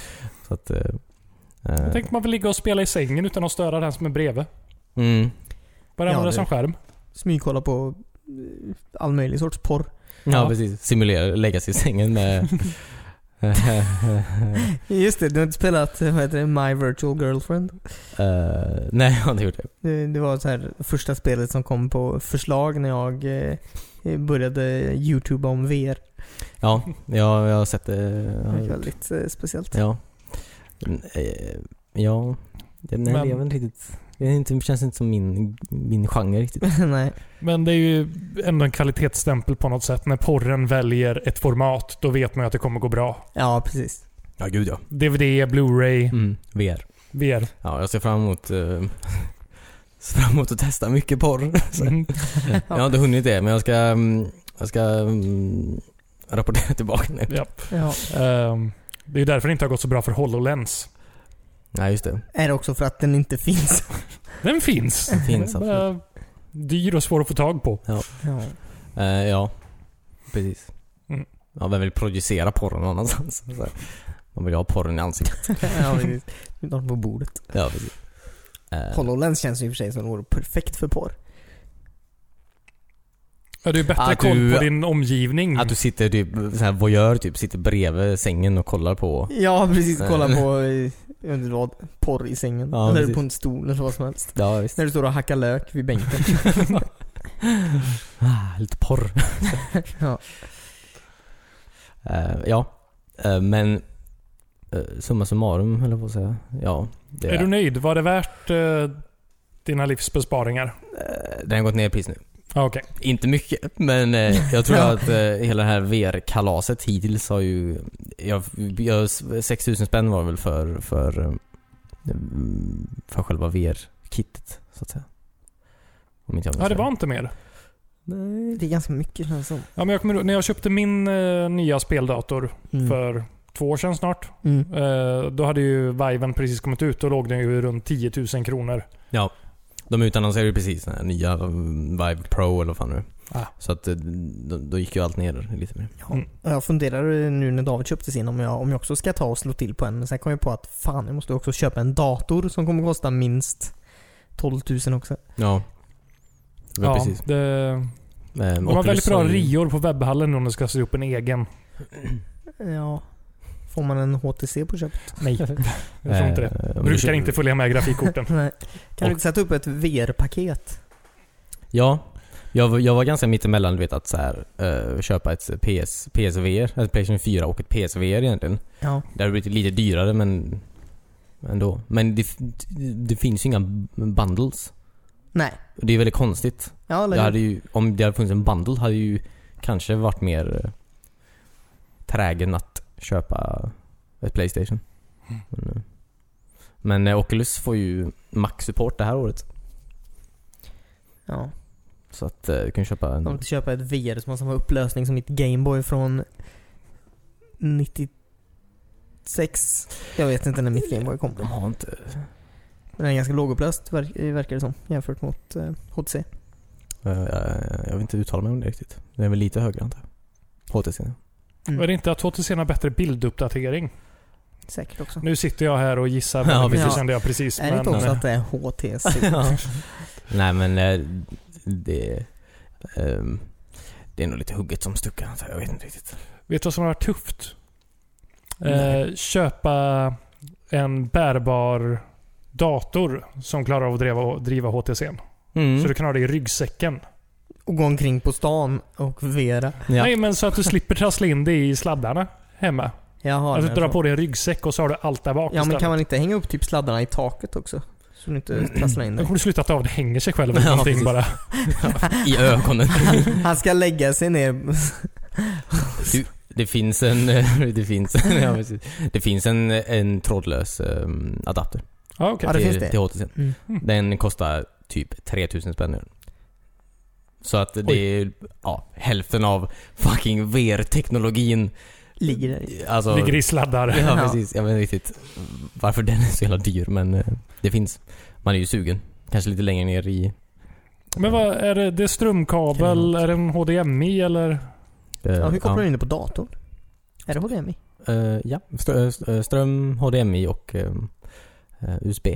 Speaker 3: Så att... eh, eh,
Speaker 2: jag tänkte man vill ligga och spela i sängen utan att störa den som är bredvid.
Speaker 3: mm.
Speaker 1: Ja,
Speaker 2: Bara använda
Speaker 1: det-
Speaker 2: som skärm.
Speaker 1: Smygkolla på eh, all möjlig sorts porr.
Speaker 3: Ja,
Speaker 2: Ja.
Speaker 3: precis. Simulera, lägga sig i sängen med...
Speaker 1: Just det, du har inte spelat eh, vad heter det, My Virtual Girlfriend?
Speaker 3: Eh, nej, jag har inte gjort det.
Speaker 1: Det, det var så här första spelet som kom på förslag när jag eh, började YouTube om VR.
Speaker 3: Ja, jag, jag har sett det.
Speaker 1: Det
Speaker 3: Jag
Speaker 1: var
Speaker 3: har-
Speaker 1: väldigt eh, speciellt.
Speaker 3: Ja. Mm, eh, Ja, den
Speaker 2: Men-
Speaker 3: här lever riktigt... Det är inte, känns inte som min, min genre riktigt.
Speaker 1: Nej.
Speaker 2: Men det är ju ändå en kvalitetsstämpel på något sätt. När porren väljer ett format, då vet man ju att det kommer gå bra.
Speaker 1: Ja, precis.
Speaker 3: Ja, gud ja.
Speaker 2: DVD, Blu-ray,
Speaker 3: Mm, VR.
Speaker 2: VR.
Speaker 3: Ja, jag ser fram emot, eh, ser fram emot att testa mycket porr.
Speaker 2: Mm.
Speaker 3: Jag har inte hunnit det, men jag ska, mm, jag ska mm, rapportera tillbaka nu.
Speaker 2: Ja.
Speaker 1: Ja.
Speaker 2: Ehm, det är ju därför det inte har gått så bra för HoloLens.
Speaker 3: Nej, just det.
Speaker 1: Är det också för att den inte finns?
Speaker 2: Den finns.
Speaker 3: Det finns alltså.
Speaker 2: Den är
Speaker 3: absolut.
Speaker 2: bara Dyr och svår att få tag på.
Speaker 1: Ja.
Speaker 3: Eh, ja, precis.
Speaker 2: Mm.
Speaker 3: Ja, vem vill projicera porren någon annanstans? Så här. Man vill ju ha porren i ansiktet.
Speaker 1: ja precis. Den har på bordet.
Speaker 3: Ja, precis. Eh,
Speaker 1: HoloLens känns ju i och för sig som vore perfekt för porr.
Speaker 2: Ja, du är bättre
Speaker 3: Att
Speaker 2: koll
Speaker 3: du-
Speaker 2: på din omgivning.
Speaker 3: Att du sitter typ, så här voyeur typ, sitter bredvid sängen och kollar på
Speaker 1: Ja, precis. Kolla
Speaker 3: Nej.
Speaker 1: på, eh, jag vet inte vad, porr i sängen.
Speaker 3: Ja,
Speaker 1: eller
Speaker 3: precis.
Speaker 1: på en stol eller vad som helst.
Speaker 3: Ja visst.
Speaker 1: När du står och hackar lök vid bänken.
Speaker 3: Ah, lite porr.
Speaker 1: Ja.
Speaker 3: Eh, ja. Eh, men eh, summa summarum höll jag på att säga. Ja. Det,
Speaker 2: Är du nöjd? Var det värt eh, dina livsbesparingar?
Speaker 3: Eh, den har gått ner i pris nu.
Speaker 2: Ja, Okej.
Speaker 3: Inte mycket, men eh, jag tror
Speaker 1: Ja.
Speaker 3: att eh, hela det här VR-kalaset hittills har ju... Jag, jag, 6000 spänn var det väl för, för, eh, för själva VR-kittet, så att säga. Om inte jag minns
Speaker 2: Ja, det var
Speaker 3: fel.
Speaker 2: inte mer.
Speaker 1: Nej. Det är ganska mycket känns det som.
Speaker 2: Ja, men jag kommer, ihåg- när jag köpte min eh, nya speldator
Speaker 1: Mm.
Speaker 2: för två år sedan snart.
Speaker 1: Mm.
Speaker 2: Eh, då hade ju Viven precis kommit ut. Då låg den ju runt 10 000 kronor.
Speaker 3: Ja. De utannonserade ju precis den här nya mm, Vive Pro eller vad fan nu är.
Speaker 2: Ah.
Speaker 3: Så att eh, då, då gick ju allt ner lite mer.
Speaker 1: Ja.
Speaker 2: Mm.
Speaker 1: Jag funderar nu när David köpte sin om jag, om jag också ska ta och slå till på en. Men sen kom jag på att fan, jag måste också köpa en dator som kommer kosta minst 12 000 också.
Speaker 3: Ja. Ja, precis.
Speaker 2: det,
Speaker 3: Eh,
Speaker 2: de har väldigt bra
Speaker 3: Oculus-
Speaker 2: rior på webbhallen om de ska se upp en egen.
Speaker 1: Ja. Får man en HTC på köpet?
Speaker 2: Nej, jag tror inte det.
Speaker 3: Eh, men du
Speaker 2: Brukar
Speaker 3: köper-
Speaker 2: inte följa med grafikkorten.
Speaker 1: Nej. Kan
Speaker 3: Och-
Speaker 1: du inte sätta upp ett VR-paket?
Speaker 3: Ja. Jag, var- jag var ganska mittemellan, du vet att så här, eh, köpa ett PS, PSVR, alltså Playstation 4 och ett PSVR egentligen.
Speaker 1: Ja.
Speaker 3: Det hade blivit lite dyrare men ändå. Men det, det finns ju inga bundles.
Speaker 1: Nej.
Speaker 3: Och Det är väldigt konstigt.
Speaker 1: Ja, eller
Speaker 3: Det hade ju, om det hade funnits en bundle hade ju kanske varit mer eh, trägen att köpa ett Playstation. Men, eh, men eh, Oculus får ju max-support det här året.
Speaker 1: Ja.
Speaker 3: Så att eh, du kan köpa
Speaker 1: Om
Speaker 3: en...
Speaker 1: du inte köpa ett VR som har samma upplösning som mitt Gameboy från 96. Jag vet inte när mitt Gameboy kom.
Speaker 3: De har inte...
Speaker 1: Men den är ganska lågupplöst ver- verkar det som jämfört mot eh, HTC.
Speaker 3: eh, jag vill inte uttala mig om det riktigt. Det är väl lite högre antar jag. HTC.
Speaker 1: Mm.
Speaker 2: Är det inte att HTC har bättre bilduppdatering?
Speaker 1: Säkert också.
Speaker 2: Nu sitter jag här och gissar på
Speaker 3: Ja,
Speaker 2: mycket
Speaker 1: precis.
Speaker 2: kände jag precis.
Speaker 1: är det inte
Speaker 2: men-
Speaker 1: också att det är HTC?
Speaker 3: Ja. Nej men eh, det... ehm, det är nog lite hugget som stucket antar jag. Jag vet inte riktigt.
Speaker 2: Vet du vad som har varit tufft? Eh,
Speaker 3: Nej.
Speaker 2: köpa en bärbar dator som klarar av att driva, driva HTC.
Speaker 3: Mm.
Speaker 2: n.
Speaker 1: Mm.
Speaker 2: Så du kan ha det i ryggsäcken.
Speaker 1: Och gå omkring på stan och vera.
Speaker 3: Ja.
Speaker 2: Nej, men så att du slipper trassla in det i sladdarna hemma.
Speaker 1: Jag har
Speaker 2: att du
Speaker 1: den
Speaker 2: drar
Speaker 1: så.
Speaker 2: Alltså, på dig en ryggsäck och så har du allt där bak
Speaker 1: Ja men
Speaker 2: istället. Mm.
Speaker 1: kan man inte hänga upp typ sladdarna i taket också? Så du inte trasslar in
Speaker 2: Då
Speaker 1: dig.
Speaker 2: kommer du sluta att av det hänger sig själv
Speaker 3: Ja,
Speaker 2: eller någonting
Speaker 3: precis.
Speaker 2: bara.
Speaker 3: I ögonen.
Speaker 2: Mm.
Speaker 1: Han ska lägga sig ner.
Speaker 3: Det finns en... det finns, ja, precis. det finns en, en trådlös ehm, adapter.
Speaker 2: Ja, okej.
Speaker 1: Ja, det
Speaker 3: till,
Speaker 1: finns det.
Speaker 3: Till HTC.
Speaker 1: Mm.
Speaker 3: Den kostar typ 3000 spänn nu. Så att det
Speaker 2: Oj.
Speaker 3: är ja, hälften av fucking VR-teknologin.
Speaker 1: Ligger där i.
Speaker 3: Alltså,
Speaker 2: Ligger i sladdar.
Speaker 3: Ja
Speaker 1: Ja.
Speaker 3: precis, jag vet inte riktigt varför den är så jävla dyr men eh, det finns. Man är ju sugen. Kanske lite längre ner i...
Speaker 2: Men vad är det? Det är strömkabel? Är det en HDMI eller?
Speaker 3: eh,
Speaker 1: Ja, hur kopplar du in det på datorn? Är det HDMI?
Speaker 3: Eh, ja, Strö- eh, ström, HDMI och ehm, eh, USB.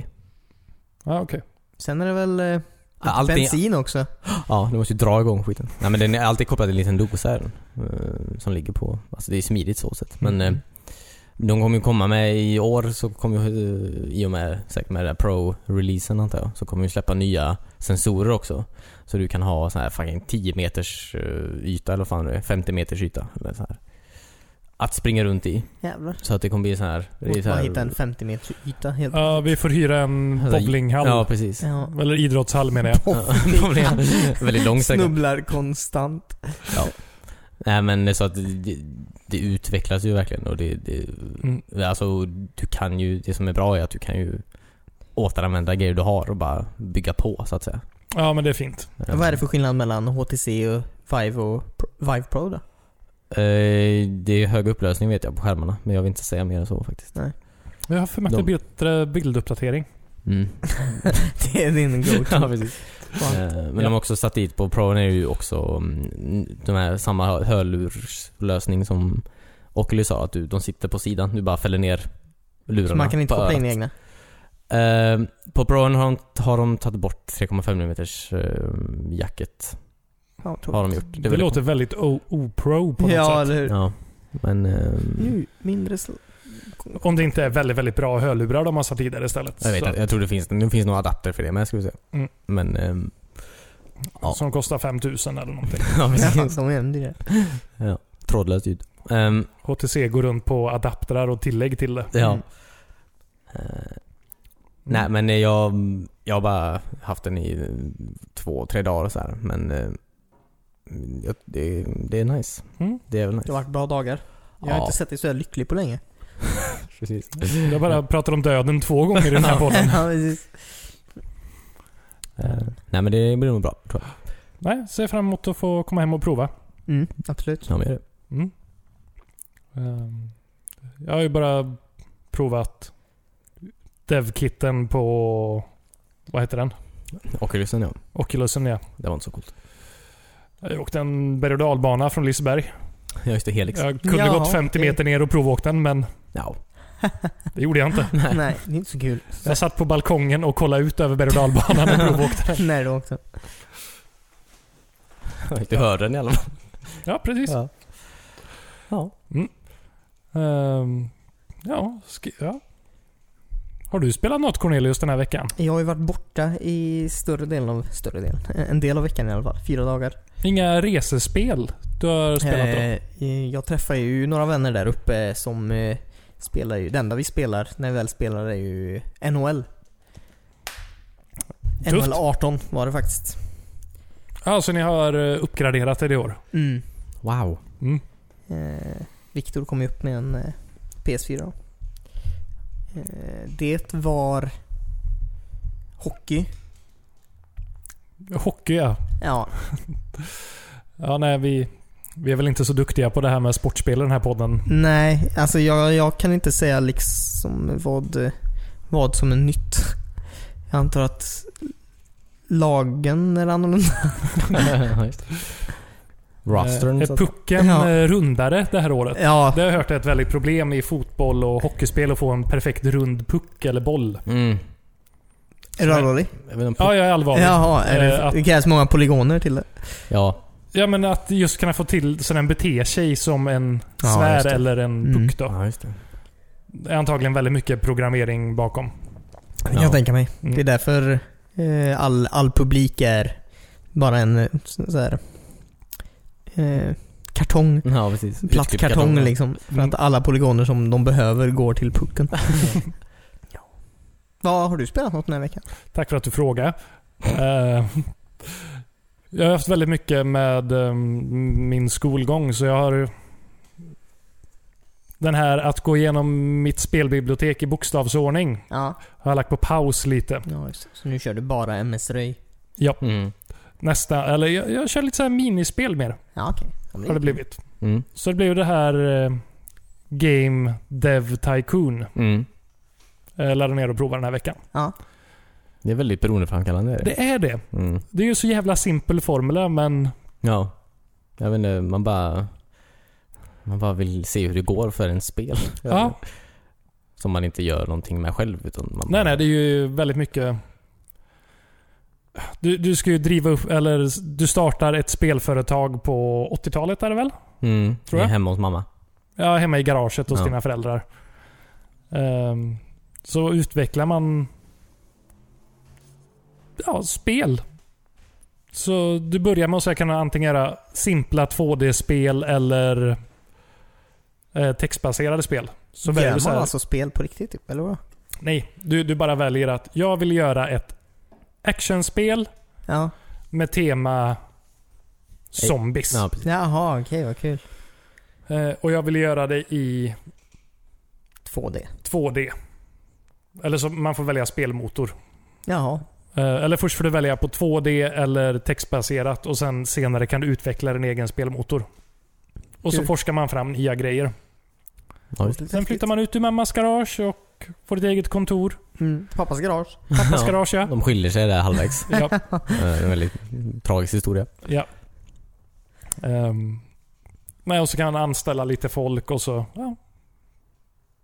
Speaker 2: Ja, okej.
Speaker 1: Sen är det väl eh,
Speaker 3: Allting-
Speaker 1: bensin också?
Speaker 3: Ja, du måste ju dra igång skiten. Nej men den är alltid kopplad till en liten dosa här, eh, Som ligger på, alltså det är smidigt så sett. Men
Speaker 1: Mm.
Speaker 3: eh, de kommer ju komma med i år så kommer ju, eh, i och med säkert med den där pro-releasen antar jag, så kommer ju släppa nya sensorer också. Så du kan ha sån här fucking 10 meters eh, yta eller vad fan det är, 50 meters yta eller så här. Att springa runt i.
Speaker 1: Jävlar.
Speaker 3: Så att det kommer bli sån här... det är
Speaker 1: Måste
Speaker 3: så
Speaker 1: bara
Speaker 3: här-
Speaker 1: hitta en 50 meters yta helt.
Speaker 2: Ja, vi får hyra en bowlinghall.
Speaker 3: Ja, precis.
Speaker 1: Ja.
Speaker 2: Eller idrottshall menar jag.
Speaker 3: Problem. Väldigt lång sträcka.
Speaker 1: Snubblar konstant.
Speaker 3: Nej men det är så att det, det utvecklas ju verkligen och det, det
Speaker 2: Mm.
Speaker 3: Alltså du kan ju, det som är bra är att du kan ju återanvända grejer du har och bara bygga på så att säga.
Speaker 2: Ja, men det är fint.
Speaker 1: Vad är det för skillnad mellan HTC och Vive och Pro- Vive Pro då?
Speaker 3: Eh, det är hög upplösning vet jag på skärmarna men jag vill inte säga mer än så faktiskt.
Speaker 2: Jag har för mig att det är bättre bilduppdatering.
Speaker 3: Mm.
Speaker 1: Det är din go-to.
Speaker 3: ja, precis.
Speaker 1: Fan.
Speaker 3: Eh, men
Speaker 2: Ja.
Speaker 3: de har också satt dit på Pro är ju också mm, de här samma hörlurslösning som Oculus har, att du, de sitter på sidan, du bara fäller ner lurarna.
Speaker 1: Så man kan inte
Speaker 3: på
Speaker 1: koppla in
Speaker 3: örat.
Speaker 1: egna?
Speaker 3: Eh, på Proen har de, har de tagit bort 3,5 mm eh, jacket.
Speaker 1: Ja,
Speaker 3: Har
Speaker 1: tråkigt.
Speaker 3: de gjort.
Speaker 2: Det,
Speaker 3: är väl-
Speaker 2: låter väldigt o- opro på något
Speaker 1: Ja,
Speaker 2: sätt.
Speaker 1: eller hur?
Speaker 3: Ja. Men... ehm,
Speaker 1: Nu, mindre sl-
Speaker 2: Om det inte är väldigt, väldigt bra hörlurar de har satt i där istället.
Speaker 3: jag vet
Speaker 2: så,
Speaker 3: inte. Jag tror det finns, det finns några adapter för det med ska vi se.
Speaker 2: Mm.
Speaker 3: Men... ehm, ja.
Speaker 2: Som kostar 5000 eller någonting.
Speaker 3: ja,
Speaker 1: Ja,
Speaker 3: precis.
Speaker 1: som är det.
Speaker 3: Trådlöst ljud. Ehm,
Speaker 2: HTC går runt på adaptrar och tillägg till det.
Speaker 3: ja.
Speaker 1: Mm.
Speaker 3: Eh, Nej men eh, jag, jag har bara haft den i eh, två, tre dagar och så här. Men eh, jag- det, det är nice.
Speaker 2: Mm.
Speaker 3: Det är väl
Speaker 1: Det
Speaker 3: nice.
Speaker 1: har varit bra dagar. Jag har
Speaker 3: Ja.
Speaker 1: inte sett dig så här lycklig på länge.
Speaker 3: Precis.
Speaker 2: Jag bara pratar om döden två gånger i den här podden.
Speaker 1: Ja, precis.
Speaker 3: Eh, nej men det blir nog bra tror jag.
Speaker 2: Nej, ser fram emot att få komma hem och prova.
Speaker 1: Mm, absolut.
Speaker 3: Ja, men det är det.
Speaker 2: Mm. Ehm, Jag har ju bara provat DevKitten på... Vad heter den?
Speaker 3: Oculusen ja.
Speaker 2: Oculusen ja.
Speaker 3: Det var inte så coolt.
Speaker 2: Jag åkte en berg och dalbana från Liseberg.
Speaker 3: Ja just det, Helix.
Speaker 2: Jag kunde
Speaker 1: Jaha,
Speaker 2: gått 50
Speaker 1: okej.
Speaker 2: meter ner och provåkt den, men
Speaker 3: Ja.
Speaker 2: det gjorde jag inte.
Speaker 1: Nej. det är inte så kul.
Speaker 2: Jag satt på balkongen och kollade ut över berg och dalbanan och provåkte den.
Speaker 1: Nej, det också.
Speaker 3: Du hör den i alla fall.
Speaker 2: Ja, precis.
Speaker 1: Ja.
Speaker 3: Ja.
Speaker 2: Mm. Ehm, ja, sk- ja. Har du spelat något Cornelius den här veckan?
Speaker 1: Jag har ju varit borta i större delen av, större delen, en del av veckan i alla fall. Fyra dagar.
Speaker 2: Inga resespel du har spelat då?
Speaker 1: Eh, jag träffar ju några vänner där uppe som eh, spelar ju, det enda vi spelar när vi väl spelar är ju NHL.
Speaker 2: Tufft.
Speaker 1: NHL 18 var det faktiskt.
Speaker 2: Ja, så ni har eh, uppgraderat det i år?
Speaker 1: Mm.
Speaker 3: Wow.
Speaker 2: Mm.
Speaker 1: Eh, Viktor kom ju upp med en eh, PS4. Eh, det var hockey.
Speaker 2: Hockey ja.
Speaker 1: Ja,
Speaker 2: ja nej, vi, vi är väl inte så duktiga på det här med sportspel i den här podden.
Speaker 1: nej, alltså jag, jag kan inte säga liksom vad, vad som är nytt. Jag antar att lagen är annorlunda.
Speaker 3: Rostern.
Speaker 2: Eh,
Speaker 3: så
Speaker 2: är
Speaker 3: att-
Speaker 2: pucken
Speaker 1: Ja.
Speaker 2: eh, rundare det här året?
Speaker 1: Ja,
Speaker 2: Det har jag hört är ett väldigt problem i fotboll och hockeyspel att få en perfekt rund puck eller boll.
Speaker 3: Mm.
Speaker 1: är du allvarlig?
Speaker 3: Jag vet inte,
Speaker 2: Ja, jag är allvarlig. Ja.
Speaker 1: Jaha, är
Speaker 2: Eh,
Speaker 1: det,
Speaker 2: att-
Speaker 1: det krävs många polygoner till det.
Speaker 3: ja.
Speaker 2: men att just kunna få till så den beter sig som en
Speaker 1: Ja,
Speaker 2: sfär
Speaker 1: just det.
Speaker 2: eller en
Speaker 1: Mm.
Speaker 2: puck då.
Speaker 3: ja, just det.
Speaker 2: Det är antagligen väldigt mycket programmering bakom.
Speaker 1: Kan jag tänka mig.
Speaker 2: Mm.
Speaker 1: Det är därför eh, all, all publik är bara en eh, så så här, eh, kartong.
Speaker 3: Ja, precis.
Speaker 1: Platt kartong
Speaker 3: Utklippt
Speaker 1: liksom. För
Speaker 2: typ Mm.
Speaker 1: att alla polygoner som de behöver går till pucken. ja. Vad Har du spelat något den här veckan?
Speaker 2: Tack för att du frågade. Eh, jag har haft väldigt mycket med eh, min skolgång, så jag har... Den här att gå igenom mitt spelbibliotek i bokstavsordning
Speaker 1: Ja.
Speaker 2: har jag lagt på paus lite.
Speaker 1: ja just det. Så nu kör du bara MS-röj?
Speaker 3: Mm.
Speaker 2: Nästa, eller jag, jag kör lite så här minispel mer,
Speaker 1: Ja, okej.
Speaker 2: har det blivit.
Speaker 3: Mm.
Speaker 2: Så det blev det här eh, Game Dev Tycoon.
Speaker 3: Mm.
Speaker 2: Jag laddade ner och provade den här veckan.
Speaker 1: Ja.
Speaker 3: Det är väldigt beroendeframkallande. är det?
Speaker 2: Det är det.
Speaker 3: Mm.
Speaker 2: Det är ju så jävla simpel formula, men
Speaker 3: Ja. Jag vet inte, man bara... Man bara vill se hur det går för en spel.
Speaker 2: Ja.
Speaker 3: Som man inte gör någonting med själv. Utan man
Speaker 2: Nej, nej, det är ju väldigt mycket... Du, du ska ju driva upp, eller du startar ett spelföretag på 80-talet är det väl?
Speaker 3: Mm.
Speaker 2: Tror
Speaker 3: Tror jag.
Speaker 2: jag.
Speaker 3: Hemma hos mamma.
Speaker 2: Ja, hemma i garaget hos
Speaker 3: Ja.
Speaker 2: dina föräldrar. Ehm, så utvecklar man ja, spel. Så du börjar med att så här kan du antingen göra simpla 2D-spel eller eh, textbaserade spel. Så
Speaker 1: Gör
Speaker 2: väljer du
Speaker 1: man
Speaker 2: så här,
Speaker 1: alltså spel på riktigt typ, eller vadå?
Speaker 2: Nej, du, du bara väljer att jag vill göra ett actionspel
Speaker 1: Ja.
Speaker 2: med tema zombies.
Speaker 3: Ja, precis.
Speaker 1: Jaha, okej vad kul.
Speaker 2: Eh, och jag vill göra det i
Speaker 1: 2D.
Speaker 2: 2D. Eller så man får välja spelmotor.
Speaker 1: Jaha.
Speaker 2: Eh, eller först får du välja på 2D eller textbaserat och sen senare kan du utveckla din egen spelmotor. Och så
Speaker 1: Kul.
Speaker 2: forskar man fram nya grejer.
Speaker 3: Ja, just det.
Speaker 2: Sen flyttar man ut ur mammas garage och får ett eget kontor.
Speaker 1: Mm. Pappas garage.
Speaker 2: Pappas
Speaker 3: Ja.
Speaker 2: garage ja.
Speaker 3: De skiljer sig där halvvägs.
Speaker 2: ja.
Speaker 3: Eh, en väldigt tragisk historia.
Speaker 2: Ja. Ehm, nej, och så kan han anställa lite folk och så... Ja.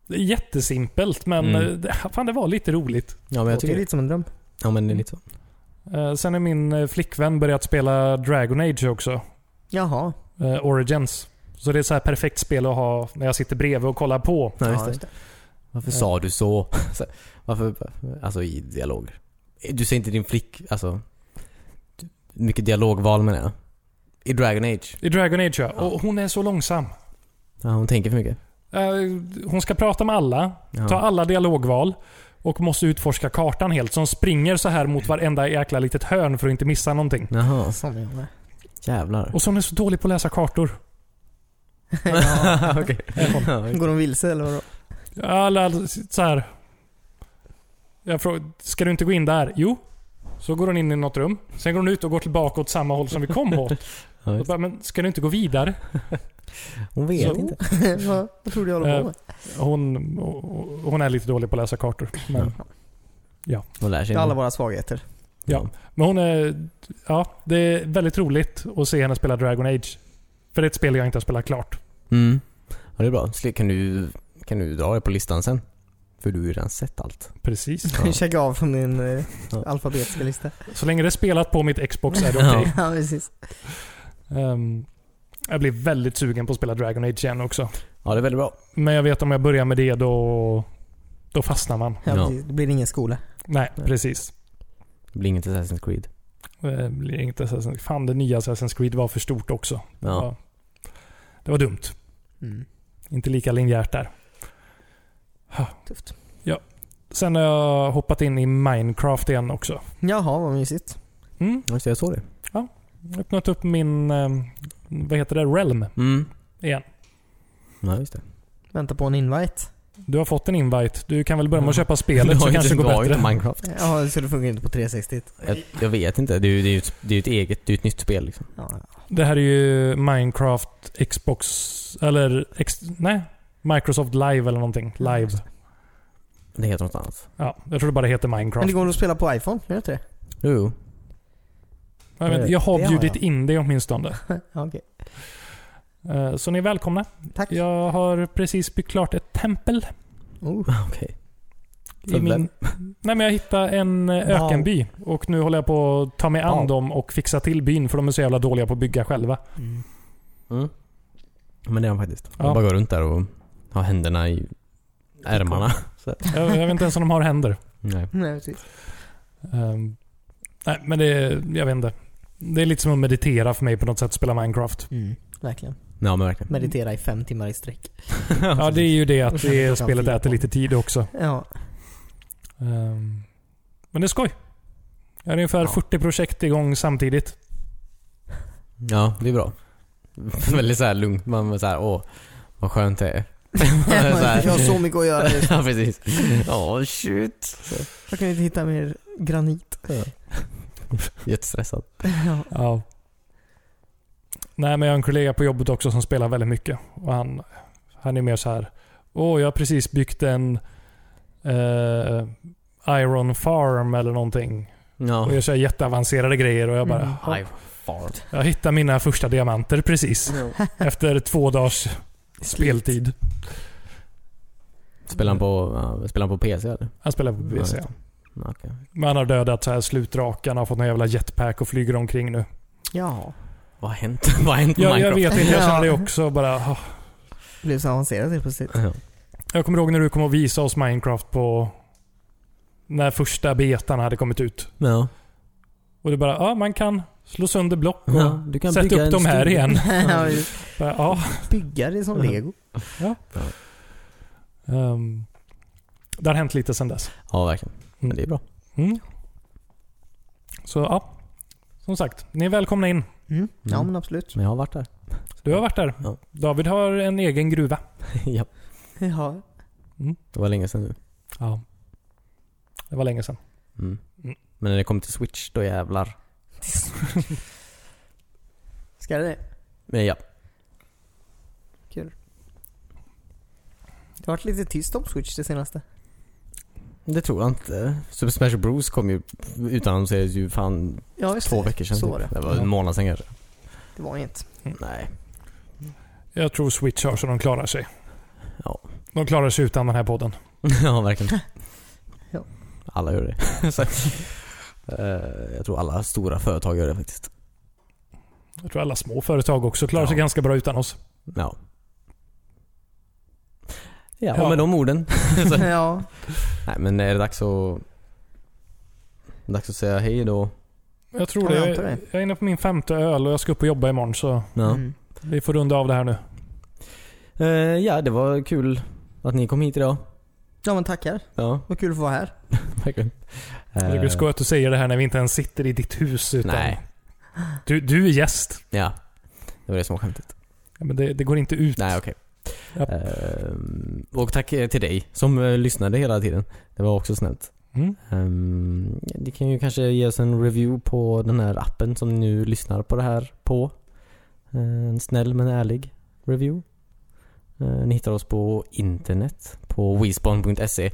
Speaker 2: Det är jättesimpelt men
Speaker 3: Mm.
Speaker 2: eh, det, fan, det var lite roligt.
Speaker 3: Ja, men jag
Speaker 1: Låter ju
Speaker 3: tycker...
Speaker 1: lite som en dröm.
Speaker 3: Ja, men det är lite så.
Speaker 2: Eh, sen har min eh, flickvän börjat spela Dragon Age också.
Speaker 1: Jaha.
Speaker 2: eh, Origins. Så det är så här perfekt spel att ha när jag sitter bredvid och kollar på. Eh,
Speaker 1: Ja,
Speaker 3: Ja, just det.
Speaker 1: just det.
Speaker 3: Varför sa du så? Så, Varför, alltså i dialoger. Du säger inte din flick, alltså. Mycket dialogval menar jag. I Dragon Age.
Speaker 2: I Dragon Age ja. Och hon är så långsam.
Speaker 3: Ja, hon tänker för mycket.
Speaker 2: Eh, hon ska prata med alla,
Speaker 3: Ja.
Speaker 2: ta alla dialogval och måste utforska kartan helt. Så hon springer så här mot varenda jäkla litet hörn för att inte missa någonting.
Speaker 3: Jaha,
Speaker 1: Sån är jag med.
Speaker 3: jävlar.
Speaker 2: Och så är hon är så dålig på att läsa kartor.
Speaker 3: Okej.
Speaker 1: Går de vilse eller vadå?
Speaker 2: Ja, Eller alltså, så här. Jag frågar, ska du inte gå in där? Jo. Så går hon in i något rum. Sen går hon ut och går tillbaka åt samma håll som vi kom åt.
Speaker 3: Ja,
Speaker 2: Och
Speaker 3: just det.
Speaker 2: bara, men ska du inte gå vidare?
Speaker 3: Hon vet
Speaker 2: Så-
Speaker 3: inte.
Speaker 1: vad, vad tror du jag håller på med?
Speaker 2: Hon, hon är lite dålig på att läsa kartor. Men,
Speaker 3: Hon lär sig
Speaker 1: Det är alla
Speaker 3: inte.
Speaker 1: våra svagheter.
Speaker 2: Ja. men hon är... Ja, det är väldigt roligt att se henne spela Dragon Age. För det är ett spel jag inte har spelat klart.
Speaker 3: Mm. Ja, det är bra. Sli- Kan du, kan du dra det på listan sen? För du har ju redan sett allt.
Speaker 2: Precis.
Speaker 3: Ja.
Speaker 1: Checka av från din eh,
Speaker 3: Ja.
Speaker 1: alfabetiska lista.
Speaker 2: Så länge det är spelat på mitt Xbox är det okej.
Speaker 1: ja, precis.
Speaker 2: Ehm, jag blir väldigt sugen på att spela Dragon Age igen också.
Speaker 3: Ja, det är väldigt bra.
Speaker 2: Men jag vet om jag börjar med det då, då fastnar man.
Speaker 1: Ja,
Speaker 3: Ja.
Speaker 1: precis. Det blir ingen skola.
Speaker 2: Nej, precis. Ehm,
Speaker 3: Det blir inget Assassin's Creed.
Speaker 2: Det blir inte Assassin's Fan, det nya Assassin's Creed var för stort också.
Speaker 3: Ja.
Speaker 2: Ja. Det var dumt.
Speaker 1: Mm.
Speaker 2: Inte lika linjärt där.
Speaker 1: Tufft.
Speaker 2: Sen har jag hoppat in i Minecraft igen också.
Speaker 1: Jaha, vad mysigt.
Speaker 2: Mm.
Speaker 3: Just det, jag såg det.
Speaker 2: Öppnat upp min, eh, vad heter det, Realm
Speaker 3: Mm.
Speaker 2: igen.
Speaker 3: Ja, just det.
Speaker 1: Vänta på en invite.
Speaker 2: Du har fått en invite. Du kan väl börja med att
Speaker 3: Ja.
Speaker 2: köpa spelet så
Speaker 3: ju
Speaker 2: kanske det
Speaker 3: inte- du
Speaker 2: går
Speaker 3: har ju
Speaker 2: bättre.
Speaker 3: inte Minecraft.
Speaker 1: Jaha, så det funkar inte på 360?
Speaker 3: Jag, jag vet inte. Det är ju det är ju ett, det är ju ett eget, det är ju ett nytt spel liksom.
Speaker 1: Ja,
Speaker 2: Det här är ju Minecraft Xbox, eller ex, nej, Microsoft Live eller någonting. Live.
Speaker 3: Det heter något annat.
Speaker 2: Ja, jag tror det bara heter
Speaker 1: Men det
Speaker 2: Minecraft.
Speaker 1: går att spela på iPhone, gör det inte det?
Speaker 3: Jo, jo.
Speaker 2: Jag, vet, inte, jag har
Speaker 1: Det har jag.
Speaker 2: bjudit in det åtminstone.
Speaker 1: Ja, okej.
Speaker 2: Eh, Så ni är välkomna.
Speaker 1: Tack.
Speaker 2: Jag har precis byggt klart ett tempel.
Speaker 1: Oh.
Speaker 3: Ah, Okej.
Speaker 2: I
Speaker 3: Tempel.
Speaker 2: min... Nej, men jag hittade en eh,
Speaker 1: Wow.
Speaker 2: ökenby och nu håller jag på att ta mig an
Speaker 1: Wow.
Speaker 2: dem och fixa till byn för de är så jävla dåliga på att bygga själva.
Speaker 1: Mm.
Speaker 3: Mm. Men det är han faktiskt.
Speaker 2: Ja.
Speaker 3: Han bara går runt där och har händerna i ärmarna.
Speaker 2: Jag, jag vet inte ens om de har händer.
Speaker 3: Nej.
Speaker 1: Nej, precis.
Speaker 2: Ehm, nej, men det är, jag vet inte. Det är lite som att meditera för mig på något sätt, spela Minecraft.
Speaker 1: Mm. Verkligen.
Speaker 3: Ja, men verkligen.
Speaker 1: Meditera i fem timmar i sträck.
Speaker 2: Ja, det är ju det att
Speaker 1: Och sen klockan
Speaker 2: det spelet
Speaker 1: fyra.
Speaker 2: äter lite tid också.
Speaker 1: Ja.
Speaker 2: Ehm, men det är skoj. Jag har ungefär
Speaker 3: Ja.
Speaker 2: 40 projekt igång samtidigt.
Speaker 3: Ja, det är bra. Väldigt såhär lugnt. Man är såhär, åh, vad skönt det är. så här.
Speaker 1: Jag har så mycket att göra just
Speaker 3: ja, precis. Ja, shit. Så,
Speaker 1: Jag kan inte hitta mer granit.
Speaker 3: Jättestressad.
Speaker 1: Ja.
Speaker 2: Ja. Nej, men jag har en kollega på jobbet också som spelar väldigt mycket. Och han, han är mer så här. Åh, jag har precis byggt en eh, Iron Farm eller någonting.
Speaker 3: Ja.
Speaker 2: Och jag kör jätteavancerade grejer och jag bara...
Speaker 1: Mm.
Speaker 2: "Ja,
Speaker 3: High fart.
Speaker 2: Jag hittade mina första diamanter precis. Efter två dagars speltid.
Speaker 3: Spelar han på, ja, spelar han på PC eller?
Speaker 2: Han spelar på
Speaker 3: Ja, just
Speaker 2: PC.
Speaker 3: det. Ja, Okej.
Speaker 2: Men han har dödat så här slutrakan, har fått någon jävla jetpack och flyger omkring nu.
Speaker 1: Ja.
Speaker 3: Vad har hänt? vad har hänt med
Speaker 2: Jag, jag
Speaker 3: Minecraft?
Speaker 2: vet inte, jag
Speaker 1: Ja.
Speaker 2: känner det också bara... "Ah,
Speaker 1: Det blev så avancerat helt plötsligt.
Speaker 3: Ja.
Speaker 2: Jag kommer ihåg när du kom och visade oss Minecraft på... När första betan hade kommit ut.
Speaker 3: Ja.
Speaker 2: Och du bara, ja man kan slå sönder block och
Speaker 3: Ja, du kan
Speaker 2: sätta
Speaker 3: bygga
Speaker 2: upp
Speaker 3: en
Speaker 2: dem här
Speaker 3: stuga.
Speaker 2: igen.
Speaker 1: Ja, vi
Speaker 2: Bara, ja.
Speaker 1: Bygga det som lego.
Speaker 2: Ehm, det har hänt lite sedan dess.
Speaker 3: Ja, verkligen. Men det är bra.
Speaker 2: Mm. Så ja. Som sagt, ni är välkomna in.
Speaker 1: Mm. Ja
Speaker 3: Mm.
Speaker 1: men absolut.
Speaker 3: Men jag har varit där.
Speaker 2: Du har varit där.
Speaker 3: Ja.
Speaker 2: David har en egen gruva.
Speaker 3: ja.
Speaker 1: Ja.
Speaker 3: Det var länge sedan nu.
Speaker 2: Ja. Det var länge sedan.
Speaker 3: Mm.
Speaker 2: Mm.
Speaker 3: Men när det kommer till Switch, då jävlar.
Speaker 1: Ska det
Speaker 3: Men ja.
Speaker 1: Det har varit lite tyst om Switch det senaste.
Speaker 3: Det tror jag inte. Super Smash Bros kom ju utannonserades ju fan
Speaker 1: Ja just
Speaker 3: två
Speaker 1: det.
Speaker 3: veckor sedan.
Speaker 1: Så
Speaker 3: typ.
Speaker 1: var det.
Speaker 3: var
Speaker 2: Ja.
Speaker 3: en månad sedan kanske.
Speaker 1: Det var inget.
Speaker 3: Nej.
Speaker 2: Jag tror Switch har så de klarar sig.
Speaker 3: Ja.
Speaker 2: De klarar sig utan den här podden.
Speaker 3: ja, verkligen.
Speaker 1: Ja.
Speaker 3: Alla gör det. Så, eh, jag tror alla stora företag gör det faktiskt.
Speaker 2: Jag tror alla små företag också klarar
Speaker 3: Ja.
Speaker 2: sig ganska bra utan oss.
Speaker 3: Ja. Ja,
Speaker 2: Ja.
Speaker 3: med de orden. så,
Speaker 1: ja.
Speaker 3: nej, men är det dags att... Dags att säga hej då?
Speaker 2: Jag tror
Speaker 1: Ja,
Speaker 2: det.
Speaker 1: jag
Speaker 2: Jag,
Speaker 1: antar det.
Speaker 2: är inne på min femte öl och jag ska upp och jobba imorgon så
Speaker 3: Ja.
Speaker 1: Mm.
Speaker 2: vi får runda av det här nu.
Speaker 3: Eh, ja, det var kul att ni kom hit idag.
Speaker 1: Ja men tackar.
Speaker 3: Ja,
Speaker 1: Vad kul att vara här.
Speaker 3: verkligen.
Speaker 2: Jag tycker det är skoj att du säger det här när vi inte ens sitter i ditt hus. Utan
Speaker 3: Eh. Nej.
Speaker 2: Du, du är gäst.
Speaker 3: Eh, Ja. Det var det som var skämtet.
Speaker 2: Ja, men det, det går inte ut.
Speaker 3: Nej, okej.
Speaker 2: Ja.
Speaker 3: Ehm, och tack eh, till dig som eh, lyssnade hela tiden. Det var också snällt.
Speaker 2: Mm.
Speaker 3: Um, ni kan ju kanske ge oss en review på den här appen som ni nu lyssnar på det här på. Eh, en snäll men ärlig review. Eh, ni hittar oss på internet på wespon.se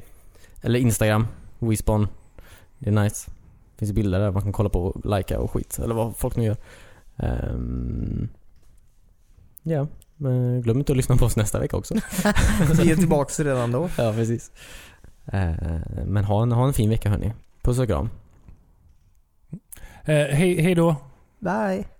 Speaker 3: Eller Instagram, wespon. Det är nice. Det finns bilder där man kan kolla på och likea och skit. Eller vad folk nu gör. Ehm, Ja, men glöm inte att lyssna på oss nästa vecka också.
Speaker 1: Vi är tillbaks redan då.
Speaker 3: Ja, precis. Eh, Men ha en, ha en fin vecka hörni. Puss och kram.
Speaker 2: Eh, hej, hej då.
Speaker 1: Bye.